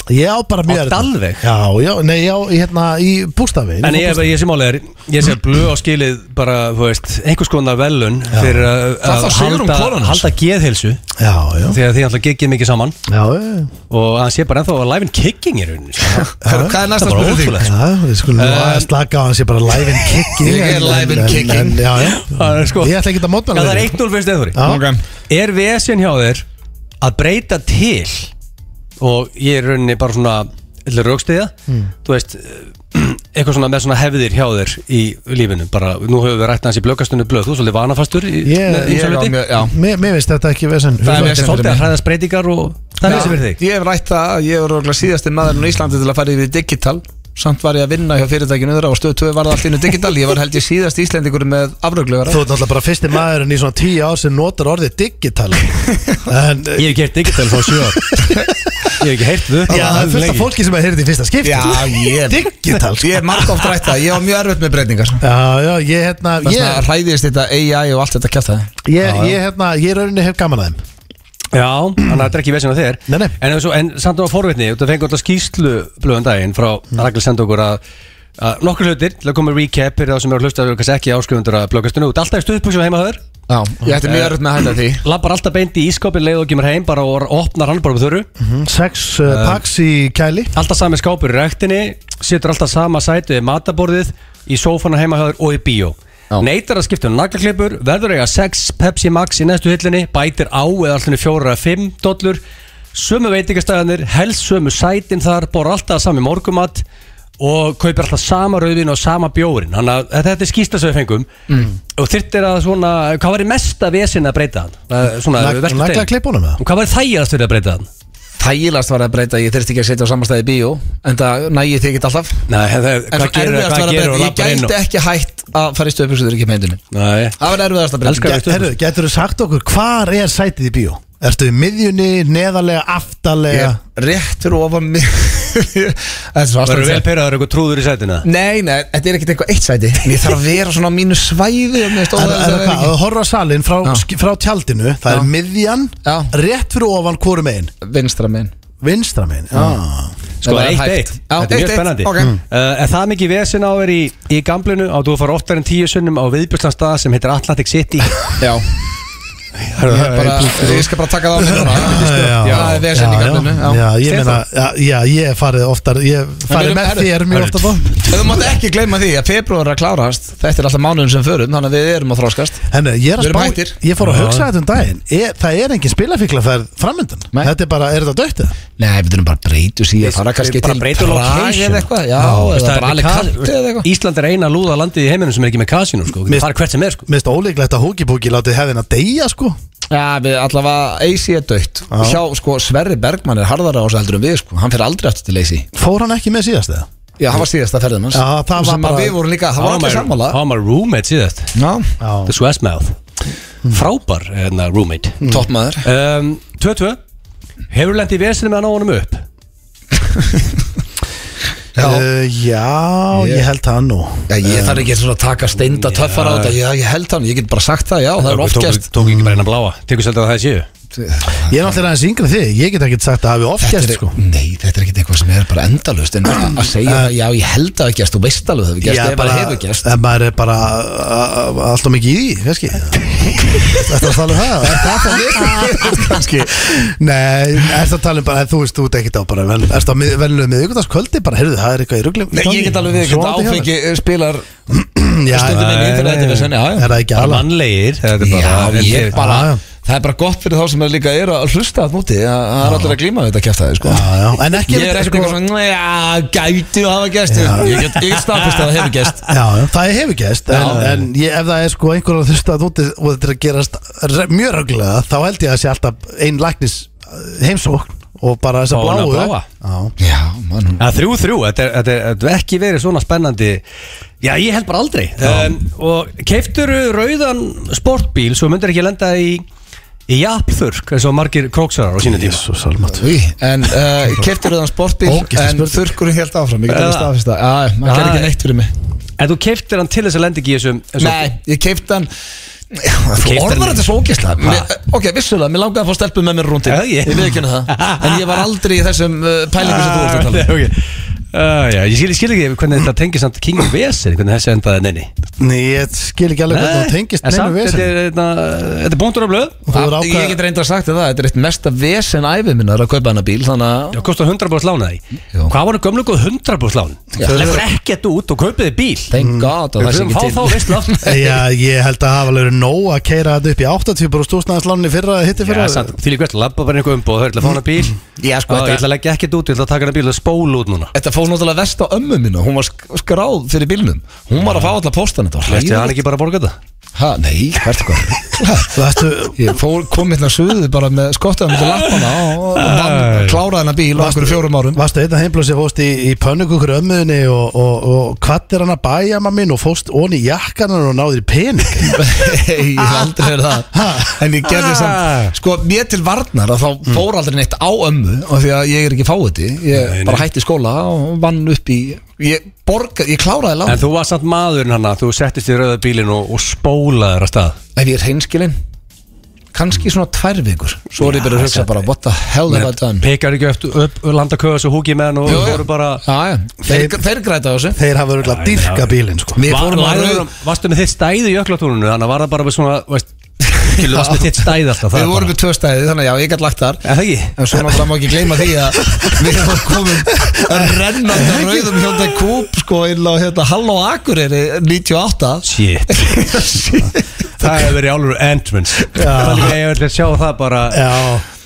Speaker 2: Ég á bara mjög
Speaker 3: Á
Speaker 2: erfitt með-
Speaker 3: Dalveg?
Speaker 2: Já, já, nei, já, hérna í bústafi
Speaker 3: En ég, ég sem álega er, ég sé að blöð á skilið bara, þú veist, einhvers konar velun fyrir að
Speaker 1: Það
Speaker 3: að
Speaker 1: þá Sigrún
Speaker 3: halda,
Speaker 1: konan hans.
Speaker 3: halda geðhilsu
Speaker 2: Já, já,
Speaker 3: þegar þið alltaf geggið mikið saman
Speaker 2: já, já
Speaker 3: og hann sé bara ennþá að live and kicking er unni
Speaker 1: Hörru, hvað er næsta
Speaker 3: sko. Það var
Speaker 1: spurning?
Speaker 3: ótrúlegt.
Speaker 2: Já, við skulum nú að slaka á hans Ég bara live and kicking
Speaker 1: Ég er
Speaker 2: en-
Speaker 1: live and
Speaker 2: en- en-
Speaker 1: kicking.
Speaker 2: en- Já, já
Speaker 3: Það er sko-
Speaker 2: Ég ætla ekki að mótmæla
Speaker 3: Já, það er
Speaker 2: þér.
Speaker 3: 1-0 fyrst eða
Speaker 2: Já.
Speaker 1: Ok.
Speaker 3: Er vesen hjá þér að breyta til og ég er í rauninni bara svona eitthvað raukstiða,
Speaker 2: Hmm.
Speaker 3: þú veist eh, eitthvað svona með svona hefðir hjá þér í lífinu, bara nú höfum við rætt hans í blökastunni blöð, þú er svolítið vanafastur í,
Speaker 2: Ég-
Speaker 3: með
Speaker 1: Ég
Speaker 3: ýmsa
Speaker 1: er á
Speaker 3: hluti.
Speaker 1: mjög- já.
Speaker 2: Mér mér finnst þetta ekki vesen
Speaker 1: Það er vesen.
Speaker 3: svolítið að hræðast breytingar og það er þessi fyrir þig
Speaker 1: Ég hef rætt það, ég er örgulega síðasti maðurinn á Íslandi til að fara yfir í digital samt var ég að vinna hjá fyrirtækinu þeirra og stöð 2 var það allt innu digital, ég var held ég síðast Íslendikur með afröglegar
Speaker 2: Þú ert náttúrulega bara fyrsti maðurinn í svona tíu ár sem notar orðið digital En
Speaker 3: Ég hef gert digital frá sjö ár. Ég hef ekki heyrt þau
Speaker 2: Já, það er fullt af fólki sem að heyrði í fyrsta skipti
Speaker 1: ég
Speaker 2: Digital sko.
Speaker 1: Ég er margt oft rætt það, ég var mjög erfitt með breytingar
Speaker 2: Já, já, ég hérna
Speaker 1: Þess
Speaker 2: Ég,
Speaker 1: vegna hræðist þetta AI og allt þetta kjátt það
Speaker 2: ég, ég hérna, ég rauninni hef gaman að þeim
Speaker 3: Já, þannig að þetta er ekki vesina þér
Speaker 2: Nei, nei.
Speaker 3: En, svo, en samt á forvitni, þú fengið alltaf skýrslu blöðum daginn frá mm. Ragnar senda okkur að, að nokkur hlutir til að koma með recap fyrir þá sem eru að hlusta og kannski ekki áskrifundur að blöggastinu út alltaf í stuðbúksum heima höður
Speaker 1: Já, ég ætti mjög erfitt með að hætta því
Speaker 3: labbar alltaf beint í ískapin leið og kemur heim bara og opnar hann bara með þurru
Speaker 2: Mhm, Sex uh, paks í kæli
Speaker 3: alltaf sami skápur í rektinni setur alltaf sama sætu í mataborðið í sófana heima höður og í bíó neytar að skipta um naglaklippur verður að eiga 6 Pepsi Max í næstu hillunni bætir á eða allinu 4 að 5 dollur sömu veitingastæðanir helst sömu sætin þar bor alltaf sami morgumat og kaupir alltaf sama rauðin og sama bjórin þannig að þetta er skýsta sem við fengum og þyrtir að svona hvað var í mesta vesin að breyta hann Eh, svona,
Speaker 2: Nag-
Speaker 3: veltu
Speaker 2: nagla
Speaker 3: þeim.
Speaker 2: klippunum, eða?
Speaker 3: og hvað var þægjast fyrir að breyta hann
Speaker 1: Þægilegast var að breyta, að ég þurfti ekki að setja á samastæði bíó En það nægi þig ekki alltaf
Speaker 3: Nei, það,
Speaker 1: En
Speaker 3: hvað
Speaker 1: svo
Speaker 3: gerir
Speaker 1: erfiðast
Speaker 3: hvað
Speaker 1: var að
Speaker 3: gerir og
Speaker 1: breyta, ég
Speaker 3: lappar inn
Speaker 1: gæti
Speaker 3: og...
Speaker 1: ekki hætt að fara í stöðu buksur ekki meindunni
Speaker 3: Nei,
Speaker 1: Það var erfiðast að breyta
Speaker 3: Elskar-
Speaker 2: Get- Herru, getur þú sagt okkur hvar er sætið í bíó? Ertu í miðjunni, neðarlega, aftarlega?
Speaker 1: Ég rétt fyrir ofan mig Þetta er svo
Speaker 3: verður vel
Speaker 1: aðstæðan
Speaker 3: pyrraður eitthvað trúður í sætina
Speaker 1: Nei, nei, þetta er ekkert eitthvað eitt sæti Ég þarf að vera svona á mínu svæði og mér finnst
Speaker 2: Er,
Speaker 1: óþægilegt að
Speaker 2: er, er,
Speaker 1: vera
Speaker 2: hvað,
Speaker 1: ekki-
Speaker 2: að horfa á salin frá,
Speaker 1: Já.
Speaker 2: sk- frá tjaldinu Það er miðjan,
Speaker 1: Já.
Speaker 2: rétt fyrir ofan hvorum einn
Speaker 1: Vinstra minn
Speaker 2: Vinstra minn Já.
Speaker 3: Sko,
Speaker 1: Það er
Speaker 3: eitt
Speaker 1: hægt.
Speaker 3: eitt,
Speaker 1: Já,
Speaker 3: þetta er mjög
Speaker 1: 1-1,
Speaker 3: spennandi
Speaker 1: ok.
Speaker 3: mm. uh, En það er mikið vesen á er í, í gamblinu á þú að fara oftar en tíu sunnum á viðbjörnslan stað sem heitir Atlantic City
Speaker 1: Já, ég, er bara, ég skal bara taka það á mig núna
Speaker 2: Já,
Speaker 1: Það er vesend í
Speaker 2: já,
Speaker 1: gaflinu
Speaker 2: já, já, ég meina, já, já, ég hef farið oftar Ég hef farið
Speaker 1: erum-
Speaker 2: með
Speaker 1: herru,
Speaker 2: þér mjög
Speaker 1: herru,
Speaker 2: oftar þá
Speaker 1: Þú mátt ekki gleyma því að februar er að klárast Þetta er alltaf mánuðin sem förum Þannig að við erum að þróskast
Speaker 2: Henni, ég er að
Speaker 1: Við erum
Speaker 2: spá,
Speaker 1: hættir.
Speaker 2: ég fór að hugsa þetta um daginn er, Það er engin spilafíkla það er framöndan
Speaker 1: Nei.
Speaker 2: Þetta er bara, er þetta döttið?
Speaker 1: Nei, við þurfum bara að breytu síðan Það er kannski
Speaker 3: Bara
Speaker 1: til
Speaker 3: breyta
Speaker 1: Prag
Speaker 3: location.
Speaker 1: eða eitthvað Já, eða
Speaker 3: veist, það er
Speaker 1: bara alveg
Speaker 3: ka-
Speaker 1: kallt eða eitthvað
Speaker 3: Ísland er eina lúða landið í heiminum sem er ekki með kasinu sko.
Speaker 2: Mér-
Speaker 3: Það er hvert sem er sko.
Speaker 2: Mér finnst ólíklegt að húkibúki látið hefðin að deyja sko
Speaker 1: Já, við allavega AC er dögt
Speaker 2: Já.
Speaker 1: Hjá, sko, Sverri Bergmann er harðara á þessu heldur en við, sko Hann fyrir aldrei aftur til AC
Speaker 2: Fór hann ekki með síðast eða?
Speaker 1: Já, það var síðasta ferðin hans
Speaker 2: Já, það var
Speaker 1: Sem að
Speaker 2: bara-
Speaker 1: Við vorum líka, það var allir sammála
Speaker 3: Há maður roommate síðast
Speaker 1: Já,
Speaker 3: The Swessmouth
Speaker 1: Hmm.
Speaker 3: Frábær hérna, roommate
Speaker 1: toppmaður
Speaker 3: Um, 2-2 Hefur lendi vesinu með að ná honum upp
Speaker 1: Já,
Speaker 2: Uh, já, ég held það nú
Speaker 1: Já, ég þarf ekki svona að taka steinda töffar á þetta Ég, ég held hann, ég get bara sagt það, já, það er oft
Speaker 3: Tók-
Speaker 1: gæst
Speaker 3: Tók ekki bara eina bláa Tekur svolítið að það séu
Speaker 2: Ég er náttúrulega aðeins yngri en þig, ég get ekki sagt að hafi oft
Speaker 1: Þetta
Speaker 2: gert
Speaker 1: er,
Speaker 2: sko
Speaker 1: Nei, þetta er ekkert eitthvað sem er bara endalust En að segja, það, já, ég held að það gæst Þú veist alveg það hefur gæst,
Speaker 2: Já,
Speaker 1: ef það hefur gæst
Speaker 2: En maður er bara uh, uh, alltaf mikið í því, kannski Þetta er að tala um það Er það það við? Kannski Nei, er það að tala um bara, þú veist, þú ert ekkert á bara vel, Er það velnum með ykkurtagskvöldi, bara, heyrðu, það er eitthvað í ruglum
Speaker 1: Nei, ég get alveg við, þetta áfengi eh, spilar
Speaker 2: Já,
Speaker 1: stundum inn í internetið við senni, já, já
Speaker 2: er það ekki
Speaker 3: Bara
Speaker 2: alveg
Speaker 3: mannlegir þetta er
Speaker 1: Já,
Speaker 3: bara-
Speaker 1: ég
Speaker 3: þetta-
Speaker 1: bara
Speaker 2: Já, já.
Speaker 1: Það er bara gott fyrir þá sem er líka er að hlusta að móti að það er allir að glíma við þetta kæftæði sko.
Speaker 2: Já, já, en ekki
Speaker 1: Ég er ekkert eitthvað svona Já, gæti að hafa gæst Ég get ég get staðfest að það hefur gæst
Speaker 2: Já, já, það hefur gest en, en ég, ef það er sko einhverjum þurftu að úti og þetta er að gerast re- mjög röglega þá held ég að sé alltaf ein læknis eh, heimsókn og bara þess
Speaker 3: Fá
Speaker 2: að
Speaker 3: hana
Speaker 2: bláu
Speaker 3: bláa.
Speaker 2: Já,
Speaker 1: Já, mann
Speaker 3: Já, þrjú, þrjú, þetta er- þetta er þetta er ekki verið svona spennandi Já, ég held bara aldrei um, Og keifturu rauðan sportbíl svo myndir ekki lenda í í jafnþurk, eins og margir króksarar á sína tíma
Speaker 2: Jesus almatur
Speaker 1: Því, en uh, keftir auðan sportbíl
Speaker 2: Ógeðsleg
Speaker 1: En
Speaker 2: spurning.
Speaker 1: þurrkurinn held áfram Ég get
Speaker 3: Er
Speaker 1: alveg
Speaker 3: það?
Speaker 1: staðfest að Já, maður
Speaker 3: Já,
Speaker 1: gerir
Speaker 3: ég-
Speaker 1: ekki neitt fyrir mig
Speaker 3: En þú keiftir hann til þess að lenda ekki í þessum þessum-
Speaker 1: Nei, ég kefti hann Já, Þú
Speaker 3: Keyptir
Speaker 1: orðar
Speaker 3: hann-
Speaker 1: þetta svo ógæslega Ok, vissulega, mér langaði að fá stelpu með mér rúndi
Speaker 3: Já, ég-
Speaker 1: Ég veit ekki það En ég var aldrei í þessum uh, pælingu sem þú ert að
Speaker 3: Ah,
Speaker 1: tala um.
Speaker 3: ok. Ah, já, Ég skil, ég skil ekki hvernig þetta tengir samt King of Vesin, hvernig þessi endaði nenni
Speaker 2: Nei, ég skil ekki alveg hvernig það tengist
Speaker 3: en
Speaker 2: neinu
Speaker 3: samt,
Speaker 2: vesen
Speaker 3: þetta er, þetta, þetta er bóndur af blöð
Speaker 2: Og þú er
Speaker 1: Að- Ég
Speaker 2: ákvað
Speaker 1: get reynda að sagt þér það, þetta er eitt mesta vesen æfið minnar að kaupa hana bíl Þannig að
Speaker 3: Það kostar 100 búið slána því
Speaker 1: Jú.
Speaker 3: Hvað var það gömlu góð 100 búið slána? Það lefur ekkert út og kaupiði bíl
Speaker 1: thank god að það sé ekki
Speaker 3: Mm. Við þurfum að fá þá
Speaker 1: til
Speaker 3: veist látt
Speaker 2: Já, ég held að hafa alveg verið nóg að keira þetta upp í 80 bara stúsnaðarslánni fyrra hitti
Speaker 3: Já,
Speaker 2: fyrra
Speaker 3: samt, því líka hvert, labba bara einhver umboð, það er til að fá hana bíl
Speaker 1: Já, sko,
Speaker 3: Á, Ég
Speaker 1: þetta-
Speaker 3: ætla að leggja ekkert út, ég ætla að taka hana bíl og spóla út núna
Speaker 1: Þetta fór náttúrulega vest á ömmu minna, hún var sk- skráð fyrir bílnum Hún var að fá alla postan þetta var
Speaker 3: Veist ég hann
Speaker 1: hræðilegt.
Speaker 3: ekki bara að borga þetta?
Speaker 1: Ha, nei, hvert eitthvað
Speaker 2: Þú veistu,
Speaker 1: Ég fór, kom hérna suðu bara með skottaðum til lappana og, og vann, kláraði hennar bíl á okkur fjórum árum
Speaker 2: Varstu einn að heimblósi fóst í, í pönnukukur ömmuðinni og, og, og hvað er hann að bæja maður minn og fóst onni í jakkanan og náðir í pening
Speaker 1: Nei, ég hef aldrei verið það En ég gerði
Speaker 3: Ah.
Speaker 1: samt Sko, mér til varnar að þá fór aldrei neitt á ömmu Og því að ég er ekki fáiði Ég
Speaker 3: Mm. Nei, nei.
Speaker 1: bara hætti skóla og vann upp í Ég borga, ég kláraði
Speaker 3: En
Speaker 1: lág
Speaker 3: þú var samt maðurinn hann þú settist í rauða bílinn og, og spólaði þér að stað
Speaker 1: Ef ég er hreinskilinn kannski svona tvær vikur Svo er ég byrjað að hugsa bara, what the hell have I done
Speaker 3: Pekar ekki upp, upp landaköðas og húki með hann og
Speaker 1: Jú, jú.
Speaker 3: voru bara
Speaker 1: Já, já, þeir, þeir græta á þessu
Speaker 2: Þeir hafa örgulega dýrka bílinn sko
Speaker 1: Við
Speaker 3: Var,
Speaker 1: fórum að
Speaker 3: var,
Speaker 1: rauð
Speaker 3: varstu með þitt stæði í öklatúrunu þannig að var það bara með svona veist, Þú varst með þitt stæð alltaf það
Speaker 1: Við
Speaker 3: er
Speaker 1: vorum
Speaker 3: bara-
Speaker 1: með tvö stæði, þannig að já, ég gætt lagt þar
Speaker 3: Er það ekki?
Speaker 1: En svo náttúrulega má ekki gleyma því að við erum komin að renna á rauðum hjónda kúp sko inn á hérna Halló Akureyri 98
Speaker 3: Shit Það hefur verið álur endmins Það er líka ég ætla að sjá það bara
Speaker 2: Já,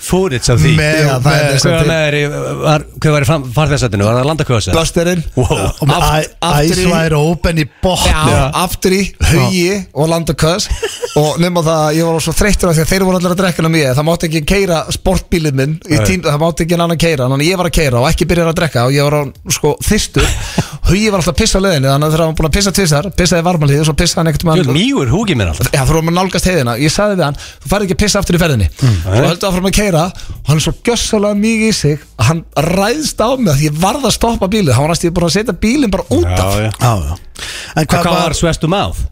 Speaker 3: Fúrits af því
Speaker 2: Með-
Speaker 1: Já, það er
Speaker 3: Hvað
Speaker 1: þess að
Speaker 3: með þeir var, Hvað var í fram- farþegarsætinu? Var það landakvöðsæt?
Speaker 1: Bösterinn
Speaker 3: Wow
Speaker 2: og með
Speaker 1: Aft-
Speaker 2: æ-
Speaker 1: aftur í-
Speaker 2: æsværi og open í botn
Speaker 1: Já, aftur í, hugi og landa köðs og nema það, að ég var svo þreyttur af því að þeir voru allir að drekka um ég, það mátti ekki keira sportbílið minn, í
Speaker 3: Nei.
Speaker 1: tín, það mátti ekki en annan keira, þannig að ég var að keira og ekki byrjar að drekka og ég var á, sko þyrstur hugi var alltaf að pissa á leiðinni, þannig að þegar hann var búin að pissa tvisar, pissaði varmalíð og svo pissaði hann ekkert
Speaker 3: Þú er mýgur húgi mér alltaf
Speaker 1: Já, þú erum að nálgast heiðina Ég sagði við hann, þú farið ekki að pissa aftur í ferðinni
Speaker 3: Mm,
Speaker 1: Svo heldur áfram að keira Og hann er svo gjössalega mikið í sig Að hann ræðst á mig að ég varð að stoppa bílið Hann var næstu búin að setja bílinn bara út af
Speaker 3: já
Speaker 2: Já, já En hvað
Speaker 3: Hvað
Speaker 2: var,
Speaker 3: var svestu máð?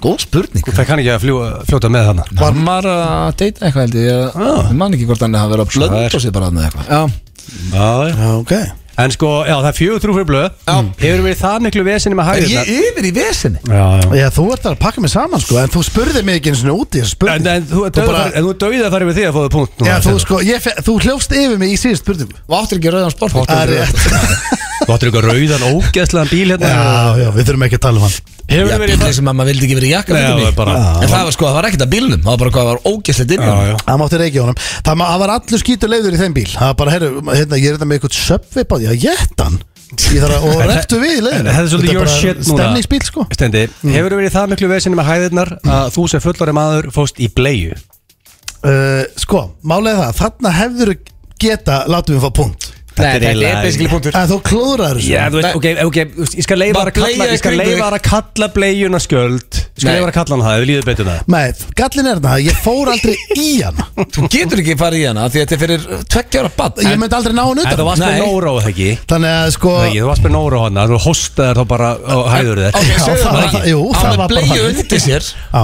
Speaker 1: Góð spurning
Speaker 3: Það kann ekki að fljó, fljóta með hana
Speaker 1: Var maður að deyta eitthvað held ég Ég ah. man ekki hvort hann hafa verið að blönd og sér bara hann eitthvað Já,
Speaker 3: Já, já
Speaker 2: Já, ok
Speaker 3: En sko, já, það er fjögur trú fyrir blöð Mm. Hefur verið það miklu vesinni með
Speaker 1: er
Speaker 3: hægir
Speaker 1: ég yfir í vesinni?
Speaker 3: Já, já
Speaker 2: Já, þú ert að pakka mig saman sko En þú spurði mig ekki eins og úti þessu
Speaker 3: En,
Speaker 2: spurningu
Speaker 3: en þú
Speaker 2: Þú bara-
Speaker 3: dauðið að fara yfir því að fóðu punkt núna,
Speaker 2: Já, þú
Speaker 3: Stefán.
Speaker 2: sko, ég, fe- þú hljófst yfir mig í síðust spurningu
Speaker 1: Og áttir ekki rauðan sportbíl
Speaker 2: Það er rétt
Speaker 3: Þú áttir eitthvað rauðan ógeðslaðan bíl hérna
Speaker 2: Já, já, við þurfum ekki að tala um hann
Speaker 1: Já,
Speaker 3: Hefur verið
Speaker 1: bílinn sem að maður vildi ekki verið í jakka
Speaker 3: Nei,
Speaker 1: myndi
Speaker 3: það
Speaker 1: mig.
Speaker 3: var bara-
Speaker 1: En það var sko, það var ekkert að bílnum Það var bara hvað það var ógæslegt inn í honum.
Speaker 3: Já, já
Speaker 2: Það mátti reykja honum Það ma- það var allur skítur leiður í þeim bíl Það var bara, herru, hérna, ég er þetta með eitthvað söpvip á því að geta hann Ég þarf að, og rektu við í leiðinu
Speaker 3: Það er svolítið your
Speaker 2: bara
Speaker 3: shit núna
Speaker 2: Stemningsbíl, sko
Speaker 3: Stendi,
Speaker 1: Mm.
Speaker 3: hefur verið það miklu vesinni með hæðirnar að þú sem fullari maður fóst í bleiu
Speaker 2: uh, Sko, málega það, þarna hefður geta, látum við fá punkt
Speaker 1: Nei, þetta er
Speaker 3: eiginlega-
Speaker 1: basically punktur
Speaker 2: En þú klúðrar þessu
Speaker 3: Já, þú veist, ok, ok, ég skal leifa
Speaker 1: Bara
Speaker 3: að kalla
Speaker 1: bleia
Speaker 3: Ég skal
Speaker 1: kringum
Speaker 3: leifa
Speaker 1: þig.
Speaker 3: að kalla bleiuna skjöld Ég skal
Speaker 1: Nei.
Speaker 3: leifa að kalla hann það, ef líður betur það
Speaker 2: Nei, gallin er það, ég fór aldrei í hana
Speaker 1: Þú getur ekki farið í hana því að þetta er fyrir tveggjára bann
Speaker 2: Ég myndi aldrei ná hann
Speaker 3: En
Speaker 2: utan
Speaker 3: þú varst með
Speaker 1: Nei.
Speaker 3: Nóró, það ekki?
Speaker 2: Þannig að sko
Speaker 3: Það ekki, þú varst með Nóró hann, þú hostaðir þá bara og hæður þér
Speaker 2: Já,
Speaker 1: segðu
Speaker 2: það
Speaker 1: það
Speaker 2: var- jú, það
Speaker 1: Hann
Speaker 2: var
Speaker 1: með
Speaker 2: bara
Speaker 1: bleið
Speaker 2: þannig.
Speaker 1: undir sér
Speaker 2: Já.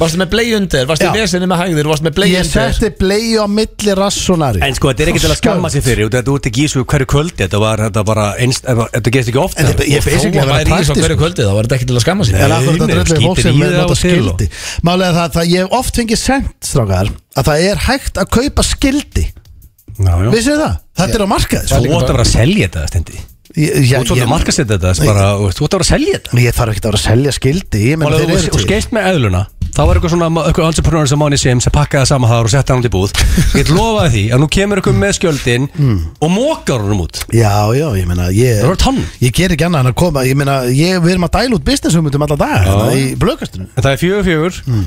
Speaker 1: Varstu með bleið undir, varstu í
Speaker 2: Já.
Speaker 1: vesinni með hægðir Varstu með bleið
Speaker 2: Ég
Speaker 1: undir
Speaker 2: setti blei á milli rassunari
Speaker 3: En sko, þetta er ekki til að skamma sig fyrir, út af þetta út ekki í svo hverju kvöldi Þetta var, þetta bara, einst, þetta gerist ekki
Speaker 2: En
Speaker 3: ofta
Speaker 2: þetta, ég
Speaker 1: Þó að
Speaker 2: basically að vera
Speaker 1: væri í svo
Speaker 2: praktisk
Speaker 1: hverju kvöldið þá var þetta ekki til að skamma sér
Speaker 2: En akkur þetta
Speaker 3: Nei, nei,
Speaker 2: dröllið fólk
Speaker 3: skítir
Speaker 2: sem
Speaker 3: í
Speaker 2: er
Speaker 3: það
Speaker 2: nota
Speaker 3: og til og-
Speaker 2: skildi Málega það, það ég hef oft fengið sent strákar að það er hægt að kaupa skildi Vissið þið það? Þetta er á markaði
Speaker 3: Þú
Speaker 2: sko.
Speaker 3: átt að vera að selja þetta, Stendi
Speaker 2: Ég- já,
Speaker 3: Þú ert svolítið að
Speaker 2: ég-
Speaker 3: markastetta þetta, þessi
Speaker 2: Nei.
Speaker 3: bara, þú ert að vera að selja þetta
Speaker 2: Ég þarf ekki að vera að selja skildi Ég
Speaker 3: Og
Speaker 2: meina þeir
Speaker 3: þú-
Speaker 2: eru
Speaker 3: og
Speaker 2: til
Speaker 3: skeitt með eðluna Það var eitthvað svona, eitthvað entrepreneur sem Máni Sim sem pakkaði saman þar og setti hann út í búð Ég get lofaði því að nú kemur eitthvað með skjöldin
Speaker 2: Mm.
Speaker 3: og mókar honum út
Speaker 2: Já, já, ég meina
Speaker 3: Það var
Speaker 2: ég,
Speaker 3: tonn
Speaker 2: ég ger ekki annað en að koma Ég meina, ég, við erum að dæla út businessumutum alla dag hérna, Í blökastunum
Speaker 3: En það er fjögur fjögur
Speaker 2: Mm.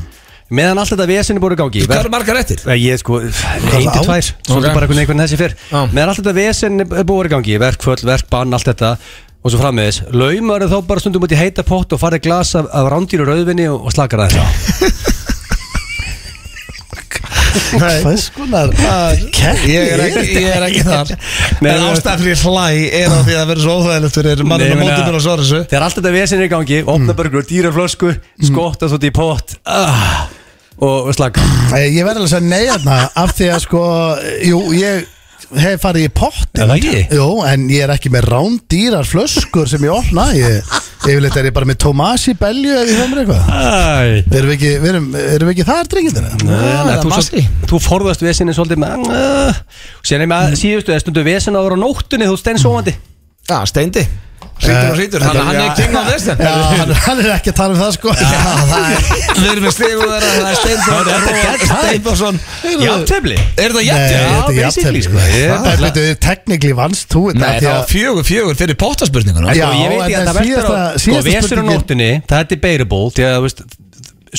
Speaker 3: Meðan allt þetta vesinni búið í gangi
Speaker 1: Hvað eru margar eftir?
Speaker 3: Nei, Ég sko, ein til
Speaker 2: á?
Speaker 3: tvær Svolítið
Speaker 1: Ok.
Speaker 3: bara einhvern veginn þessi fyrr
Speaker 1: Já.
Speaker 3: Meðan allt þetta vesenni er búið í gangi Verkföll, verkbann, allt þetta Og svo frammiðis Laumar þá bara stundum út í heita pott Og farið glas af, af rándýru rauðvinni og, og slakar aðeins á.
Speaker 2: Hvað skonar
Speaker 1: Ég er ekki, ég er ekki þar
Speaker 3: Nei,
Speaker 1: En
Speaker 3: þú veist-
Speaker 1: ástæðan fyrir hlæ er að því að það verður svo óþægilegt fyrir
Speaker 3: Nei,
Speaker 1: mannum
Speaker 3: ég
Speaker 1: að
Speaker 3: meina,
Speaker 1: móti mér að svara þessu
Speaker 3: Þegar allt þetta vesenni er í gangi
Speaker 2: Mm.
Speaker 3: Opna börgur, dýra flösku, skotta svo í pott ah, Og og slaka
Speaker 2: Eh, Ég verði alveg að segja nei hérna Af því að sko, jú, ég hef farið í pottin
Speaker 3: Er það ekki?
Speaker 2: Jú, en ég er ekki með rándýrar flöskur sem ég opna Ég, yfirleitt er ég bara með Tomasi belju ef ég höfum eitthvað
Speaker 3: Æ
Speaker 2: Erum við ekki, við erum, erum við ekki þar Ah. drengindir?
Speaker 3: Nei,
Speaker 1: það
Speaker 3: þú,
Speaker 1: er
Speaker 3: svo, þú forðast vesinni svolítið með uh, Sérna
Speaker 2: Mm.
Speaker 3: með síðustu eða stundu vesin ára á nóttunni þú stein sóandi
Speaker 1: Já, steindi Sýtur og
Speaker 2: Eh,
Speaker 1: sýtur, þannig að hann er king of this
Speaker 2: Já, hann, hann er ekki að tala um það sko Já, það er
Speaker 1: Við erum með stigum þeirra, það er steindi Steindorsson
Speaker 3: Jafntefli
Speaker 1: Er það
Speaker 2: Nei,
Speaker 1: jætti?
Speaker 2: þetta er
Speaker 3: basically,
Speaker 2: jafntefli
Speaker 3: sko. Ég er
Speaker 2: Það er betur, teknikli vannst þú þetta,
Speaker 1: Nei,
Speaker 2: af því
Speaker 1: það var
Speaker 2: að-
Speaker 1: fjögur, fjögur fyrir póttaspurninguna
Speaker 2: Já,
Speaker 3: Já, ég veit ekki
Speaker 2: en
Speaker 3: að það
Speaker 2: það
Speaker 3: verður
Speaker 2: síðasta-
Speaker 3: á Sko,
Speaker 2: síðasta
Speaker 3: vesir á
Speaker 2: spurningin-
Speaker 3: nóttinni, það er debatable Því að, þú veist,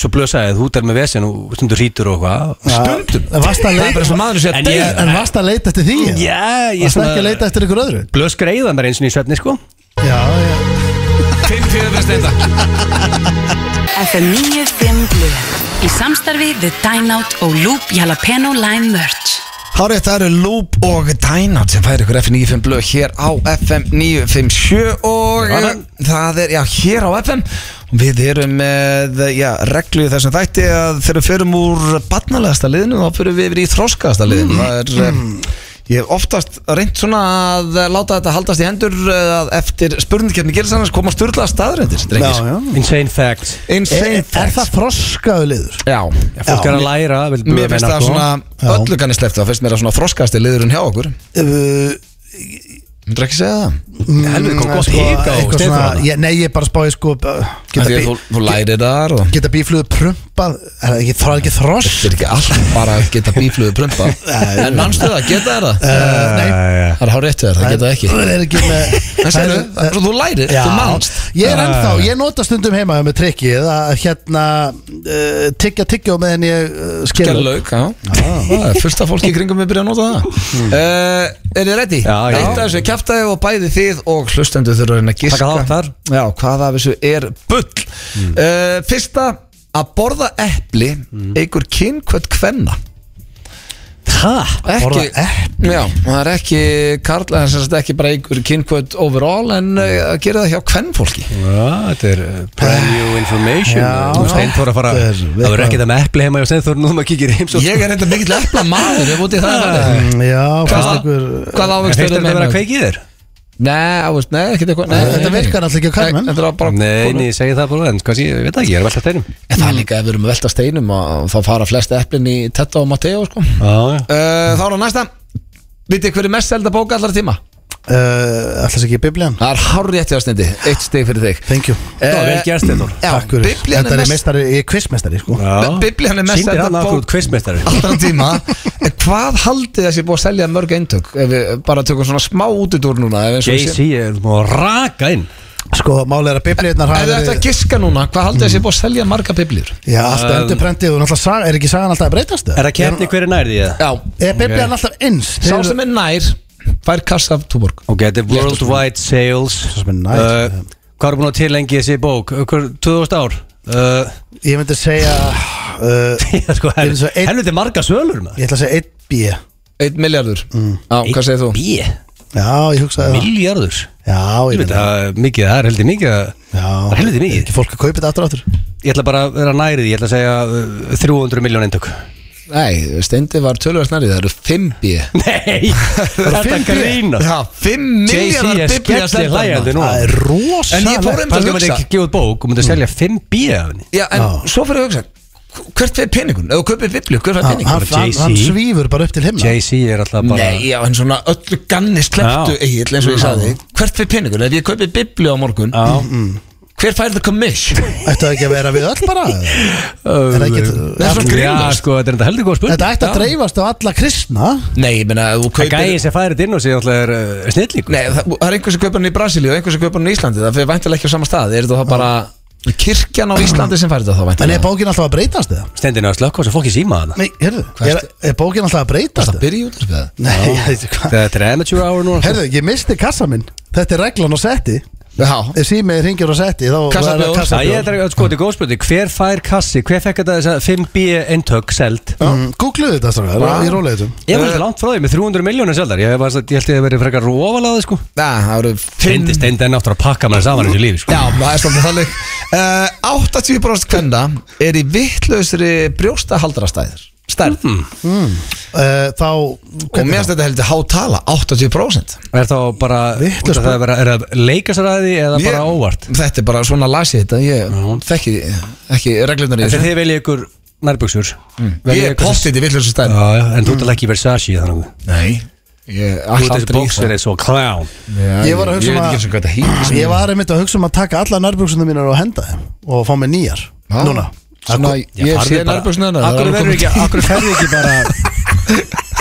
Speaker 3: svo blösaði þú ert með vesin og stundur hrítur og eitthvað
Speaker 1: Stundum
Speaker 2: En varst að
Speaker 1: Það er bara
Speaker 2: leita
Speaker 1: svo maður sé
Speaker 3: En
Speaker 1: að
Speaker 3: ég-
Speaker 1: deyja
Speaker 2: En varst að leita eftir því?
Speaker 3: Já, ég
Speaker 2: Varst ekki að leita eftir ykkur öðru?
Speaker 3: Blöskreiða mér eins og nýjum svefni, sko
Speaker 2: Já, já
Speaker 1: Fimm fyrir fyrir steinda
Speaker 6: FM 95 Blu Í samstarfi við Dine Out og Loop Jalapeno Lime Merch
Speaker 1: Hárið, það eru Loop og Dynout sem færir ykkur F95 blöð hér á FM 957 og
Speaker 3: Já,
Speaker 1: já,
Speaker 3: það-
Speaker 1: það er, já, hér á FM og við erum með, já, reglu í þessum þætti að þegar við förum úr barnalegasta liðinu þá förum við yfir í þroskaðasta liðinu það er, mm. Ég hef oftast reynt svona að láta þetta haldast í hendur eh, að eftir spurningkefni gerðs annars koma styrla staðrændir, drengir.
Speaker 5: já
Speaker 2: Mm.
Speaker 3: Insane facts
Speaker 1: Insane
Speaker 2: Er, er það froskaðu liður?
Speaker 1: Já,
Speaker 3: Já, Fólk
Speaker 2: Já,
Speaker 3: er að
Speaker 2: mér-
Speaker 3: læra vil
Speaker 1: Mér finnst það
Speaker 2: Já.
Speaker 1: svona öllu kannist leftu Það finnst mér að svona froskasti liðurinn hjá okkur
Speaker 2: Uh,
Speaker 1: Myndur ekki segja það?
Speaker 3: Helvið, hvað gott
Speaker 2: sko,
Speaker 3: hika og
Speaker 2: eitthvað
Speaker 3: stefna
Speaker 2: svona-
Speaker 3: þarna.
Speaker 2: ég- Nei, ég bara spáði sko bara-
Speaker 1: Af
Speaker 2: Geta,
Speaker 1: því að
Speaker 2: bí,
Speaker 1: þú, þú lærir þar og
Speaker 2: geta bíflöðu prumpað Er það ekki, það er ekki þross?
Speaker 1: Þetta er ekki allt bara að geta bíflöðu prumpa En mannstu það, geta þær það?
Speaker 2: Uh, nei,
Speaker 1: Það er hár rétt þér, það geta það ekki
Speaker 2: það er ekki með
Speaker 1: En
Speaker 2: það
Speaker 1: segðu,
Speaker 2: er-
Speaker 1: það- þú lærir,
Speaker 2: Já,
Speaker 1: þú mannst
Speaker 2: ég er ennþá, ég nota stundum heima með trikkið að hérna uh, tyggja tyggja með henni uh, skilur
Speaker 1: Gerlaug, já
Speaker 3: Ah.
Speaker 1: Það er fullt af fólki í kringum við byrja að nota það uh, Er þið ready?
Speaker 3: Hmm. Já, já.
Speaker 1: Eitt af þessu kjaftaði og bæði þið og hlustendur þurfa að reyna að giska
Speaker 3: Taka þátt þar. Hmm.
Speaker 1: Já, hvað af þessu er bull uh, Fyrsta, að borða epli
Speaker 3: Hmm.
Speaker 1: eigur kynkvöld kvenna
Speaker 3: Hæ?
Speaker 1: ekki,
Speaker 2: borða epli?
Speaker 1: Já, það er ekki karla, það er sem sagt ekki bara einhver kynkvöld overall en eh, að gera það hjá kvennfólki
Speaker 3: Já, þetta er uh, brand new information
Speaker 2: Já.
Speaker 3: Nú Steinþór að fara
Speaker 2: Þetta er-
Speaker 3: Það verður ekkert að með epli heima hjá Steinþór Nú maður kíkir í heimsókn
Speaker 1: Ég er reynda mikill epla maður, ef úti það er þannig.
Speaker 2: Mm, Já, fannst
Speaker 1: Hvað-
Speaker 2: ykkur
Speaker 1: Hvað ávegst
Speaker 3: En Ah. finnst þetta að
Speaker 1: hérna.
Speaker 3: vera að kveiki í þér?
Speaker 1: Nei, ávegst, nei, ekkert eitthvað nei,
Speaker 2: Þetta
Speaker 1: nei, nei.
Speaker 2: virkar alltaf ekki
Speaker 1: Nei,
Speaker 2: á karmen
Speaker 1: þetta var bara
Speaker 3: Nei, nei, ég segi það bara En hvað sé, ég veit það ekki, ég er velta þeirnum
Speaker 1: En það er líka ef við erum að velta steinum og þá fara flest eplin í Tetta og Matteo sko. uh,
Speaker 3: Já,
Speaker 1: Þá er það næsta Vitið hver er mest selda bók allar tíma?
Speaker 2: Alltaf eh, ekki biblían
Speaker 1: Það er hárið eftir ástindi, eitt stig fyrir þig Eh,
Speaker 2: Thank you
Speaker 3: það var vel gert Steinþór
Speaker 1: Já,
Speaker 2: Takk fyrir
Speaker 1: Biblían
Speaker 2: Þetta
Speaker 1: er
Speaker 2: er
Speaker 1: mest
Speaker 2: mestari, ég er kvissmestari sko
Speaker 3: Já.
Speaker 1: Biblían er mest Ah,
Speaker 3: Sýndir
Speaker 1: selda
Speaker 3: hann af okkur
Speaker 1: bók
Speaker 3: kvistmestari
Speaker 1: allar tíma En hvað haldið þessi búið að selja mörg eintök ef við bara tökum svona smá útidúr núna ef eins og við séum-
Speaker 3: JC er nú að raka inn
Speaker 2: Sko, málega er að biblíunar
Speaker 1: Ef
Speaker 2: hafa
Speaker 1: við ættum að
Speaker 2: verið
Speaker 1: giska núna, hvað haldið
Speaker 3: Mm.
Speaker 1: þessi búið að selja marga biblíur?
Speaker 2: Já, alltaf endurprentið og náttúrulega saga- er ekki sagan alltaf að breytast
Speaker 3: Er það keppni hver er nærði ég?
Speaker 1: Já,
Speaker 2: Er biblían alltaf eins?
Speaker 1: sá sem er nær fær kassa af túborg
Speaker 3: Ok, þetta er Worldwide Sales
Speaker 2: sem er næs.
Speaker 1: eh.
Speaker 3: Uh, Hvað er búin að tilengi þessi bók? Eh, Hver, 2000 ár? Uh,
Speaker 2: Ég myndi segja uh,
Speaker 3: já, sko,
Speaker 2: Ég er
Speaker 3: hel,
Speaker 2: eins og einn-
Speaker 3: helviti marga sölur maður
Speaker 2: Ég ætla að segja 1B Já,
Speaker 1: 1 miljardur Já, hvað segir þú?
Speaker 3: B,
Speaker 2: ég hugsaði það
Speaker 3: miljardur
Speaker 2: Já, ég myndi
Speaker 3: Það er mikið, það er heldur mikið að- Það
Speaker 2: Já,
Speaker 3: er heldur mikið
Speaker 2: ekki fólk að kaupa þetta aftur og aftur
Speaker 3: Ég ætla bara að vera nærið, ég ætla að segja uh, 300 miljón eindök
Speaker 1: Nei, steindi var tölvöld snarið, það eru 5 b
Speaker 3: Nei, þetta grínast
Speaker 1: Já, 5 miljardar
Speaker 3: JC er
Speaker 1: bibli
Speaker 3: hérna.
Speaker 1: að
Speaker 3: skellir
Speaker 1: selja
Speaker 3: hlægjandi nú
Speaker 2: Það er rosa
Speaker 1: En ég fór einmitt
Speaker 3: Það
Speaker 1: að
Speaker 3: er ekki
Speaker 1: hugsa
Speaker 3: að Mm. gefa út bók og myndi að selja 5 B af henni
Speaker 1: Já, en svo fyrir að hugsa Hvert fyrir peningun? Ef þú kaupir bibli, hvert fyrir
Speaker 2: hann,
Speaker 1: peningun?
Speaker 2: hann, hann,
Speaker 3: JC.
Speaker 2: hann svífur bara upp til himna
Speaker 3: JC er alltaf bara
Speaker 1: Nei, já, en svona öllu ganni slepptu
Speaker 3: Já.
Speaker 1: Egil, eins og ég sagði Hvert fyrir peningun? Ef ég kaupi bibli á morgun
Speaker 3: Já,
Speaker 1: Hver fær það komish?
Speaker 2: Ættu það ekki að vera við öll bara
Speaker 3: Það
Speaker 2: er ekki-
Speaker 1: Það er svo
Speaker 3: Já,
Speaker 1: grínast.
Speaker 3: sko, þetta er enda heldur góð spurning
Speaker 2: Þetta ætti að dreifast á alla kristna
Speaker 1: Nei, ég meina, ef þú
Speaker 3: Það gæði
Speaker 1: kaupir
Speaker 3: sem færi þetta inn og sé alltaf er uh, snillíkur
Speaker 1: Nei, það það er einhver sem kaupir hann í Brasilíu og einhver sem kaupir hann í Íslandi Það fyrir væntilega ekki á sama stað Er þetta þá bara kirkjan á Íslandi sem fær þetta þá
Speaker 2: En er
Speaker 1: væntilega?
Speaker 2: bókin alltaf að breytast eða?
Speaker 3: Stendinu að slökka og svo fólki síma hana
Speaker 2: Nei, heyrðu, er, er bókin alltaf að breytast
Speaker 1: Það
Speaker 2: eða?
Speaker 1: byrja í útvarpið það
Speaker 2: Nei, ég veit ekki hvað
Speaker 3: Þetta er amateur hour núna
Speaker 2: Heyrðu, ég misti kassa minn Þetta er reglan á setti
Speaker 1: Já,
Speaker 2: Ef símið ringir á setti þá
Speaker 1: Kassabjór.
Speaker 2: verða
Speaker 3: Það
Speaker 2: kassabjór.
Speaker 3: ég er sko, þetta er góð spurning Hver fær kassi, hver fekk þetta þess að 5B eintök seld Eh.
Speaker 2: Mm, Googluðu þetta strákar, í róleitum
Speaker 3: Ég var alltaf langt frá því með 300 miljónir seldar Ég, var, ég held ég að verið frekar rófalaði sko
Speaker 1: Já, það eru fimm-
Speaker 3: Steindi steindi enn áttur að pakka mér saman þessu lífi sko
Speaker 1: Já, það er svolítið þannig uh, 80% kvenda er í vittlausri brjóstahaldrastæðir stærð
Speaker 3: Hmm.
Speaker 2: uh, Þá
Speaker 1: og mér finnst þetta heldur hátala 80%
Speaker 3: Er þá bara, út
Speaker 2: Vitlaus
Speaker 3: af það er bara- er það leika sér að því eða
Speaker 1: Ég-
Speaker 3: bara óvart
Speaker 1: Þetta er bara svona lasið þetta ég þekki ekki reglunar í
Speaker 3: Þegar
Speaker 1: þessu
Speaker 3: þið veljið ykkur nærbuksur
Speaker 1: Ég er postið í vittlausri stærð
Speaker 3: En þú ert alveg ekki Versace þannig
Speaker 1: Nei Ég ætla
Speaker 3: Þú
Speaker 1: aldrei
Speaker 3: ert þessi
Speaker 1: í það.
Speaker 3: bóksverið svo clown
Speaker 1: Já,
Speaker 2: Ég var að hugsa
Speaker 1: Ég
Speaker 2: um
Speaker 1: veit
Speaker 2: að-
Speaker 1: ekki eins og hvað þetta hýr
Speaker 2: Ég var einmitt að hugsa um að taka alla nærbjörgsunum mínar og henda þeim og fá mig nýjar
Speaker 1: Já.
Speaker 2: Núna
Speaker 1: Svona, ég sé nærbjöksnaðina
Speaker 3: Akkur verður ekki, akkur ferði ekki bara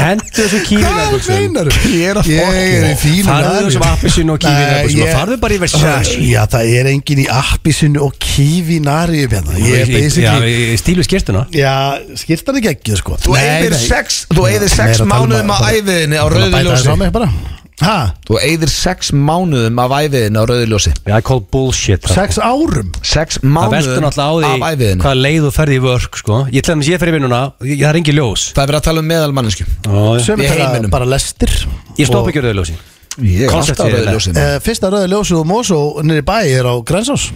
Speaker 3: Hendu þessu kífi nærbjöksum
Speaker 2: meinar þú?
Speaker 1: Ég er að
Speaker 2: Ég er í fínu
Speaker 3: Farðu þessum appisinn og kífi
Speaker 2: Nei,
Speaker 3: nærbjöksum
Speaker 2: ég-
Speaker 3: Farðu bara í Versace
Speaker 2: Já, það er engin í appisinu og kífi nari hérna. Ég er
Speaker 3: Já,
Speaker 2: basically
Speaker 3: í- í stílu skirtuna
Speaker 2: Já, skýrtar ekki ekki sko
Speaker 1: Þú eyðir sex, þú eyðir
Speaker 2: Nei,
Speaker 1: sex
Speaker 2: það er að tala um
Speaker 1: mánuðum á
Speaker 2: að-
Speaker 1: æfiðinni á
Speaker 2: Bara
Speaker 1: rauðu
Speaker 2: Bæta
Speaker 1: ljósi
Speaker 2: þess á mig bara Hæ?
Speaker 1: Þú eyðir sex mánuðum af æfiðinni á rauðu ljósi
Speaker 3: I call bullshit það.
Speaker 2: Sex árum?
Speaker 1: sex
Speaker 3: Það veltur
Speaker 1: mánuðum
Speaker 3: náttúrulega á
Speaker 1: af
Speaker 3: því
Speaker 1: æfiðinni
Speaker 3: Hvaða leið þú ferði í vörk sko Ég til dæmis ég fer í vinnuna, ég- það er engin ljós
Speaker 1: Það er verið að tala um meðalmanninsku
Speaker 3: Ó,
Speaker 2: Sjömi
Speaker 1: Í
Speaker 2: tala
Speaker 1: heiminum.
Speaker 2: bara lestir
Speaker 3: Ég stoppa ekki rauðljósi
Speaker 1: Ég er
Speaker 3: Konceptið
Speaker 1: alltaf
Speaker 3: er
Speaker 1: rauðu
Speaker 3: það.
Speaker 1: ljósi
Speaker 2: Uh, fyrsta rauði ljósið og Mosó nýri bæ er á Grensás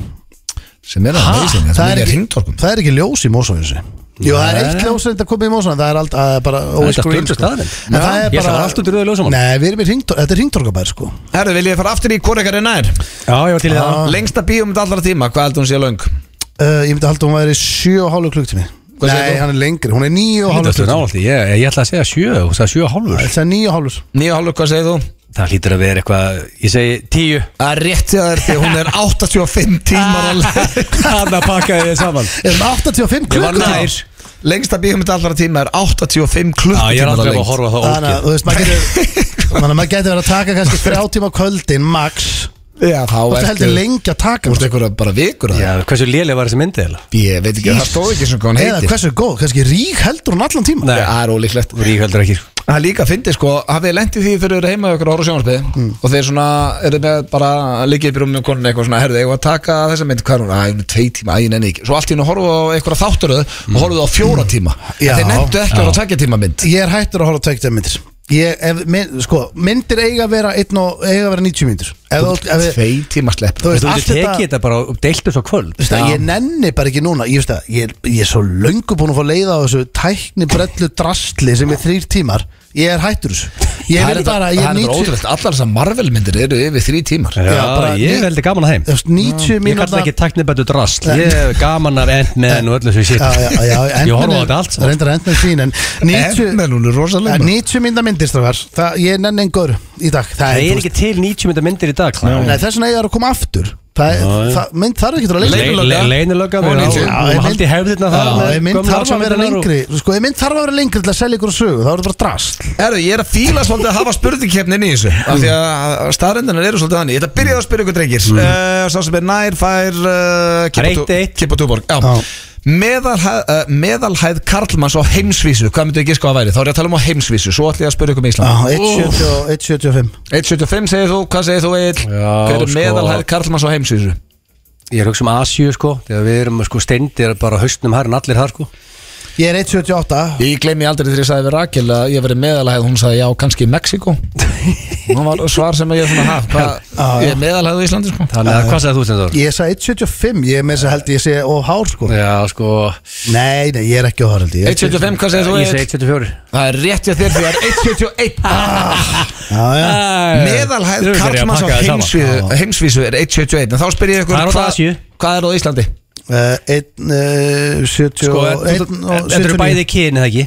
Speaker 1: sem er að meðsinn
Speaker 2: það, er
Speaker 1: Það er
Speaker 2: ekki-
Speaker 1: hringtorkum
Speaker 2: það er ekki ljós í Mosó eins og Jú, það er eitt ljós að þetta komið í mósan Það er alltaf það er bara always
Speaker 3: Þetta
Speaker 2: green,
Speaker 3: stundum
Speaker 2: sko.
Speaker 3: staðarinn
Speaker 2: En það er
Speaker 3: Ég ætla að
Speaker 2: bara-
Speaker 3: fara allt undir rauðu ljósamann
Speaker 2: Nei, við erum í ringtorg Þetta er ringtorgabær sko
Speaker 1: Herru, vil ég fara aftur í hvor ekkert er nær?
Speaker 3: Já, ég var til í það
Speaker 2: Ah.
Speaker 1: Lengsta bíómynd allra tíma, hvað heldur hún sé löng?
Speaker 2: uh, Ég myndi halda að hún væri 7,5 klukktími
Speaker 1: Hvað segir
Speaker 2: Nei,
Speaker 1: þú?
Speaker 2: hann er lengri, hún er 9,5
Speaker 3: Þetta er
Speaker 2: klukktími
Speaker 3: návaldi, ég, ég ætla að segja sjö Þú sagði sjö og hálfur
Speaker 2: Það er 9,5
Speaker 1: Nýja hálfur, hvað segir þú?
Speaker 3: Það hlýtur að vera eitthvað, ég segi tíu
Speaker 1: Það er rétt hjá þér því hún er 85 tímar að leið
Speaker 3: Þannig að pakkaði ég saman Já,
Speaker 2: Er hún 85
Speaker 3: Ég var
Speaker 2: klukkutíma?
Speaker 3: nær.
Speaker 1: Lengsta bíómynd allra tíma er 85
Speaker 3: ég er
Speaker 1: klukkutímar
Speaker 3: aldrei að horfa á það
Speaker 2: Þannig að
Speaker 3: ógeð
Speaker 2: þú veist, maður getur Þannig að maður getur verið að taka kannski þrjá tíma á kvöldin max
Speaker 1: Já, þá
Speaker 2: Og það heldur
Speaker 1: ertu
Speaker 2: lengi að taka
Speaker 1: Þú ert einhverja bara vikur að
Speaker 3: Já, hversu léleg var þessi myndi eða?
Speaker 1: Ég veit ekki, það stóð ekki sem hvað hann
Speaker 2: Eða
Speaker 1: heitir
Speaker 2: hversu er góð, kannski rík heldur hún allan tíma
Speaker 3: Nei.
Speaker 1: Já, Það er ólíklegt
Speaker 3: Ríkveldur ekki
Speaker 1: Það er líka fyndið sko, hafið þið lendið því fyrir þeir eru heima hjá okkur ára sjónarspið mm. og þeir svona eru með bara líkið upp í rúmum konun eitthvað svona, herðu, ég var að taka þessa mynd hvað er hún, að hún er tvei tíma, að ég nenni ekki svo allt í hún horfðu á einhverja þáttaröð og horfðu á fjóra tíma,
Speaker 2: Mm. Já.
Speaker 1: en þeir nefndu ekki að vera tvekja tíma mynd
Speaker 2: Ég er hættur að horfa á tveikta myndir ég, ef, mynd, sko, Myndir eiga að vera, einn og, eiga að vera 90 myndir ef, þú- ef, ef,
Speaker 1: tvei tíma slepp
Speaker 2: Þú veist,
Speaker 3: Þú
Speaker 2: allt
Speaker 3: veist, tekið
Speaker 2: þetta
Speaker 3: þetta bara og deiltu svo kvöld
Speaker 2: Veist það, ég nenni bara ekki núna ég, veist það, ég, er, ég er svo löngu búin að fá leiða á þessu tækni brellu drastli sem er þrýr tímar ég er hættur þessu ég
Speaker 1: Það
Speaker 2: vil
Speaker 1: er
Speaker 2: bara,
Speaker 1: þetta-
Speaker 2: ég
Speaker 1: það er
Speaker 2: er
Speaker 1: þetta
Speaker 2: 90
Speaker 1: ótrúlegt, allar þessar Marvel myndir eru yfir þrý tímar
Speaker 3: Já,
Speaker 2: bara-
Speaker 3: ég er heldur gaman að þeim
Speaker 2: þú veist, 90
Speaker 3: Ég kalla
Speaker 2: mínútur
Speaker 3: ekki tæknibættu drast Ég er gaman að Ant-Man og öllu þessu shit Ég horfa á þetta allt saman
Speaker 2: reyndar endmenn sín en 90,
Speaker 1: Emmel, hún er
Speaker 2: en
Speaker 1: rosalega
Speaker 2: 90 mínútur myndir strafar það, ég nenni einhver í dag það
Speaker 3: Það
Speaker 2: er,
Speaker 3: er
Speaker 2: þú veist,
Speaker 3: ekki til 90 mynda myndir í dag Klara.
Speaker 2: nei, þess vegna ég er að koma aftur það, er, það mynd þarf ekki að
Speaker 3: Le-
Speaker 2: leika
Speaker 3: le- Leynilögga
Speaker 1: Og
Speaker 3: við á-
Speaker 1: 90.
Speaker 2: Já,
Speaker 3: og
Speaker 2: ég
Speaker 3: haldi hefðirna það
Speaker 2: Já,
Speaker 3: með
Speaker 2: ef mynd
Speaker 3: gömlu
Speaker 2: þarf að vera
Speaker 3: átsaminnar og-
Speaker 2: lengri sko, ef mynd þarf að vera lengri til að selja ykkur sögu þá er þetta bara drast
Speaker 1: Herru, ég er að fíla svolítið að hafa spurningkeppnin í þessu af því að staðrendunar eru svolítið þannig Ég ætla að byrja á að spyrja ykkur drengir mm. Sá sem er nær fær
Speaker 3: Það er eitt eitt.
Speaker 1: uh, Kippa Túborg Já. Meðalhæð, uh, meðalhæð Karlmanns á heimsvísu Hvað myndu ég giska að væri? Þá er ég að tala um á heimsvísu Svo ætla ég að spyrja ykkur með Ísland
Speaker 2: 1.75
Speaker 1: 1.75 segir þú, hvað segir þú Egil?
Speaker 3: Já,
Speaker 1: Hver er
Speaker 3: sko.
Speaker 1: meðalhæð Karlmanns á heimsvísu?
Speaker 3: Ég er að hugsa um Asíu sko Þegar við erum sko steindir bara haustnum hær en allir þar sko
Speaker 2: ég er 1.78
Speaker 1: Ég gleymi aldrei þegar ég sagði við Rakel að ég verið meðalhæð Hún sagði já, kannski Mexiko Hún var svar sem ég svona haf
Speaker 2: Já, já.
Speaker 1: Ég er meðalhæð á Íslandi sko
Speaker 3: Þannig að hvað sagði þú Stendur?
Speaker 2: ég sagði 1.75 ég er með þess að held ég sé of hár sko
Speaker 3: Já sko
Speaker 2: nei, nei, ég er ekki of hár held ég
Speaker 1: 1.75, hvað segir þú
Speaker 3: Ég
Speaker 1: Egill?
Speaker 3: segi 74
Speaker 1: Það er rétt hjá þér því það er 1.71
Speaker 3: Ah.
Speaker 2: 1.75
Speaker 1: Ah, Meðalhæð Karlmanns á heimsvísu, heimsvísu er 1.71 En þá spyr ég ykkur
Speaker 3: Það er út af
Speaker 1: hvað-
Speaker 3: Asíu.
Speaker 1: hvað er á Íslandi?
Speaker 2: Eh, 1.70
Speaker 3: Sko, þetta eru bæði kyn eða ekki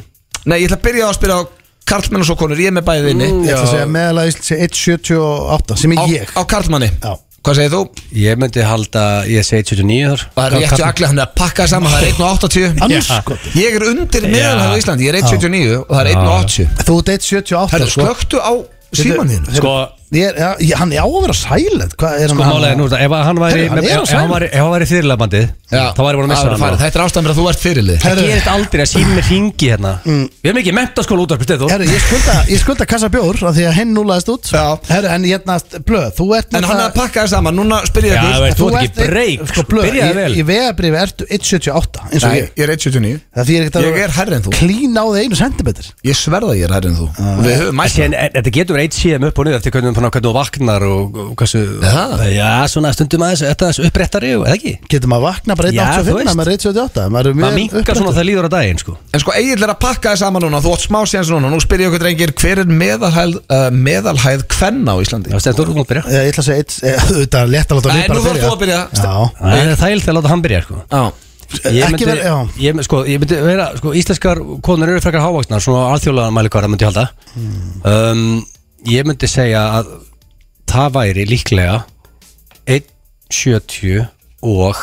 Speaker 1: Nei, ég ætla að byrja á að spyrja á Karlmann og svo konur Ég er með bæðið inni
Speaker 2: ég ætla að segja meðalega Ísland sé 1.78 sem
Speaker 1: á,
Speaker 2: er ég
Speaker 1: á Karlmanni
Speaker 2: Já.
Speaker 1: Hvað segir þú?
Speaker 3: Ég myndi halda, ég segi 79 þar
Speaker 1: Það er rétt hjá allir, hann er að pakka það saman Það er 1.80
Speaker 2: Andskotinn.
Speaker 1: Ég er undir meðalhæð á Íslandi Ég er 1.79 og það er 1.80
Speaker 2: þú ert 1.78
Speaker 1: Herru,
Speaker 2: sko.
Speaker 1: slöktu á símaninn
Speaker 3: Sko,
Speaker 2: Ég er- já, ég- hann er á að vera sælet hvað er
Speaker 3: sko
Speaker 2: hann
Speaker 3: málega nú, ef hann væri
Speaker 2: Herru, hann er á
Speaker 3: ef hann
Speaker 2: svæðinu.
Speaker 3: væri- ef hann væri fyrirlega bandið þá væri búin að missa hann sko.
Speaker 1: Þetta er ástæðan fyrir að þú ert fyrirlið
Speaker 3: Það
Speaker 2: Herru.
Speaker 3: gerist aldrei að símir ringi hérna Við erum ekki mentaskóla útvarpið Steindór.
Speaker 2: Herru, ég skulda, ég skulda kassa bjór af því að hinn núlaðist út
Speaker 1: Já.
Speaker 2: Herru, en hérna, blöð, þú ert
Speaker 1: En hann er að
Speaker 2: náttúrulega-
Speaker 1: pakka það saman, núna spyr ég
Speaker 3: Já,
Speaker 1: ykkur
Speaker 3: veit, þú ert ekki breyk
Speaker 2: sko, blöð,
Speaker 3: Byrjaði
Speaker 2: Ég,
Speaker 3: vel
Speaker 2: ég vegabrifi ertu 1.78 eins og
Speaker 1: Nei,
Speaker 2: ég
Speaker 1: ég er 1.79
Speaker 2: Það því er ekki
Speaker 1: Ég er hærri en þú.
Speaker 2: Klín á þig einu sentimeter
Speaker 1: Ég sverða ég er hærri en þú Og Við höfum
Speaker 3: En
Speaker 1: mætt
Speaker 3: síðan, en- Þetta getur verið eitt síðan upp og niður eftir hvernig, hvernig, hvernig þú vaknar og, og hversu
Speaker 1: Já.
Speaker 3: Já, svona stundum aðeins Þetta er upprettari, eða ekki?
Speaker 2: Getur maður vakna bara
Speaker 3: Já,
Speaker 2: 1.85
Speaker 3: þú veist.
Speaker 2: en maður er 1.78 Maður er
Speaker 3: Maður
Speaker 2: mjög
Speaker 3: minkar svona
Speaker 2: uppréttur.
Speaker 3: það líður á daginn sko.
Speaker 1: En sko Egil er að pakka það saman núna Þú átt smá séns núna Nú spyr ég okkur drengir Hver er meðalhæð, uh, meðalhæð kvenna á Íslandi?
Speaker 3: Já, Stendur, þú mátt byrja
Speaker 2: Ég ætla að segja, eitt- eh, þetta er létt að láta
Speaker 1: Nei,
Speaker 2: mig bara
Speaker 1: nú þarf þú að byrja
Speaker 2: Já
Speaker 3: Það er þægilt að láta hann byrja sko.
Speaker 1: Já
Speaker 3: Ég
Speaker 2: Ekki
Speaker 3: myndi,
Speaker 2: verið- já.
Speaker 3: ég, sko, ég myndi vera, sko, íslenskar konur eru frekar hávaksnar, svona alþjóðlega mælikvarða myndi ég halda um, ég myndi segja að það væri líklega 1.70 og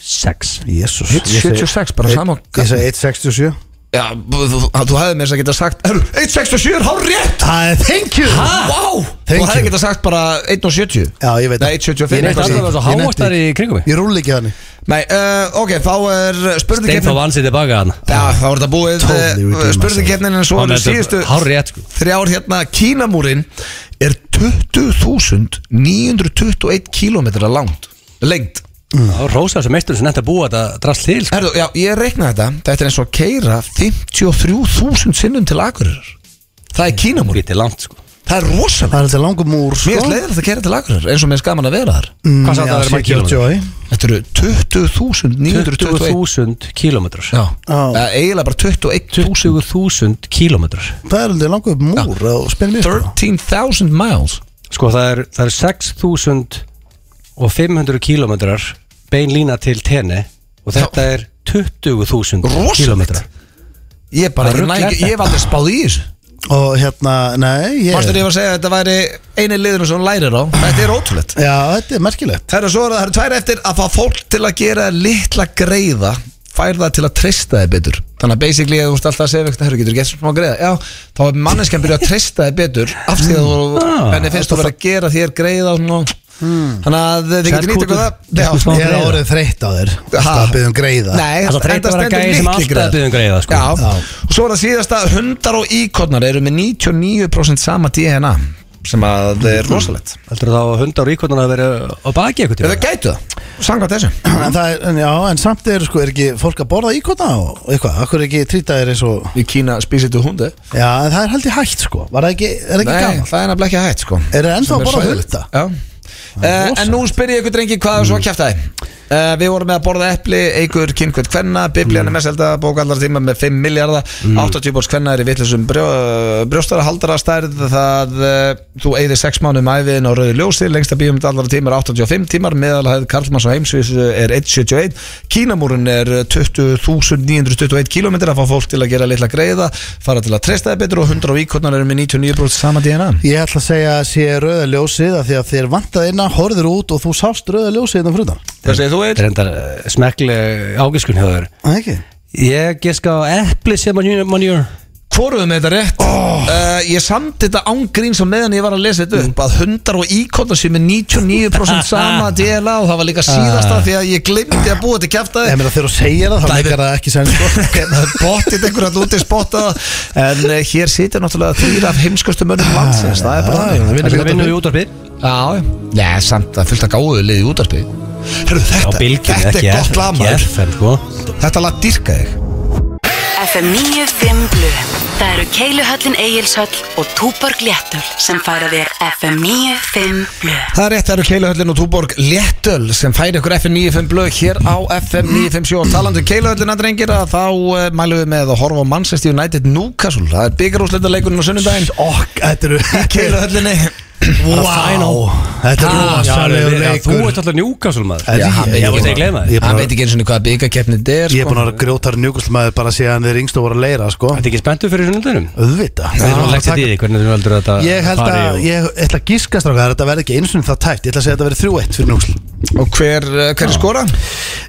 Speaker 3: 6
Speaker 2: Jésús
Speaker 1: 1.76, bara sama og-
Speaker 2: Ég segi 1.67
Speaker 1: Já, þú, þú, þú hefði mér þess að geta sagt Herru, 1.67 er hár rétt
Speaker 2: Það er thank you
Speaker 1: Wow
Speaker 2: Thank
Speaker 1: Þú hefði
Speaker 2: you.
Speaker 1: geta sagt bara 1.70
Speaker 2: Já, ég veit
Speaker 1: Nei,
Speaker 3: Ég
Speaker 1: 1.75
Speaker 3: nefndi
Speaker 1: eitthvað
Speaker 3: alltaf
Speaker 1: slíkt.
Speaker 3: að það var
Speaker 2: Ég
Speaker 3: svo
Speaker 2: nefndi-
Speaker 3: hávaksnar í kringum mig
Speaker 2: Ég rúli ekki þannig
Speaker 1: Nei, uh, ok, þá er
Speaker 3: Steinn þá
Speaker 1: spurningkeppnin
Speaker 3: vann sér tilbaka hann
Speaker 1: Já, þá er þetta búið
Speaker 2: Totally redeem myself.
Speaker 1: Spurningkeppnin en svo
Speaker 3: Hann
Speaker 1: eru
Speaker 3: er
Speaker 1: síðustu
Speaker 3: hár rétt sko.
Speaker 1: þrjár hérna Kínamúrin er 20.921 kílómetra langt lengt
Speaker 3: þá rósa þessu meistur sem nefndi að búa þetta drast til sko.
Speaker 1: Herðu, já, ég reikna þetta þetta er eins og að keira 53.000 sinnum til Akureyrar það er Kínamúrin
Speaker 3: Lítið langt sko.
Speaker 1: Það er rosalega
Speaker 2: Það er alltaf langur múr sko
Speaker 1: Mér er leiðilegt að kera til Akureyrar eins og mér er skaman að vera þar
Speaker 2: Mm,
Speaker 3: Hvað
Speaker 2: já,
Speaker 3: sagði það að vera margir
Speaker 2: 70 og 80.
Speaker 1: Þetta eru 20.921
Speaker 3: 20.000 kílómetrar
Speaker 1: Já,
Speaker 2: Já.
Speaker 1: Það er eiginlega bara 21.000
Speaker 3: 20.000 kílómetrar
Speaker 2: Það er alltaf langur múr á spinnum
Speaker 1: 13.000 miles
Speaker 3: Sko það er, það er 6.500 kílómetrar bein lína til tenni og þetta er 20.000
Speaker 1: Rosalegt.
Speaker 3: kílómetrar
Speaker 1: Ég bara,
Speaker 3: Það
Speaker 1: ég,
Speaker 3: ruglar
Speaker 1: næg,
Speaker 3: þetta.
Speaker 1: ég hef aldrei spáð í þessu
Speaker 2: Og hérna, nei ég,
Speaker 1: Mástur ég var að segja að þetta væri eini liðinu sem hún lærir á Þetta er ótrúlegt
Speaker 2: Já, þetta er merkilegt
Speaker 1: Það er svo að það eru tvær eftir að fá fólk til að gera þér litla greiða fær það til að treysta þið betur þannig að basically að þú veist alltaf að segja eitthvað herru getur gett smá greiða, já, þá er manneskjan byrjuð að treysta þið betur af því að þú
Speaker 3: Ah. Hmm.
Speaker 1: henni finnst þú verið að gera þér greiða og svona, þannig að þið getur nýtt eitthvað það
Speaker 3: Sælkútur.
Speaker 1: Já.
Speaker 2: Ég er orðið þreytt á þér
Speaker 1: Ha.
Speaker 2: Það
Speaker 3: um
Speaker 2: byrðum um greiða
Speaker 1: Nei,
Speaker 3: Það er svo þreytt
Speaker 1: enda
Speaker 3: að vera
Speaker 1: stendur
Speaker 3: gæi sem
Speaker 1: litli
Speaker 3: alltaf biðja um greiða, sko.
Speaker 1: Já.
Speaker 2: Já.
Speaker 1: og svo er það síðasta hundar og íkornar eru með 99% sama DNA sem að það er rosalegt
Speaker 3: Heldur þá að hundar og íkvotnar að vera á baki eitthvað
Speaker 1: eða
Speaker 3: tíma?
Speaker 1: gætu það, samkvæmt þessu
Speaker 2: En það er, en já, en samt er, sko, er ekki fólk að borða íkona og eitthvað Akkur er ekki trýta þér eins og
Speaker 1: í Kína spísið til hundu
Speaker 2: Já, en það er haldið hægt, sko Var það ekki, er það ekki
Speaker 1: Nei,
Speaker 2: gaman?
Speaker 1: það er nefnilega ekki hægt sko
Speaker 2: Er það ennþá
Speaker 1: Sem
Speaker 2: að borða
Speaker 1: hræðilegt.
Speaker 2: hunda?
Speaker 1: Já Uh, en nú spyr ég ykkur drengi hvað er svo að kjæfta þið uh, Við vorum með að borða epli, eikur kynkvöld kvenna Biblian er mest held að bóka allar tíma með 5 miljardar 80 bórs kvenna er í vitlisum brjó, eh, brjóstara haldara stærð Það uh, þú eigðir 6 mánum æfiðin á rauðu ljósi Lengsta bíum allar tíma er 85 tímar Meðalhæð Karlmanns á heimsvís er 171 Kínamúrin er 20.921 km að fá fólk til að gera litla greiða Fara til að treysta þið betur og 100 á íkornar eru með 99 sama DNA
Speaker 2: Ég ætla að segja að sé rauða ljósið af því að þér vantaði innan, horður út og þú sást rauða ljósið hérna innan frutan
Speaker 1: Hvað segir þú
Speaker 3: Það
Speaker 1: Eil?
Speaker 3: er enda smekkleg ágiskun hjá þér
Speaker 2: Það ekki?
Speaker 3: Ég giska á epli sem manjur, manjur.
Speaker 1: Hvoruðum þetta rétt? Oh. Mm. ég samt þetta ángrín sem meðan ég var að lesa þetta upp að hundar og íkóta séu með 99% sama DLA og það var líka síðasta því að ég glemdi að búa þetta kjæftaði
Speaker 2: Ég meina þegar þú segir það, þá
Speaker 1: Dæmi-
Speaker 2: meikar það ekki senn sko.
Speaker 1: það er bóttið einhvern veginn út í spotta en eh, hér situr náttúrulega þrýra af heimskustu mönnum landsins það er bara
Speaker 2: Já,
Speaker 1: þannig
Speaker 2: já,
Speaker 3: Það vinnum við útarpið
Speaker 1: Já, já, Nei, samt að fylgta gáðu liði útarpi Herru,
Speaker 3: Á
Speaker 1: þetta,
Speaker 3: bylgjum
Speaker 1: þetta er
Speaker 3: ekki
Speaker 1: gott
Speaker 3: F-
Speaker 1: lag,
Speaker 3: ekki
Speaker 1: maður.
Speaker 3: FM sko
Speaker 1: Þetta lag dyrka þig
Speaker 6: FM 95 Blu Það eru Keiluhöllin Egilshöll og Túborg Léttöl sem færa þér FM 95 Blu
Speaker 1: Það er rétt, það eru Keilahöllin og Túborg Léttöl sem færi okkur FM 95 blöð hér á FM 957 og talandi um Keilahöllina drengir að þá uh, mælum við með að horfa á Manchester United Newcastle það er byggarúsleta leikurinn á sunnudaginn
Speaker 2: Okk, þetta eru
Speaker 1: í Keilahöllinni
Speaker 2: Wow, þetta eru
Speaker 3: Ah, já,
Speaker 2: rosalegur
Speaker 3: já, Þú
Speaker 2: leikur
Speaker 3: ert sko. alltaf njúkassul maður
Speaker 2: Þetta-
Speaker 1: Já, hann
Speaker 2: ég-
Speaker 1: veit
Speaker 3: Ég var
Speaker 1: ekki
Speaker 3: að gleyma
Speaker 2: Ég
Speaker 3: þig
Speaker 2: er bara-
Speaker 1: hann veit ekki eins og hvað byggarkeppnið er
Speaker 2: Ég er
Speaker 1: sko.
Speaker 2: búin að vera grjótar njúkuslmaður bara síðan þeir yngstu voru að leira, sko
Speaker 3: Þetta er ekki spenntu fyrir sunnundunum
Speaker 2: Öðvita
Speaker 3: Við erum að leggja þetta í því, hvernig þú heldur að þetta
Speaker 2: Ég held
Speaker 3: fari
Speaker 2: að,
Speaker 3: og-
Speaker 2: ég ætla að gíska strákar Þetta verði ekki eins og það tætt Ég ætla að segja að þetta verði 3-1 fyrir njúksl
Speaker 1: og hver, uh, hver skora?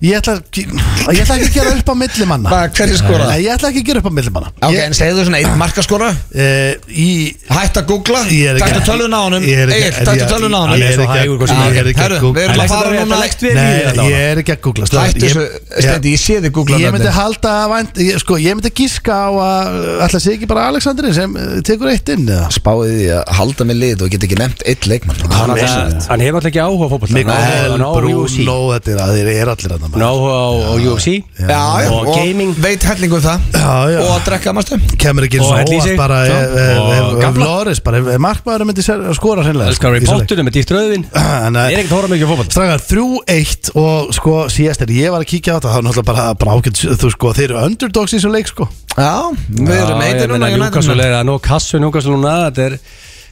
Speaker 2: Ég ætla, að- ég ætla ekki að gera upp á milli manna
Speaker 1: Hvað, hver skora?
Speaker 2: Nei, ég ætla ekki að gera upp á milli manna
Speaker 1: ok,
Speaker 2: ég,
Speaker 1: en segðu svona einn markaskora
Speaker 2: eh, í,
Speaker 1: hætt að googla,
Speaker 2: Ég er
Speaker 1: taktu
Speaker 2: ekki-
Speaker 1: tölun á honum
Speaker 2: Ég er ekki-
Speaker 1: Egil, taktu
Speaker 2: ég-
Speaker 1: tölun á
Speaker 2: ég-
Speaker 1: honum
Speaker 2: ég-
Speaker 3: Svo
Speaker 2: ekki að-
Speaker 3: hægur hvað sem
Speaker 1: Ah,
Speaker 2: ég
Speaker 3: er
Speaker 2: er ekki að
Speaker 1: herru,
Speaker 2: googla.
Speaker 1: við erum að
Speaker 3: Ætla
Speaker 1: fara
Speaker 3: þetta
Speaker 1: núna
Speaker 3: að leggst við í
Speaker 2: Nei,
Speaker 3: þetta
Speaker 2: ég er ekki að googla strákar.
Speaker 1: Hættu
Speaker 2: Ég-
Speaker 1: þessu, stendi, ég sé þig googla
Speaker 2: Ég myndi
Speaker 1: nöfnin.
Speaker 2: halda að vænt, ég, sko, ég myndi gíska á að ætla sé ekki bara Alexanderin sem eh, tekur eitt inn eða?
Speaker 1: spáði því að halda með lið og get ekki nefnt eitt leikmann
Speaker 3: Hann
Speaker 1: Hann er
Speaker 3: hann- hann hefur alltaf ekki áhuga á fótboll
Speaker 2: Mikael
Speaker 3: Hann á UFC
Speaker 2: Bruno, þetta er að þeir eru allir að
Speaker 3: Hann á áhuga á á UFC
Speaker 1: Já, já,
Speaker 3: Og gaming.
Speaker 1: veit hellingu um það
Speaker 2: Já, já.
Speaker 1: og að drekka mastu
Speaker 2: kemur ekki eins
Speaker 3: Og
Speaker 2: og
Speaker 3: Hellísi,
Speaker 2: óvart bara ef-
Speaker 3: já.
Speaker 2: ef-
Speaker 3: Og
Speaker 2: ef- ef
Speaker 3: Gamla.
Speaker 2: Loris bara, ef- ef markmaður myndi ser- skora hreinlega sko,
Speaker 3: Elskar Harry Potter með dýft rauðvin Ég er ekkert að hóra mikið á fótboll
Speaker 2: Strangar, 3-1 og sko síðast er ég var að kíkja á þetta þá er náttúrulega bara, bara ágætt þú sko, þeir eru underdogs í þessum leik sko
Speaker 1: Já, við erum
Speaker 3: Já, ég
Speaker 1: eitir
Speaker 3: meina
Speaker 1: núna
Speaker 3: Newcastle
Speaker 1: United
Speaker 3: er að ná kassu Newcastle núna Þetta er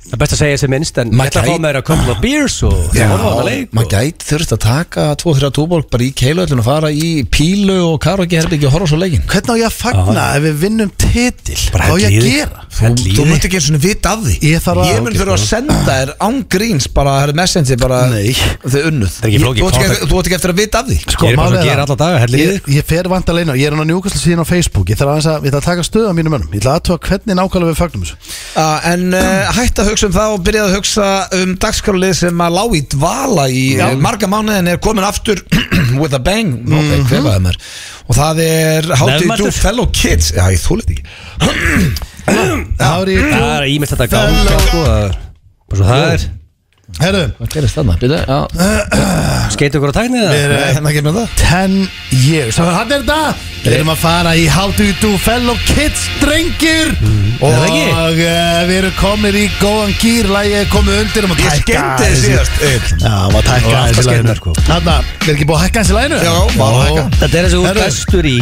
Speaker 3: það er best að segja sem minnst En ég
Speaker 1: Maður
Speaker 3: ætla að
Speaker 1: gæti-
Speaker 3: fá með þér að couple of beers Og
Speaker 1: Já,
Speaker 3: horfa á þetta leik sko.
Speaker 1: maður
Speaker 3: og-
Speaker 1: gæti þurft að taka 2-3 túborg bara í keilöðlun og fara í pílu og karokki herbyggi og horfa svo leikin
Speaker 2: hvernig á ég að fagna ef við vinnum titil
Speaker 3: Bara
Speaker 2: hvað á ég að
Speaker 3: hellið.
Speaker 2: gera
Speaker 1: Þú,
Speaker 3: Hell í
Speaker 1: þú
Speaker 3: þig.
Speaker 1: möttu ekki eins og vita af því
Speaker 2: Ég þarf að-
Speaker 1: Ég mun
Speaker 2: ok,
Speaker 1: þurfa að senda þér ángríns bara að herra messenger bara
Speaker 2: Nei.
Speaker 1: þau unnuð
Speaker 3: er ekki flókið.
Speaker 1: Þú átt ekki- þú átt ekki eftir að vita af því
Speaker 3: Ég er bara
Speaker 2: málið
Speaker 3: að
Speaker 2: er
Speaker 3: gera
Speaker 2: það-
Speaker 3: alla daga, hellið í
Speaker 2: Ég, ég fer vant að leina, ég er hann á njúkastlega síðan á Facebook Ég þarf aðeins að, ég þarf að taka stöðu á mínum önum Ég ætla aðtúa hvernig nákvæmlega við fagnum þessu
Speaker 1: Uh, en uh, hætt að hugsa um það og byrjaði að hugsa um dagskrálið sem að lág í dvala í Já. marga mánuði en er komin aftur with a bang okay, hver var það maður? og það er How do you do
Speaker 3: Nefnmæltur.
Speaker 1: fellow kids Já, ég þúlið ekki
Speaker 2: Ári,
Speaker 3: Það er ímest þetta gáð sko, að- bara svo Það er
Speaker 2: Herru,
Speaker 1: Hvað gerist þarna? Býtu, já
Speaker 3: Skeitu ykkur á tæknið það?
Speaker 2: við
Speaker 1: Nei,
Speaker 2: erum
Speaker 1: hérna kemur það
Speaker 2: 10 years Svo hann er það Við erum að fara í How do you do fellow kids drengir Og
Speaker 3: Mm. Er það ekki?
Speaker 2: uh, við erum komin í góðan gýr Lægið er komið undir um að
Speaker 1: Ég skemmti þið síðast Egill.
Speaker 2: Já, maður tækka
Speaker 3: Og alltaf
Speaker 2: aðeins í læginu
Speaker 3: skemmtilegt, sko.
Speaker 2: Þarna, er ekki búið að hækka aðeins í læginu?
Speaker 1: Já, bara að hækka.
Speaker 3: Þetta er þessi út
Speaker 2: Herru.
Speaker 3: bestur í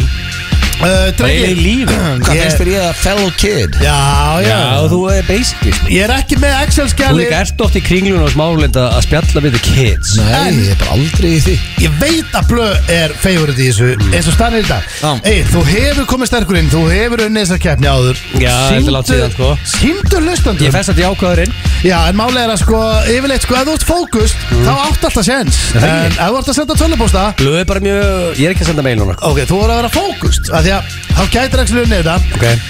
Speaker 2: Uh,
Speaker 3: Reynir
Speaker 2: drengir
Speaker 3: lífi
Speaker 1: Hvað finnst þér ég að fellow kid?
Speaker 2: Já, já,
Speaker 3: Já, þú er basically sko.
Speaker 2: Ég er ekki með
Speaker 3: Þú
Speaker 2: Excel-skjali
Speaker 3: líka ert oft í kringlun og smálenda að spjalla við the kids
Speaker 1: Nei,
Speaker 2: En-
Speaker 1: ég er bara aldrei í því
Speaker 2: Ég veit að blöð er favorite í þessu
Speaker 3: Mm.
Speaker 2: eins og stannir í dag
Speaker 1: Já.
Speaker 2: Ey, þú hefur komið sterkur inn, þú hefur unnið þessar keppni áður
Speaker 3: Já, þetta er langt síðan, sko.
Speaker 2: Sýndu
Speaker 3: Ég
Speaker 2: hlustandum
Speaker 3: fæst þetta í ákvæðurinn
Speaker 2: Já, en málega er að sko, yfirleitt sko, ef þú ert fókust, þá átt alltaf séns
Speaker 3: Er Mm. það
Speaker 2: En
Speaker 3: ekki?
Speaker 2: ef þú ert að senda tölvupósta
Speaker 3: Blöð er bara mjög, ég er ekki að senda mail núna
Speaker 2: Ok, þú voru að vera fókust af Því að þá gætir ekki unnið þetta
Speaker 3: Ok Mm.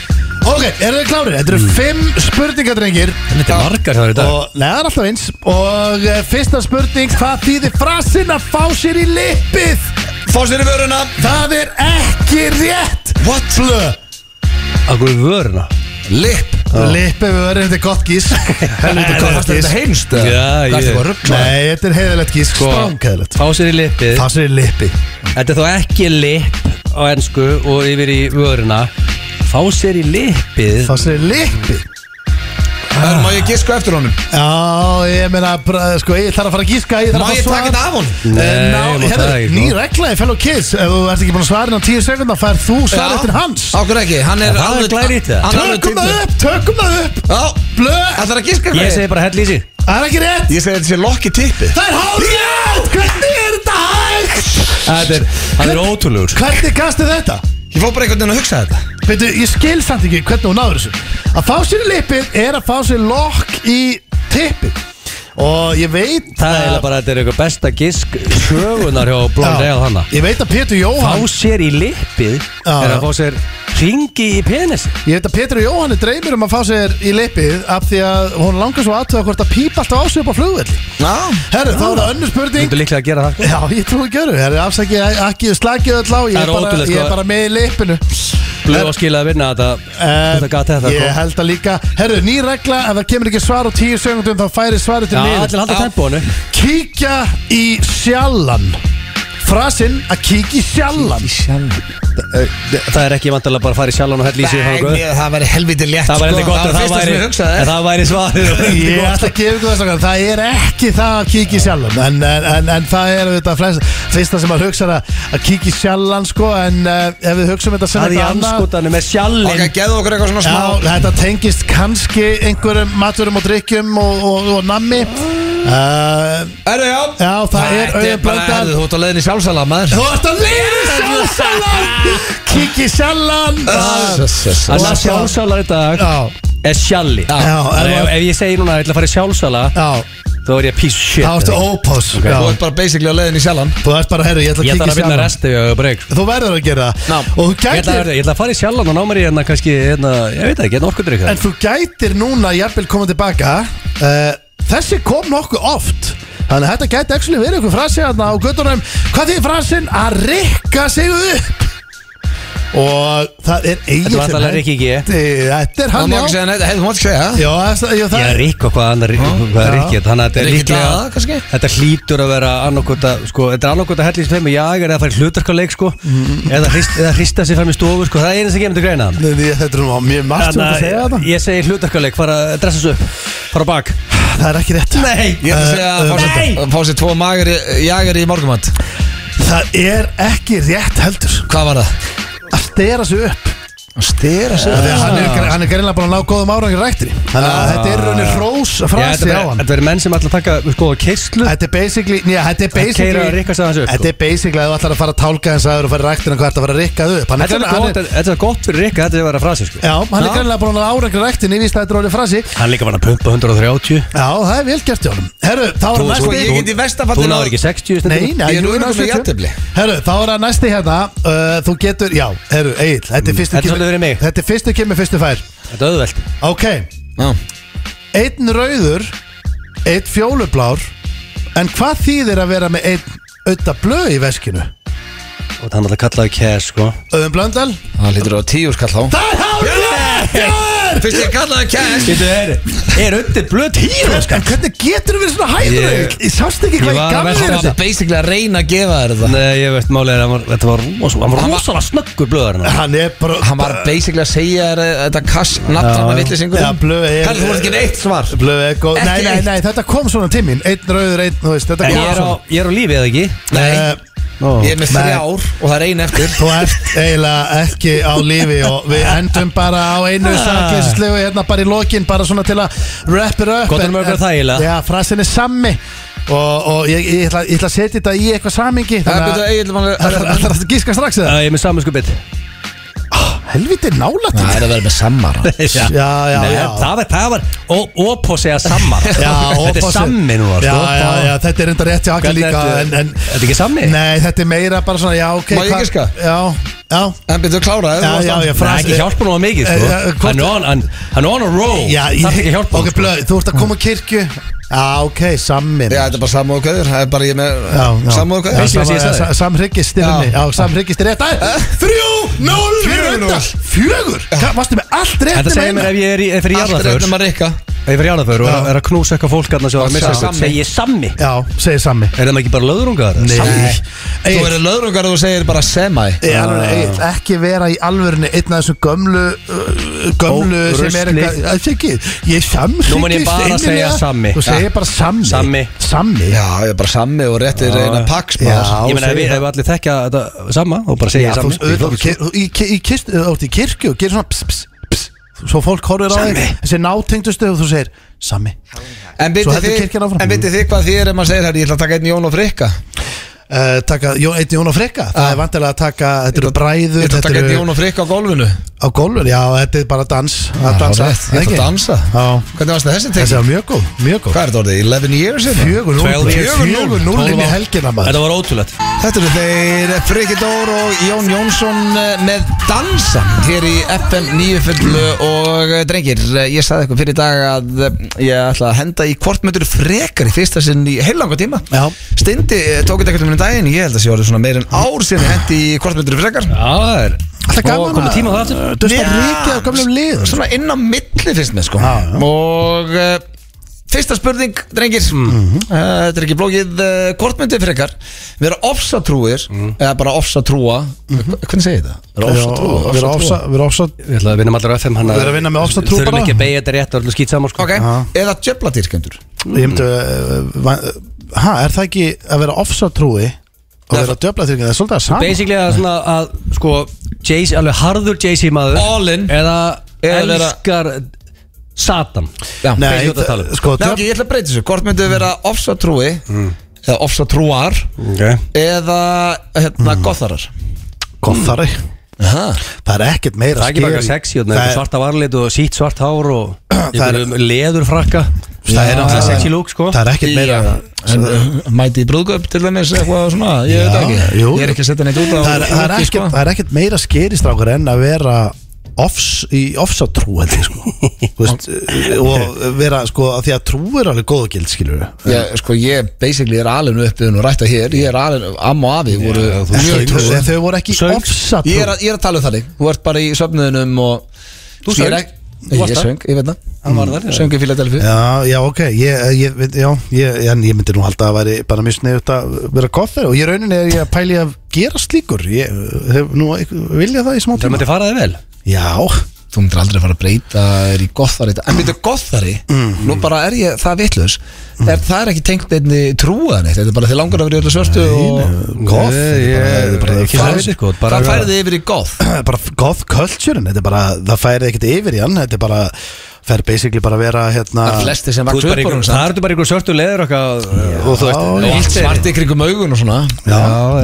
Speaker 2: Ok, eru þið klárir? Þetta eru fimm spurningar, drengir
Speaker 3: Þetta er margar hjá þér í dag
Speaker 2: Og neðan alltaf eins Og eh, fyrsta spurning, hvað þýðir frasinn að fá sér í lippið?
Speaker 1: Fá sér í vöruna
Speaker 2: Það er ekki rétt
Speaker 1: What?
Speaker 2: Blö
Speaker 3: Akkur við vöruna
Speaker 1: Lip
Speaker 2: Lippið við verðum þetta er gott gís Helviti
Speaker 1: Hvað
Speaker 2: gott
Speaker 1: fannst þér
Speaker 2: gís
Speaker 1: þetta heimst?
Speaker 3: Já,
Speaker 1: ég Hvað
Speaker 3: ég-
Speaker 1: er þetta ruggla?
Speaker 2: Nei, þetta er heiðalegt gís
Speaker 3: Sko,
Speaker 2: Stránkæðilegt
Speaker 3: Fá sér í lipið
Speaker 2: Það sér lippi
Speaker 3: Þetta er þó ekki lip á ennsku og yfir í vöruna Fá sér í lipið
Speaker 2: Það sér lippi
Speaker 1: Má ég giska eftir honum?
Speaker 2: Já, ég meina bara, sko, ég þarf að fara að gíska Ég
Speaker 1: Má
Speaker 2: þarf að
Speaker 1: ég taka
Speaker 2: fara að
Speaker 1: þetta af honum?
Speaker 3: Nei,
Speaker 2: Eh,
Speaker 3: má
Speaker 2: ná,
Speaker 3: það
Speaker 2: hérna,
Speaker 3: ekki, sko.
Speaker 2: ný regla í Fellow Kids Ef þú ert ekki búin að svara hérna innan 10 sekundar fær þú svara eftir hans
Speaker 1: Ákveð ekki, hann er
Speaker 3: Það er glærið í þetta.
Speaker 1: hann er alveg
Speaker 2: Tökum það
Speaker 1: tilbúinn.
Speaker 2: upp, tökum það upp
Speaker 1: Já,
Speaker 2: Blöð,
Speaker 1: ætlar að giska
Speaker 3: Ég segi bara hell í sig
Speaker 2: það er ekki rétt
Speaker 1: Ég segi þetta sé lokk í tippi
Speaker 2: Það er hálfrétt, hvernig er þetta hægt?
Speaker 3: Þetta er, hann er ótrúlegur sko.
Speaker 2: Hvernig gastu þetta?
Speaker 1: Ég fór bara einhvern veginn að hugsa þetta
Speaker 2: Veitu, ég skil samt ekki hvernig hún náður þessu Að fá sér í lippið er að fá sér lokk í tippið Og ég veit
Speaker 3: Það er eiginlega bara, þetta er eitthvað besta gisk sögunar hjá Blond
Speaker 2: Já,
Speaker 3: Eil hanna
Speaker 2: Ég veit að Pétur
Speaker 3: Fá
Speaker 2: Jóhann
Speaker 3: sér í lipið er að fá sér ringi í penis
Speaker 2: Ég veit að Pétur Jóhann er dreymir um að fá sér í lippið Af því að hún langar svo aðtöða hvort að pípa alltaf á sig upp á flugvelli
Speaker 1: Já
Speaker 2: Herru, þá er það önnur
Speaker 3: Þú
Speaker 2: spurning
Speaker 3: myndir líklega að gera það sko.
Speaker 2: Já, ég trúi ekki öru, herru, afsakið að- ekki slakið öll á Ég er
Speaker 3: Það er
Speaker 2: bara,
Speaker 3: ótrúlegt,
Speaker 2: ég er
Speaker 3: sko.
Speaker 2: bara með í lippinu
Speaker 3: Blöð og skilja að vinna þetta Þetta gat þetta
Speaker 2: Eh, Ég
Speaker 3: sko.
Speaker 2: held að líka Herru, ný regla, ef það kemur ekki svar á tíu segundum Þá færi svarið
Speaker 3: Já,
Speaker 2: til niður
Speaker 3: allir halda tempónu
Speaker 2: Kíkja í sjallan Frasinn að kíkja í sjallan
Speaker 3: Það er ekki vantilega bara að fara í sjallan og hell í sig
Speaker 1: Nei,
Speaker 3: þannig að-
Speaker 1: mér- það væri helviti létt
Speaker 3: Það var heldur
Speaker 1: sko.
Speaker 3: gott
Speaker 1: Það
Speaker 3: að
Speaker 1: var
Speaker 3: það
Speaker 1: fyrsta sem
Speaker 3: væri
Speaker 1: ég hugsaði
Speaker 3: að Það væri svarið
Speaker 2: Ég ætla að gefa ykkur þess að það er ekki það að kíkja í sjallan En, en, en, en það er þetta flest, fyrsta sem að hugsa að, að kíkja í sjallan sko En uh, ef við hugsaum þetta sem
Speaker 3: Það í
Speaker 2: eitthvað annað
Speaker 3: anskotanum með
Speaker 1: Ok,
Speaker 3: sjallin
Speaker 1: geðu okkur eitthvað svona
Speaker 2: Já,
Speaker 1: smá
Speaker 2: þetta tengist kannski einhverjum maturum og drikkjum og, og, og nammi uh,
Speaker 1: Erðu, já
Speaker 2: Já, það
Speaker 1: Þetta
Speaker 2: er auðvitað
Speaker 1: er bara,
Speaker 2: blöndal
Speaker 1: herðu, þú ert á leiðin í sjálfsala, maður
Speaker 2: Þú ert að leiða sjálfsalan Kikki sjallan
Speaker 1: Ah, s- s- s-
Speaker 2: Og
Speaker 3: Þannig að
Speaker 2: svo-
Speaker 3: sjálfsalar í dag
Speaker 2: Já,
Speaker 3: er sjalli
Speaker 2: Já,
Speaker 3: Þannig
Speaker 2: en
Speaker 3: að ef,
Speaker 2: það-
Speaker 3: ef ég segi núna að ég ætla að fara í sjálfsala
Speaker 2: já
Speaker 3: Þá er ég að písu shit
Speaker 2: Þá ertu ópás
Speaker 1: Þú
Speaker 2: já.
Speaker 1: ert bara basically á leiðin í sjálfan
Speaker 2: Þú ert bara, herru, ég ætla að
Speaker 3: Ég
Speaker 2: kikki
Speaker 3: ætla að vinna
Speaker 2: sjallan
Speaker 3: resti og breg
Speaker 2: Þú verður að gera það
Speaker 1: Ná.
Speaker 2: Og þú
Speaker 3: Ég ætla, að,
Speaker 2: gætir
Speaker 3: ég ætla að fara í sjallan og ná mér í hérna kannski, hérna, ég veit ekki, hérna orkudrykk
Speaker 2: En þú gætir núna jafnvel koma tilbaka uh, Þessi kom nokkuð oft Þannig að þetta gæti ekki verið ykkur frasi hérna á göttunum Hvað þýðir frasin að rikka sig upp Og það er eigin
Speaker 3: Þetta var alltaf Rikki G.
Speaker 2: Þetta er
Speaker 1: Það
Speaker 2: hann
Speaker 1: má ekki
Speaker 2: já
Speaker 1: segja neitt, hefðu mátt segja það.
Speaker 2: Já, það, já, það
Speaker 3: Ég er rík og hvað annar rík, hvað er
Speaker 2: já.
Speaker 3: rík Þannig að þetta er
Speaker 1: Rikki
Speaker 3: líklega
Speaker 1: Glaða, kannski?
Speaker 3: Þetta hlýtur að vera annarkota sko, Þetta er annarkota hellís fyrir mig jagar eða farið hlutarkaleik sko,
Speaker 2: Mhm.
Speaker 3: eða, hrist, eða hrista sig fram í stofu sko, Það er eins sem kemur til greina
Speaker 2: Nei, nei, Þetta er nú mjög margt sem þú ert að segja þetta
Speaker 3: að ég segi hlutarkaleik fara að dressa sig upp, fara á bak
Speaker 2: Það er ekki rétt
Speaker 3: Nei,
Speaker 1: Ég ætla að segja
Speaker 2: Eh,
Speaker 1: að fá sér- fá sér tvo magari, jagari í morgumatt
Speaker 2: Það er ekki rétt heldur
Speaker 1: Hvað var það?
Speaker 2: Að stera sig upp Ah.
Speaker 1: Að stera sig
Speaker 2: Af því að hann er, hann er greinlega búin að ná góðum árangir rættir Þannig að Ah. þetta er raunir hrós
Speaker 3: þetta
Speaker 2: frasi á
Speaker 3: verður-
Speaker 2: hann
Speaker 3: þetta verður menn sem ætla að taka sko, keislu
Speaker 2: Þetta er basically Nýja, þetta er
Speaker 3: að keira að
Speaker 2: basically
Speaker 3: ríkast aðeins upp
Speaker 2: Þetta
Speaker 3: sko.
Speaker 2: er basically að þú ætlar að fara að tálka hans aður og fara í rættina hvað ertu að fara að rikkað upp Hann er,
Speaker 3: Þetta er
Speaker 2: hann
Speaker 3: gott-
Speaker 2: er,
Speaker 3: Þetta er gott fyrir ríka, þetta er að vera frasi sko.
Speaker 2: Já, hann er greinlega búin að ná árangir rættin Í víst að þetta er orðið frasi Já,
Speaker 3: Hann er líka var að pumpa 130
Speaker 2: það er vel gert hjá honum Herru, þá er
Speaker 3: Þú-
Speaker 1: Sko,
Speaker 2: næsti
Speaker 1: ég get í
Speaker 3: Þú
Speaker 1: vestafallin
Speaker 3: náður ekki 60
Speaker 2: Nei, nei,
Speaker 1: Ég er nú
Speaker 2: jú,
Speaker 1: örugglega
Speaker 2: næstu
Speaker 1: með
Speaker 2: tjö-
Speaker 1: jafntefli.
Speaker 2: Herru, þá er það næsti hérna uh, Þú getur, já, herru, Egil Mm, Þetta er fyrstu
Speaker 3: Þetta er svolítið fyrir mig.
Speaker 2: Þetta er fyrstu kemur, fyrstu fær
Speaker 3: Þetta er auðvelt
Speaker 2: Ok, einn rauður Einn fjólublár En hvað þýðir að vera með einn Ötta blöð í veskinu
Speaker 3: Og þannig að það kallaði cash sko
Speaker 2: Öðum Blöndal
Speaker 1: Það lítur á tíu skall þá
Speaker 2: Það er hálfrétt! er
Speaker 1: Fyrst ég kallaði hann Cash
Speaker 3: Þetta er, er undir blöð hýró
Speaker 2: En hvernig getur við svona hæður
Speaker 3: Ég-
Speaker 2: Ég sást ekki
Speaker 3: Ég
Speaker 2: hvað
Speaker 3: var
Speaker 2: ég
Speaker 3: að
Speaker 2: gaf
Speaker 3: velta
Speaker 2: þér
Speaker 3: fyrir
Speaker 1: Það
Speaker 2: þetta
Speaker 1: var basically að reyna að gefa þér það
Speaker 3: Nei, ég veit málega að hann var- þetta var rosalega Hann var rosalega snöggur blöðarinn
Speaker 2: Hann er bara
Speaker 1: Hann var basically að segja þér eh, þetta Cash Natt hann að vitlisingur
Speaker 2: Já, blöð er-
Speaker 1: Kallir þú voru ekki neitt svar
Speaker 2: Blöð er góð Nei,
Speaker 1: Ekki
Speaker 2: nei,
Speaker 1: eitt.
Speaker 2: nei, þetta kom svona til mín Einn rauður, einn, þú veist Þetta
Speaker 3: En
Speaker 2: kom
Speaker 3: ég er, á,
Speaker 2: svona
Speaker 3: ég er á lífi eða ekki
Speaker 1: Nei,
Speaker 2: Eh,
Speaker 3: Ó.
Speaker 1: ég er með
Speaker 2: Nei.
Speaker 1: þrjár og það er ein eftir
Speaker 2: Þú ert eiginlega ekki á lífi og við endum bara á einu sakleysislegu hérna bara í lokin bara svona til að wrap it up
Speaker 3: Gott
Speaker 2: En-
Speaker 3: er mörgur
Speaker 2: en-
Speaker 3: það eiginlega.
Speaker 2: Já, frasin er sammi og, og ég, ég, ætla, ég ætla að setja þetta í eitthvað samingi
Speaker 1: Það er betur Egil man-
Speaker 2: Það er alltaf að gíska strax eða?
Speaker 3: Já, Ég er með samvinsku bit
Speaker 2: Helviti nálætt
Speaker 1: Það er að vera með sammara
Speaker 3: Já,
Speaker 2: Já, já,
Speaker 3: Nei,
Speaker 2: já.
Speaker 3: Það var, það var ópósi að samma
Speaker 2: Já,
Speaker 3: Þetta er
Speaker 2: opposite.
Speaker 3: sammi nú
Speaker 2: Já,
Speaker 3: sko.
Speaker 2: já, já, þetta er enda rétt hjá Akki
Speaker 3: Hvernig
Speaker 2: líka
Speaker 3: ertu-
Speaker 2: en, en,
Speaker 3: Þetta er ekki sammi?
Speaker 2: Nei, þetta er meira bara svona, já, ok
Speaker 1: Má ég
Speaker 2: hvað-
Speaker 1: giska?
Speaker 2: Já, já,
Speaker 1: En betur klára
Speaker 2: já, já, já,
Speaker 3: Það er
Speaker 2: frasin
Speaker 3: ekki hjálpa nú að mikið
Speaker 2: Eh,
Speaker 3: sko.
Speaker 2: eh, hvort-
Speaker 3: Hann er on- hann- hann er on a roll
Speaker 2: Já,
Speaker 3: Það
Speaker 2: ég,
Speaker 3: er ekki hjálpa
Speaker 2: ok,
Speaker 3: honum, sko.
Speaker 2: blöð, þú ert að koma á kirkju Já, ok, sammi
Speaker 1: Já, þetta er bara samúðu kveður Það er bara ég með samúðu
Speaker 2: Já,
Speaker 1: kveður
Speaker 3: Veistu hvað ég sagði?
Speaker 2: sam- Samhryggist yfir
Speaker 1: Já.
Speaker 2: mig Já, samhryggist rétt Það er Þrjú, nól,
Speaker 1: Fjögur, núll.
Speaker 2: fjögur Fjögur, Hvað, varstu með allt rétt
Speaker 3: Þetta segir mér ef ég er, í- er fyrir
Speaker 1: Allt er
Speaker 3: jarðaför
Speaker 1: eftir maður rikka
Speaker 3: Ef ég er fyrir jarðaför og er,
Speaker 2: Já.
Speaker 3: er að knúsa eitthvað fólk Þannig sem var að missa
Speaker 1: Sammi.
Speaker 3: eitthvað Segir sammi
Speaker 2: Já, segir sammi
Speaker 3: Er það ekki bara löðrungar?
Speaker 2: Sammi
Speaker 1: Þú
Speaker 2: Egill,
Speaker 1: verður Ah. löðrungar og þú segir bara semi
Speaker 2: Ég er alveg, Egill, ekki vera í alvörinu einn af þessum gömlu uh, gömlu
Speaker 3: Ó,
Speaker 2: sem er
Speaker 3: rusli.
Speaker 2: eitthvað Það er ekki, ég samhryggist
Speaker 3: Nú mun ég bara
Speaker 2: innilega.
Speaker 3: segja sammi. Ah.
Speaker 2: Þú segir bara sammi
Speaker 3: Sammi.
Speaker 2: Sammi
Speaker 1: Já, ég er bara sami og réttir eina paks maður.
Speaker 2: Já,
Speaker 3: Ég meina ef
Speaker 2: segir
Speaker 3: við ef allir þekkja þetta sama Og bara segja
Speaker 2: Já, þú
Speaker 3: sammi
Speaker 2: veist, auðvitað, þú ke- í- ke- í kist- þú ert í kirkju og gerir svona ps, ps, ps, svo fólk horfir á þig
Speaker 3: Sammi.
Speaker 2: þessi nátengdustu og þú segir sammi
Speaker 1: En
Speaker 2: Svo
Speaker 1: vitið
Speaker 2: heldur kirkjan áfram.
Speaker 1: þið- en vitið þið hvað þið er ef maður segir herri, ég ætla að taka einn Jón og Frikka
Speaker 2: uh, taka Jón, einn Jón og Frikka það er vantilega að taka, þetta eru
Speaker 1: Ég ætla
Speaker 2: bræður
Speaker 1: að
Speaker 2: þetta
Speaker 1: taka einn Jón
Speaker 2: eru
Speaker 1: og Frikka á golfinu
Speaker 2: á gólfur, já þetta er bara dans að
Speaker 1: Já,
Speaker 2: dansa,
Speaker 1: rétt, Ég ætla að dansa
Speaker 2: Já.
Speaker 1: Hvernig varst það þessi
Speaker 2: þessi
Speaker 1: tekið?
Speaker 2: var mjög góð, mjög góð
Speaker 1: Hvað er þetta orðið? 11 years hérna?
Speaker 2: fjögur núl,
Speaker 3: 12 years.
Speaker 2: fjögur núl inn í helgina maður
Speaker 3: Þetta var ótrúlegt
Speaker 1: Þetta eru þeir Friki Dór og Jón Jónsson eh, með dansa hér í FM 9.5 og eh, drengir, eh, ég sagði eitthvað fyrir í dag að eh, ég ætla að henda í kvortmöndur frekar í fyrsta sinn í heilanga tíma
Speaker 2: já,
Speaker 1: Steindi eh, tók þetta eitthvað um daginn, ég held að sé orðið svona meir en ár sinni hendi í kvortmöndur frekar
Speaker 3: Já, það er
Speaker 2: alltaf gaman
Speaker 3: komið tíma á það aftur.
Speaker 2: dösta ríkið á gamlum lið
Speaker 1: Svona inn á milli finnst mér sko
Speaker 2: Já, já.
Speaker 1: Og uh, fyrsta spurning, drengir
Speaker 2: Mhm.
Speaker 1: uh, Þetta er ekki blókið uh, Hvort myndið fyrir ykkar Vera ofsatrúir
Speaker 2: Mhm.
Speaker 1: Eða bara ofsatrúa Hvernig segir þetta? Vera ofsatrúa
Speaker 2: við erum ofsa við erum ofsa
Speaker 3: Við ætlum að vinna með allar á FM hann
Speaker 2: Við erum að vinna með ofsa trú
Speaker 3: Þurfum
Speaker 2: bara.
Speaker 3: ekki að beigja þetta rétt og öllu skýt saman sko
Speaker 1: Ok, eða djöflatýrkendur
Speaker 2: Ég myndi uh, Hæ, er það ekki að vera ofsatrúi og vera döbla þyrkja, það er svolítið að sama
Speaker 3: Basically að svona að sko Jay-Z, alveg harður Jay-Z maður
Speaker 1: All in.
Speaker 3: Eða
Speaker 1: Eða vera-
Speaker 3: elskar Satan
Speaker 1: Já, um.
Speaker 2: Nei,
Speaker 3: basically þetta talum.
Speaker 2: sko,
Speaker 1: Nei, ok,
Speaker 2: djöfla
Speaker 1: ég ætla að breyta þessu Hvort myndið vera ofsatrúi Eða ofsatrúar
Speaker 3: okay.
Speaker 1: Eða hérna
Speaker 2: Mhm.
Speaker 1: gotharar
Speaker 2: gothari
Speaker 1: Aha.
Speaker 2: Það er ekkert meira
Speaker 3: Það er ekki bara
Speaker 2: skeri.
Speaker 3: eitthvað sexy og
Speaker 2: Það er-
Speaker 3: svarta varlit og sítt svart hár og
Speaker 2: er-
Speaker 3: einhverjum leðurfrakka
Speaker 2: Það er
Speaker 3: náttúrulega
Speaker 2: náttúrulega-
Speaker 3: sexy look sko
Speaker 2: Það er ekkert meira
Speaker 1: Já. En, uh, Mæti í brúðgöp til dæmis eitthvað svona Ég veit
Speaker 2: Já,
Speaker 1: ekki
Speaker 2: jú.
Speaker 1: Ég er ekki að setja neitt út á
Speaker 2: Það er- það er
Speaker 1: úti, sko.
Speaker 2: ekkert- það er ekkert meira skeri strákur en að vera offs, í ofsatrú held ég sko Þú veist, og vera sko að því að trú er alveg góð og gild skilur við
Speaker 1: Já, sko, ég basically er alveg upp við hún og rætta hér, ég er alveg, amma og afi voru mjög
Speaker 2: En þau-
Speaker 1: trúið
Speaker 2: en þau voru ekki
Speaker 3: Söng.
Speaker 2: ofsatrú
Speaker 1: ég, er að- ég er að tala um þannig, þú ert bara í söfnuðunum og
Speaker 3: Þú
Speaker 1: Ég er
Speaker 3: söng.
Speaker 1: ekki-
Speaker 3: Þú varst
Speaker 1: Ég
Speaker 3: það.
Speaker 1: söng, ég veit það
Speaker 3: var
Speaker 2: Mm.
Speaker 3: þar, já.
Speaker 1: Söng í Philadelphia
Speaker 2: Já, já, ok, ég, ég, veit- já, ég, en ég myndi nú halda að væri bara mjög sniðut að vera koffir og ég raunin er ég að pæli að gera slíkur ég hef nú eitthvað- vilja það í smá
Speaker 3: Það
Speaker 2: tíma
Speaker 3: myndi fara þig vel
Speaker 2: Já,
Speaker 1: Þú myndir aldrei fara að breyta þér í gothari En myndir gothari,
Speaker 3: Mhm.
Speaker 1: nú bara er ég það vitlaus er, Það er ekki tengt einni trúan eitt Þetta er bara þið langar að vera í öllu svörtu og
Speaker 2: goth
Speaker 3: Ég
Speaker 2: þetta er bara-
Speaker 3: ekki
Speaker 2: það
Speaker 3: það
Speaker 2: er
Speaker 3: veitir sko bara-
Speaker 1: Það færði yfir í goth
Speaker 2: bara- bara goth culture þetta er bara, það færi ekkert yfir í hann þetta er bara, fer basically bara að vera
Speaker 1: Það er
Speaker 2: hérna,
Speaker 1: flesti sem
Speaker 3: Þú ert
Speaker 1: vaksu
Speaker 3: bara
Speaker 1: upp á
Speaker 3: einhver-
Speaker 1: hún
Speaker 3: Það ertu bara einhver svörtu leður og þú
Speaker 2: já,
Speaker 1: Og allt
Speaker 3: veist
Speaker 1: svart í kringum augun og svona
Speaker 2: Já,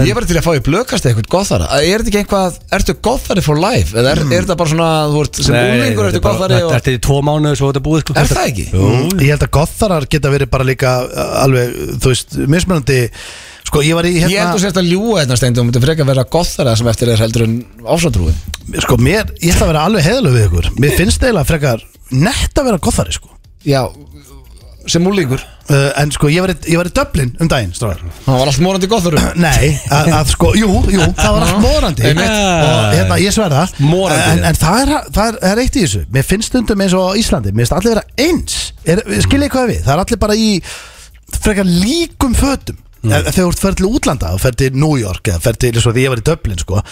Speaker 1: Ég var til að fá í blökast eitthvað gothara Að Er þetta ekki einhvað, ertu gothari for life Eða er, er þetta bara svona, þú ert sem úlingur Ertu gothari og
Speaker 3: Mm. Þetta er í tvo mánuð svo þetta er búið sko
Speaker 1: Er það ekki?
Speaker 2: Mm, ég held að gotharar geta verið bara líka uh, alveg, þú veist, mismunandi sko, ég var í
Speaker 3: Hérna-
Speaker 1: Ég held þú sérst að ljúga hérna, þetta steindi og myndi frekar vera gothara sem eftir er heldur en ofsatrúin
Speaker 2: sko, mér, ég ætla að vera alveg heðalög við ykkur mér finnst eiginlega frekar nett að vera gothari sko
Speaker 1: Já, sem úlingur
Speaker 2: uh, En sko, ég var í, ég var í Dublin um daginn strákar.
Speaker 1: Hann var allt morandi góður
Speaker 2: Nei, að, að sko, jú, jú, það var allt morandi
Speaker 1: Einmitt.
Speaker 2: Og hérna, ég sverða
Speaker 3: Morandi.
Speaker 2: En, en það, er, það er, er eitt í þessu Mér finnst stundum eins og á Íslandi Mér finnst allir vera eins er, Skiljið hvað við, það er allir bara í Frekar líkum fötum Ef- Ef þau ert ferð til útlanda og ferð til New York Eða ferð til, eins og því ég var í Dublin, sko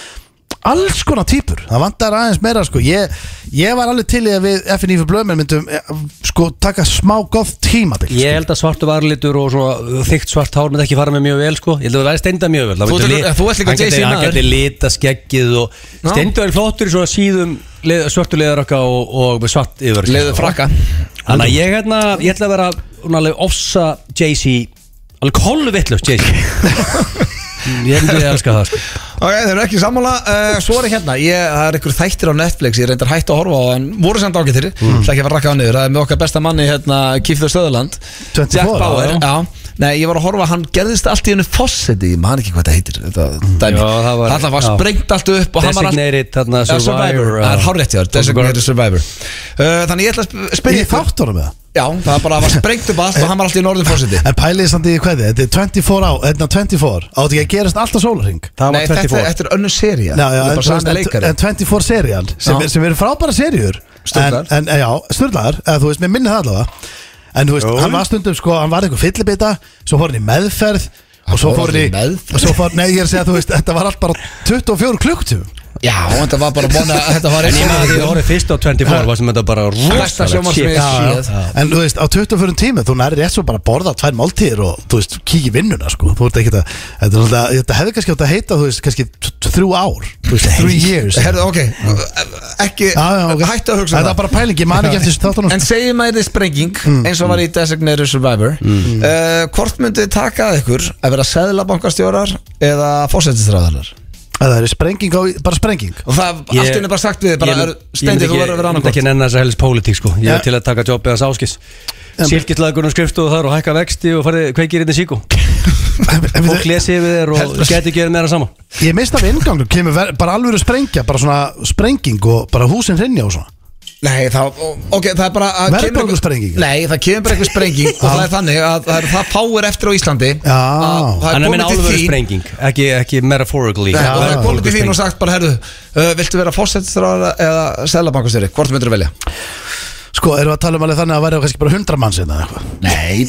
Speaker 2: Alls konar týpur, það vantar aðeins meira sko Ég, ég var alveg til í að við FNÍ fyrir blöðmenn myndum eh, sko taka smá góð tímabil
Speaker 3: Ég held að svartu varlitur og svona þygt svart hár myndi ekki fara með mjög vel sko Ég held að það væri steinda mjög vel Það
Speaker 1: Þú
Speaker 3: myndi
Speaker 1: tekur-
Speaker 3: lit-
Speaker 1: þú ert líka
Speaker 3: hann gæti-
Speaker 1: Jay-Z
Speaker 3: Hann
Speaker 1: maður.
Speaker 3: gæti lita skeggið og steinda er flottur í svona síðum leð, svörtu leðarökka og, og með svart yfir sko.
Speaker 1: Leðu frakka
Speaker 3: Þannig að ég, hérna, ég ætla að vera svona alveg ofsa Jay-Z Alveg kolvittlust Jay-Z Mm, Ég myndi að elska það sko.
Speaker 1: Ok, þeir eru ekki sammála uh, Svo er ég hérna, ég, það er ykkur þættir á Netflix Ég reyndar hægt að horfa á, en voru samt ágættir mm. Það ekki að fara að rakka á niður, það er með okkar besta manni hérna, Kýfður Stöðurland
Speaker 2: 24,
Speaker 1: Jack Bauer,
Speaker 2: já,
Speaker 1: já, Nei, ég var að horfa, hann gerðist allt í hennu fossetti Ég man ekki hvað þetta heitir þetta, dæmi.
Speaker 3: Mm. Já, það var-
Speaker 1: Þarna var
Speaker 3: já.
Speaker 1: sprengt allt upp og hann var allt-
Speaker 3: Designated þarna,
Speaker 1: Já, Survivor,
Speaker 3: Survivor
Speaker 1: það er hárrétt hjá þér, Designated Survivor Uh, Þannig ég ætla að sp- spyrja
Speaker 2: Ég
Speaker 1: ykkur-
Speaker 2: þátt honum með það
Speaker 1: Já, það bara var sprengt upp allt og hann var allt í norðin fósiti
Speaker 2: En pæliði samt í hvað þið, þetta er 24 á, hérna 24, átti ekki að gerast alltaf sólarhing
Speaker 3: Það
Speaker 1: Nei,
Speaker 3: var
Speaker 1: þetta,
Speaker 3: 24
Speaker 1: þetta er önnur seria
Speaker 2: Já, já,
Speaker 1: Þetta er
Speaker 2: en,
Speaker 1: bara sami
Speaker 2: en,
Speaker 1: leikari
Speaker 2: en 24 serían sem,
Speaker 1: Já.
Speaker 2: er- sem eru frábæra seríur
Speaker 1: Sturlaðar.
Speaker 2: En, en já, styrlaðar, eða þú veist, mér minni það allavega En þú veist, hann var stundum sko, hann var eitthvað fyllibita Svo fór hann í meðferð Og svo
Speaker 1: fór
Speaker 2: fór
Speaker 1: alveg
Speaker 2: hann í
Speaker 1: í meðferð?
Speaker 2: og svo fór, Nei, ég er að segja, þú veist, þetta var allt bara 24 klukktum
Speaker 1: Já, þetta var bara vona Þetta var
Speaker 3: En ég maður því að
Speaker 1: eitthvað
Speaker 3: horfði fyrst á 24 var sem þetta bara
Speaker 1: Besta
Speaker 3: rosalegt
Speaker 1: sjónvarp sem
Speaker 3: shit.
Speaker 1: ég
Speaker 3: Já, já.
Speaker 1: séð
Speaker 2: En þú veist, á 24 tími, þú næri rétt svo bara að borða tvær máltíðir og, þú veist, kíkja í vinnuna, sko Þú veist ekki að, þetta, er svolítið- þetta hefði kannski átt að heita, þú veist, kannski t- t- þrjú ár Þú veist, three years
Speaker 1: Herðu, ok, ekki
Speaker 2: Já, já, ok.
Speaker 1: Hættu að hugsa um
Speaker 2: Þetta er bara Mm. pæling, ég man ekki eftir þessu þáttunum sko.
Speaker 1: En segjum að þið sprenging eins og var í Designated Survivor mm. Hvort myndið þið taka að ykkur að vera seðlabankastjórar eða fósættistræðarar
Speaker 2: Það er sprenging á, bara sprenging
Speaker 1: og það
Speaker 3: Ég-
Speaker 1: allt henni bara sagt við þið, bara,
Speaker 3: Ég-
Speaker 1: er- Steindi
Speaker 3: ég myndi
Speaker 1: þú
Speaker 3: ekki-
Speaker 1: verður að vera
Speaker 3: Ég myndi ekki
Speaker 1: annarkort
Speaker 3: nennan þess að helst pólitík sko Ég
Speaker 2: Já.
Speaker 3: er til að taka jobbið hans áskis Silkislagunum skriftu þar og hækka vexti og farið kveikir inn í síku
Speaker 2: En- en
Speaker 3: Fólk
Speaker 2: við-
Speaker 3: lesi yfir þér og geti gerð meira saman
Speaker 2: Ég mist af ingangu, kemur ver, bara alveg að sprengja Bara svona sprenging og bara húsin hrinja og svona
Speaker 1: Nei, það, ok, það er bara að
Speaker 2: Verður
Speaker 1: kemur
Speaker 2: bara einhver sprenging?
Speaker 1: Nei, það kemur bara einhver sprenging og það er þannig að það, er, það fáir eftir á Íslandi
Speaker 2: Já.
Speaker 1: að það
Speaker 3: Þannig
Speaker 1: er
Speaker 3: að minna
Speaker 1: komið til
Speaker 3: alvöru
Speaker 1: því
Speaker 3: sprenging Ekki, ekki metaphorically
Speaker 1: Nei, og það er
Speaker 3: Alvöru
Speaker 1: komið til þín og
Speaker 3: sprenging.
Speaker 1: sagt bara, herðu, uh, viltu vera fósettisráðara eða selabankastjóri, hvort myndur þú velja?
Speaker 2: Sko, erum við að tala um alveg þannig að væri kannski bara 100 manns hérna eða eitthvað
Speaker 1: Nei,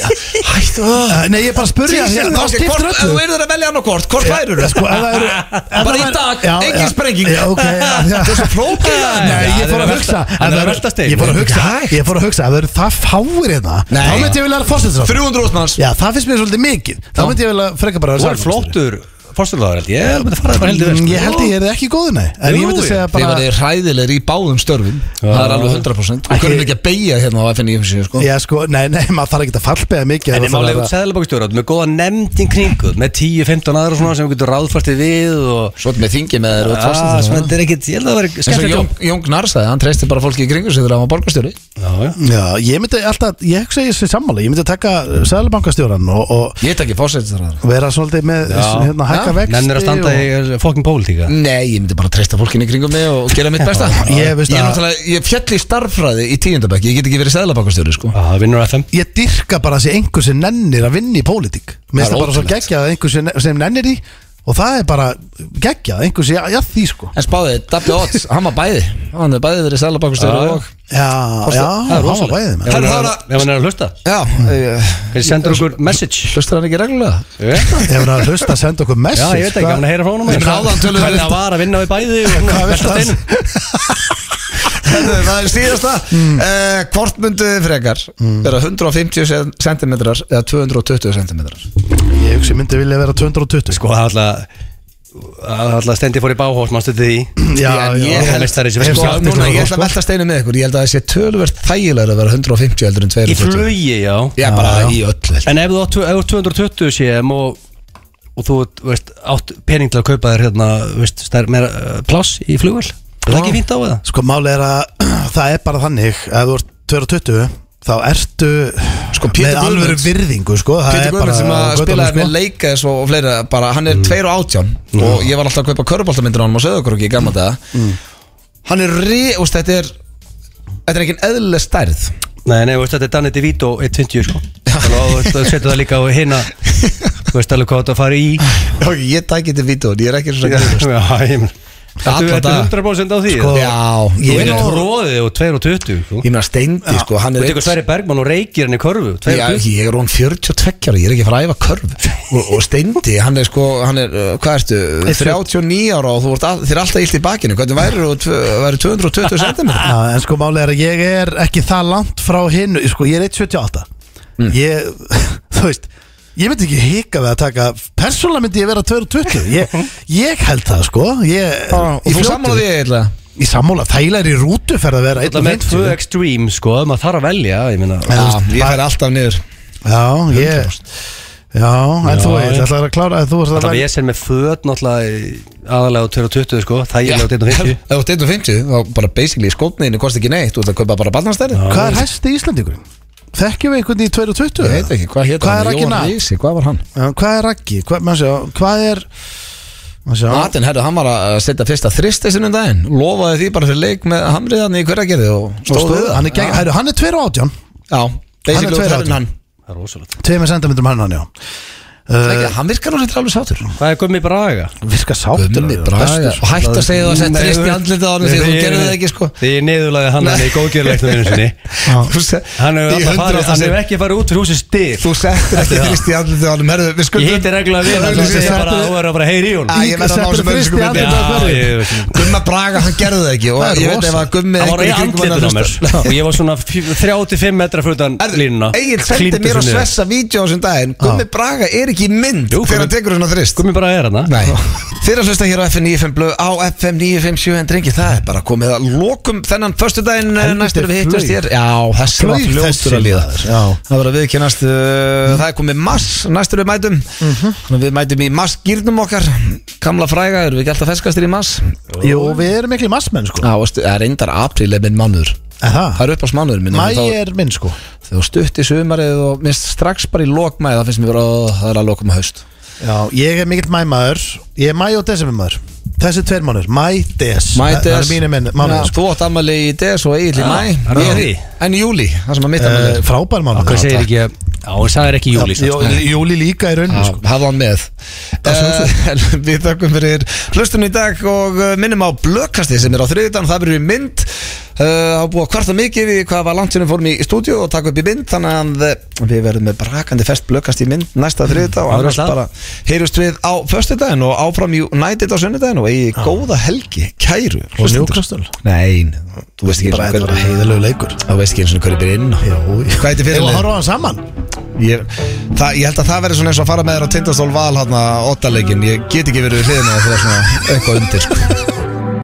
Speaker 1: hættu það
Speaker 2: Eh, Nei, ég er bara að spurja Það
Speaker 1: hérna, Hvort,
Speaker 2: skiptir
Speaker 1: ef
Speaker 2: öllu
Speaker 1: þú verður að velja hann og hvort, hvort væru
Speaker 2: Ja, hérna, Sko,
Speaker 1: þú?
Speaker 2: ef það eru ef
Speaker 1: Bara
Speaker 2: það
Speaker 1: í
Speaker 2: væri-
Speaker 1: dag,
Speaker 2: Já,
Speaker 1: engin
Speaker 2: já.
Speaker 1: sprenging.
Speaker 2: Já, ok Það er svo flókið Nei,
Speaker 3: Já,
Speaker 2: ég
Speaker 3: þeir
Speaker 2: fór að
Speaker 3: eru að
Speaker 2: hugsa
Speaker 3: velta-
Speaker 2: ef
Speaker 3: hann
Speaker 2: það
Speaker 3: er að
Speaker 2: eru-
Speaker 3: velta stein.
Speaker 2: Ég fór að
Speaker 3: Það er
Speaker 2: hugsa
Speaker 1: hægt.
Speaker 2: Ég fór að hugsa Ef það eru það fáir hérna
Speaker 1: Nei.
Speaker 2: Þá myndi ég vilja að fórsetsa
Speaker 1: 300 útmanns
Speaker 2: Já, það finnst mér svolítið mikið Þá myndi ég vilja frekar bara
Speaker 3: Þú er
Speaker 2: vera
Speaker 3: flottur Forsturlaður held ég Ég held að fara bara heldur sko.
Speaker 2: Mm, Ég held ég er ekki góð, nei En ég
Speaker 3: Jú,
Speaker 2: myndi
Speaker 3: jú.
Speaker 2: segja
Speaker 1: Þið
Speaker 2: bara
Speaker 1: verðið hræðilegir í báðum störfum Það er alveg 100% Við kunum ekki að beigja hérna á FNÍFC sko.
Speaker 2: Já, sko, nei, nei, maður þarf ekki að fallbega mikið
Speaker 3: En
Speaker 2: það
Speaker 3: ég má
Speaker 2: þarf að-
Speaker 3: leifa sæðalabakstjórat Með góða nefndin kringuð Með 10-15 aðra og svona sem þú getur ráðfært þig við og
Speaker 1: Svo með þingi með þér og
Speaker 3: Ah, svona,
Speaker 1: fósettisráðara
Speaker 3: Þetta er ekkit Ég held að það veri
Speaker 1: eins og
Speaker 3: skemmtilegt
Speaker 1: Jón, Jón Gnarr sagði, hann treysti bara fólki í kringu sig þegar hann var borgarstjóri
Speaker 3: jobb. Já, já.
Speaker 2: Já, ég myndi alltaf, ég hugsa ég sér sammála Ég myndi taka sæðalabankastjóran og, og
Speaker 1: Ég takk ég fósettisráðara
Speaker 2: vera svolítið með hérna, hækka vexti Mm.
Speaker 3: Nennir að standa í eh, fokkin pólitíka
Speaker 1: Nei, ég myndi bara treysta fólkinni í kringum mig og gera mitt besta
Speaker 2: ég veist
Speaker 1: ég,
Speaker 2: að-
Speaker 1: náttúrulega- ég fjalli starffræði í tíundabæk Ég get ekki verið seðlabankastjóri sko.
Speaker 3: Það Ah, vinnur FM
Speaker 2: og, Ég dyrka bara að sé einhver sem nennir að vinna í pólitík Mér
Speaker 1: Það er
Speaker 2: finnst það bara svo
Speaker 1: ótrúlegt.
Speaker 2: geggjað að einhver sem, sem nennir því Og það er bara geggjað, einhver sem, já, já því sko
Speaker 1: En spáði, Dabbi Otts, hann var bæði Hann er bæði verið seðlabankastjóri
Speaker 3: Já.
Speaker 1: og
Speaker 2: Já, já,
Speaker 3: Það er
Speaker 2: hann var
Speaker 3: rosalegt.
Speaker 2: bæðið
Speaker 3: Ef
Speaker 2: með
Speaker 1: Herra,
Speaker 3: hann er
Speaker 1: það
Speaker 3: að- ef hann er að hlusta
Speaker 1: Já,
Speaker 3: Þeir sendur okkur message Eh?
Speaker 1: hlustar hann ekki reglulega?
Speaker 2: Ef hann er að hlusta að senda okkur
Speaker 3: Já,
Speaker 2: message
Speaker 3: ég veit ekki,
Speaker 2: hvað-
Speaker 3: hann er að heyra frá honum
Speaker 1: Við náðum tölum
Speaker 3: Hvernig
Speaker 1: við-
Speaker 3: það var að vinna við bæði og svona,
Speaker 2: Hvað vilt
Speaker 3: velta
Speaker 2: það?
Speaker 3: steinum.
Speaker 1: Herðu, það er síðasta mm. uh, Hvort myndu þið frekar vera 150 cm eða 220 cm
Speaker 2: Ég hugsa ég myndi vilja vera 220
Speaker 3: Sko, það er alltaf Það er alltaf stendi fór í báhótt, mannstu því
Speaker 2: Já,
Speaker 1: En
Speaker 2: já,
Speaker 1: ég
Speaker 3: já,
Speaker 1: held
Speaker 3: meistari sem
Speaker 1: sko,
Speaker 3: við
Speaker 1: sko,
Speaker 3: sjáum
Speaker 1: núna,
Speaker 3: þetta,
Speaker 1: Ég ætla að velta steinu með ykkur Ég held að það sé töluvert þægilega að vera 150 heldur en
Speaker 3: Í
Speaker 1: 220
Speaker 3: flugi, já
Speaker 1: Já, bara
Speaker 2: Já, já.
Speaker 1: í öll held ég.
Speaker 3: En ef þú átt tv- ef þú ert 220 cm og, og þú ert, veist, átt pening til að kaupa þér hérna, veist, stær, meira uh, pláss í flugvel Er það ekki fínt á það?
Speaker 2: Sko máli er að það er bara þannig að þú ert 22 þá ertu
Speaker 1: Sko, Pétur
Speaker 2: með alvöru
Speaker 1: Guðmunds-
Speaker 2: virðingu sko. það
Speaker 1: Pétur
Speaker 2: er
Speaker 1: Guðmund
Speaker 2: bara
Speaker 1: sem
Speaker 2: á
Speaker 1: að hérna
Speaker 2: götunum,
Speaker 1: spilaði
Speaker 2: sko.
Speaker 1: með leika og, og fleira, bara hann er 2 og 18 og ég var alltaf að kaupa köruboltamyndir á hann og söðakrúki í Mm. gamla daga hann er rí, úst, þetta er þetta er ekki eðlileg stærð
Speaker 3: Nei, nei, veist, þetta er Danny DeVito 1.20 sko Þannig að þú þú setur það líka á hinna Þú veist alveg hvað þetta fari í
Speaker 1: Já, ég tækir til vítón, ég er ekki svona
Speaker 3: Já, ég meina Þetta
Speaker 1: Alla
Speaker 3: er
Speaker 1: daga.
Speaker 3: 100% á því
Speaker 1: Sko,
Speaker 3: eða?
Speaker 1: já,
Speaker 3: Þú
Speaker 1: ég
Speaker 3: er
Speaker 1: er
Speaker 3: tróðið og 2.20 sko.
Speaker 1: Ég meina steindi, sko, hann
Speaker 3: Þú
Speaker 1: er
Speaker 3: tekur Sverri Bergmann og reykir henni í körfu
Speaker 1: Já,
Speaker 3: 2.20
Speaker 1: ég er hún 42 ára, ég er ekki að fara að æfa körf og, og Steindi, hann er sko hann er, uh, hvað ertu, 39 ára og þú ert all, þér er alltaf illt í bakinu hvernig væri þú, væri 220 cm
Speaker 2: Já, en sko málið er að ég er ekki það langt frá hinn Sko, ég er 178 Ég, þú veist Ég myndi ekki hika við að taka Persónulega myndi ég vera 220 Ég, ég held það, sko Ég,
Speaker 1: og þú sammála því eitthvað
Speaker 2: Í sammála, þægilega er í rútu ferð að vera
Speaker 3: Það með 2
Speaker 2: 150
Speaker 3: extreme sko Maður þarf að velja ég meina.
Speaker 1: Já, ég fær alltaf niður
Speaker 2: Já, ég Já, en þú
Speaker 3: Já,
Speaker 2: veit,
Speaker 3: já.
Speaker 2: það er að klára að þú varst að
Speaker 3: Þetta
Speaker 2: velja-
Speaker 3: við sem með föt náttúrulega í- Aðalega á 2.20 sko Það er alveg á 2.50
Speaker 1: Ef þú ert 150, þá bara basically skótniðinu kosti ekki neitt, þú ert að kaupa bara barnastæri
Speaker 2: Hvað er hæsti íslendingurinn? Þekkjum við einhvern í 220?
Speaker 1: Ég veit ekki, hvað hétt
Speaker 2: Hvað er
Speaker 1: hann?
Speaker 2: Raggi
Speaker 1: Jóhann
Speaker 2: Nat?
Speaker 1: Rísi, hvað var hann?
Speaker 2: Já, Hvað er Raggi? Hvað, maður sjá, hvað er maður sjá,
Speaker 1: Martin, herru, hann var að setja fyrsta þristi sinnum daginn, lofaði því bara fyrir leik með hamriðan í hverjargerði og
Speaker 2: og
Speaker 1: stóð
Speaker 2: stóð-
Speaker 1: við það.
Speaker 2: hann er, gegn, hæru, hann er 2 og 18
Speaker 1: Já, basically
Speaker 2: tveir
Speaker 1: út
Speaker 2: átján.
Speaker 1: herrin hann
Speaker 3: Það er rosalegt
Speaker 2: Tveimur sentimetrum hann hann, já
Speaker 1: Ekki, Hann virkar alveg alveg sátur
Speaker 3: Hvað er Gummi Braga?
Speaker 2: Virka sáttur
Speaker 1: Gummi
Speaker 2: alveg,
Speaker 1: Braga
Speaker 2: bestur.
Speaker 1: Og hætt að segja það að setja
Speaker 3: Nei,
Speaker 1: trist í
Speaker 3: þú-
Speaker 1: andlitið á hann Því að þú
Speaker 3: Ég-
Speaker 1: gerir það ekki sko
Speaker 3: Því ég neðurlaði hann hann í góðgjörleiknum einu sinni
Speaker 1: Þú se-
Speaker 3: Hann hefur
Speaker 1: Í
Speaker 3: alltaf farið,
Speaker 1: 100%
Speaker 3: hann hefur ekki farið út fyrir húsi styr
Speaker 1: Þú settir ekki
Speaker 3: Þetta-
Speaker 1: trist í andlitið á hann Herðu, við
Speaker 3: Ég
Speaker 1: skuldum
Speaker 3: hitti reglulega við hann Það
Speaker 2: Ég-
Speaker 3: er bara
Speaker 2: Ég-
Speaker 3: að vera bara að heyra í hún
Speaker 1: Æ, ég verð að ná
Speaker 2: Settur
Speaker 1: sem
Speaker 2: fyrst í
Speaker 1: öðru sko
Speaker 2: andlitið á
Speaker 3: Já, ég veit ekki.
Speaker 1: Gumma Braga, hann gerði það ekki
Speaker 2: Það er
Speaker 1: Og ég veit ef að Gummi
Speaker 3: Hann var í
Speaker 1: einhver í kringum hann
Speaker 3: andlitun á
Speaker 1: að
Speaker 3: mér
Speaker 1: hlusta.
Speaker 3: og ég var svona fjö- 35 metra fyrir utan línuna
Speaker 1: Egil sendi
Speaker 3: Klíndur
Speaker 1: mér að
Speaker 3: sig niður.
Speaker 1: svessa vídeo á þessum daginn Gummi Braga er ekki í mynd
Speaker 3: Jú,
Speaker 1: Þegar
Speaker 3: Gummi-
Speaker 1: hann tekur svona þrist
Speaker 3: Gummi bara er hana
Speaker 1: Nei, þeir að hlusta hér á FM 95 blöð á FM 957 en drengi það er bara komið að lokum þennan förstu daginn
Speaker 2: Helviti
Speaker 1: næstur við hittumst
Speaker 2: flaug.
Speaker 1: hér Já, þessi var
Speaker 2: Flaug
Speaker 1: fljótur
Speaker 2: þessi
Speaker 1: að líða
Speaker 2: maður, já.
Speaker 1: Það var að viðkynast uh, Það er komið mass næstur við mætum
Speaker 3: Mhm.
Speaker 1: Þannig að Við mætum í mass gýrnum okkar Kamla fræga, erum við ekki alltaf feskastir í mass?
Speaker 2: Jú, við erum miklu massmenn sko
Speaker 1: Já, og stu- það er reyndar apríl er minn mánuður
Speaker 2: Er Það
Speaker 1: Það er upp á smánuður minn en
Speaker 2: Mæ
Speaker 1: þá-
Speaker 2: er minn sko
Speaker 1: Þegar þú stutt í sumarið og minnst strax bara í lokmæð Það finnst mér bara, ó, það er að lokum að haust
Speaker 2: Já, ég er mikill mæmaður Ég er mæ og desembermaður Þessi tveir mánuður, mæ, des
Speaker 1: Mæti
Speaker 2: Það er mínu minn, mánuður sko
Speaker 1: Þú átt ammali í des og eigin í
Speaker 3: er
Speaker 1: mæ
Speaker 3: það
Speaker 1: Ég-
Speaker 3: því?
Speaker 1: En í júli, það sem að mitt ammali
Speaker 2: Eh,
Speaker 1: er
Speaker 2: Frábær mánuður
Speaker 3: Hvað segir ekki að Já, hún sagði ekki júli
Speaker 2: Jó, Júli líka í rauninu sko
Speaker 1: Hafða hann með Eh, en Við þakkum fyrir hlustunum í dag og eh, minnum á blökkasti sem er á þriðutan Það verður í mynd Það uh, búið að kvarta mikið við hvað var langt sinni fórum í stúdíu og taka upp í mynd Þannig að eh, við verðum með brakandi fest blökkast í mynd næsta þriðutan og
Speaker 3: það er
Speaker 1: annars
Speaker 3: alltaf.
Speaker 1: bara heyrjust við á föstudaginn og áfram United á sunnudaginn og eigi góða helgi, kæru
Speaker 2: Og
Speaker 1: hlustendur.
Speaker 2: Newcastle
Speaker 1: Nei, þú veist ekki
Speaker 2: Bara
Speaker 1: einu
Speaker 2: þetta var
Speaker 1: sinni hver-
Speaker 2: heiðalegu leikur
Speaker 1: Þú veist ekki eins og hverju byrja inn á. Hvað heitir fyrir
Speaker 2: Þegar að
Speaker 1: liðið?
Speaker 2: horfa á hann saman
Speaker 1: Ég, það, ég held að það verði svona eins og að fara með þér á Tindastól Val hérna, ottalegin, ég get ekki verið við hliðina á því að svona eitthvað undir sko.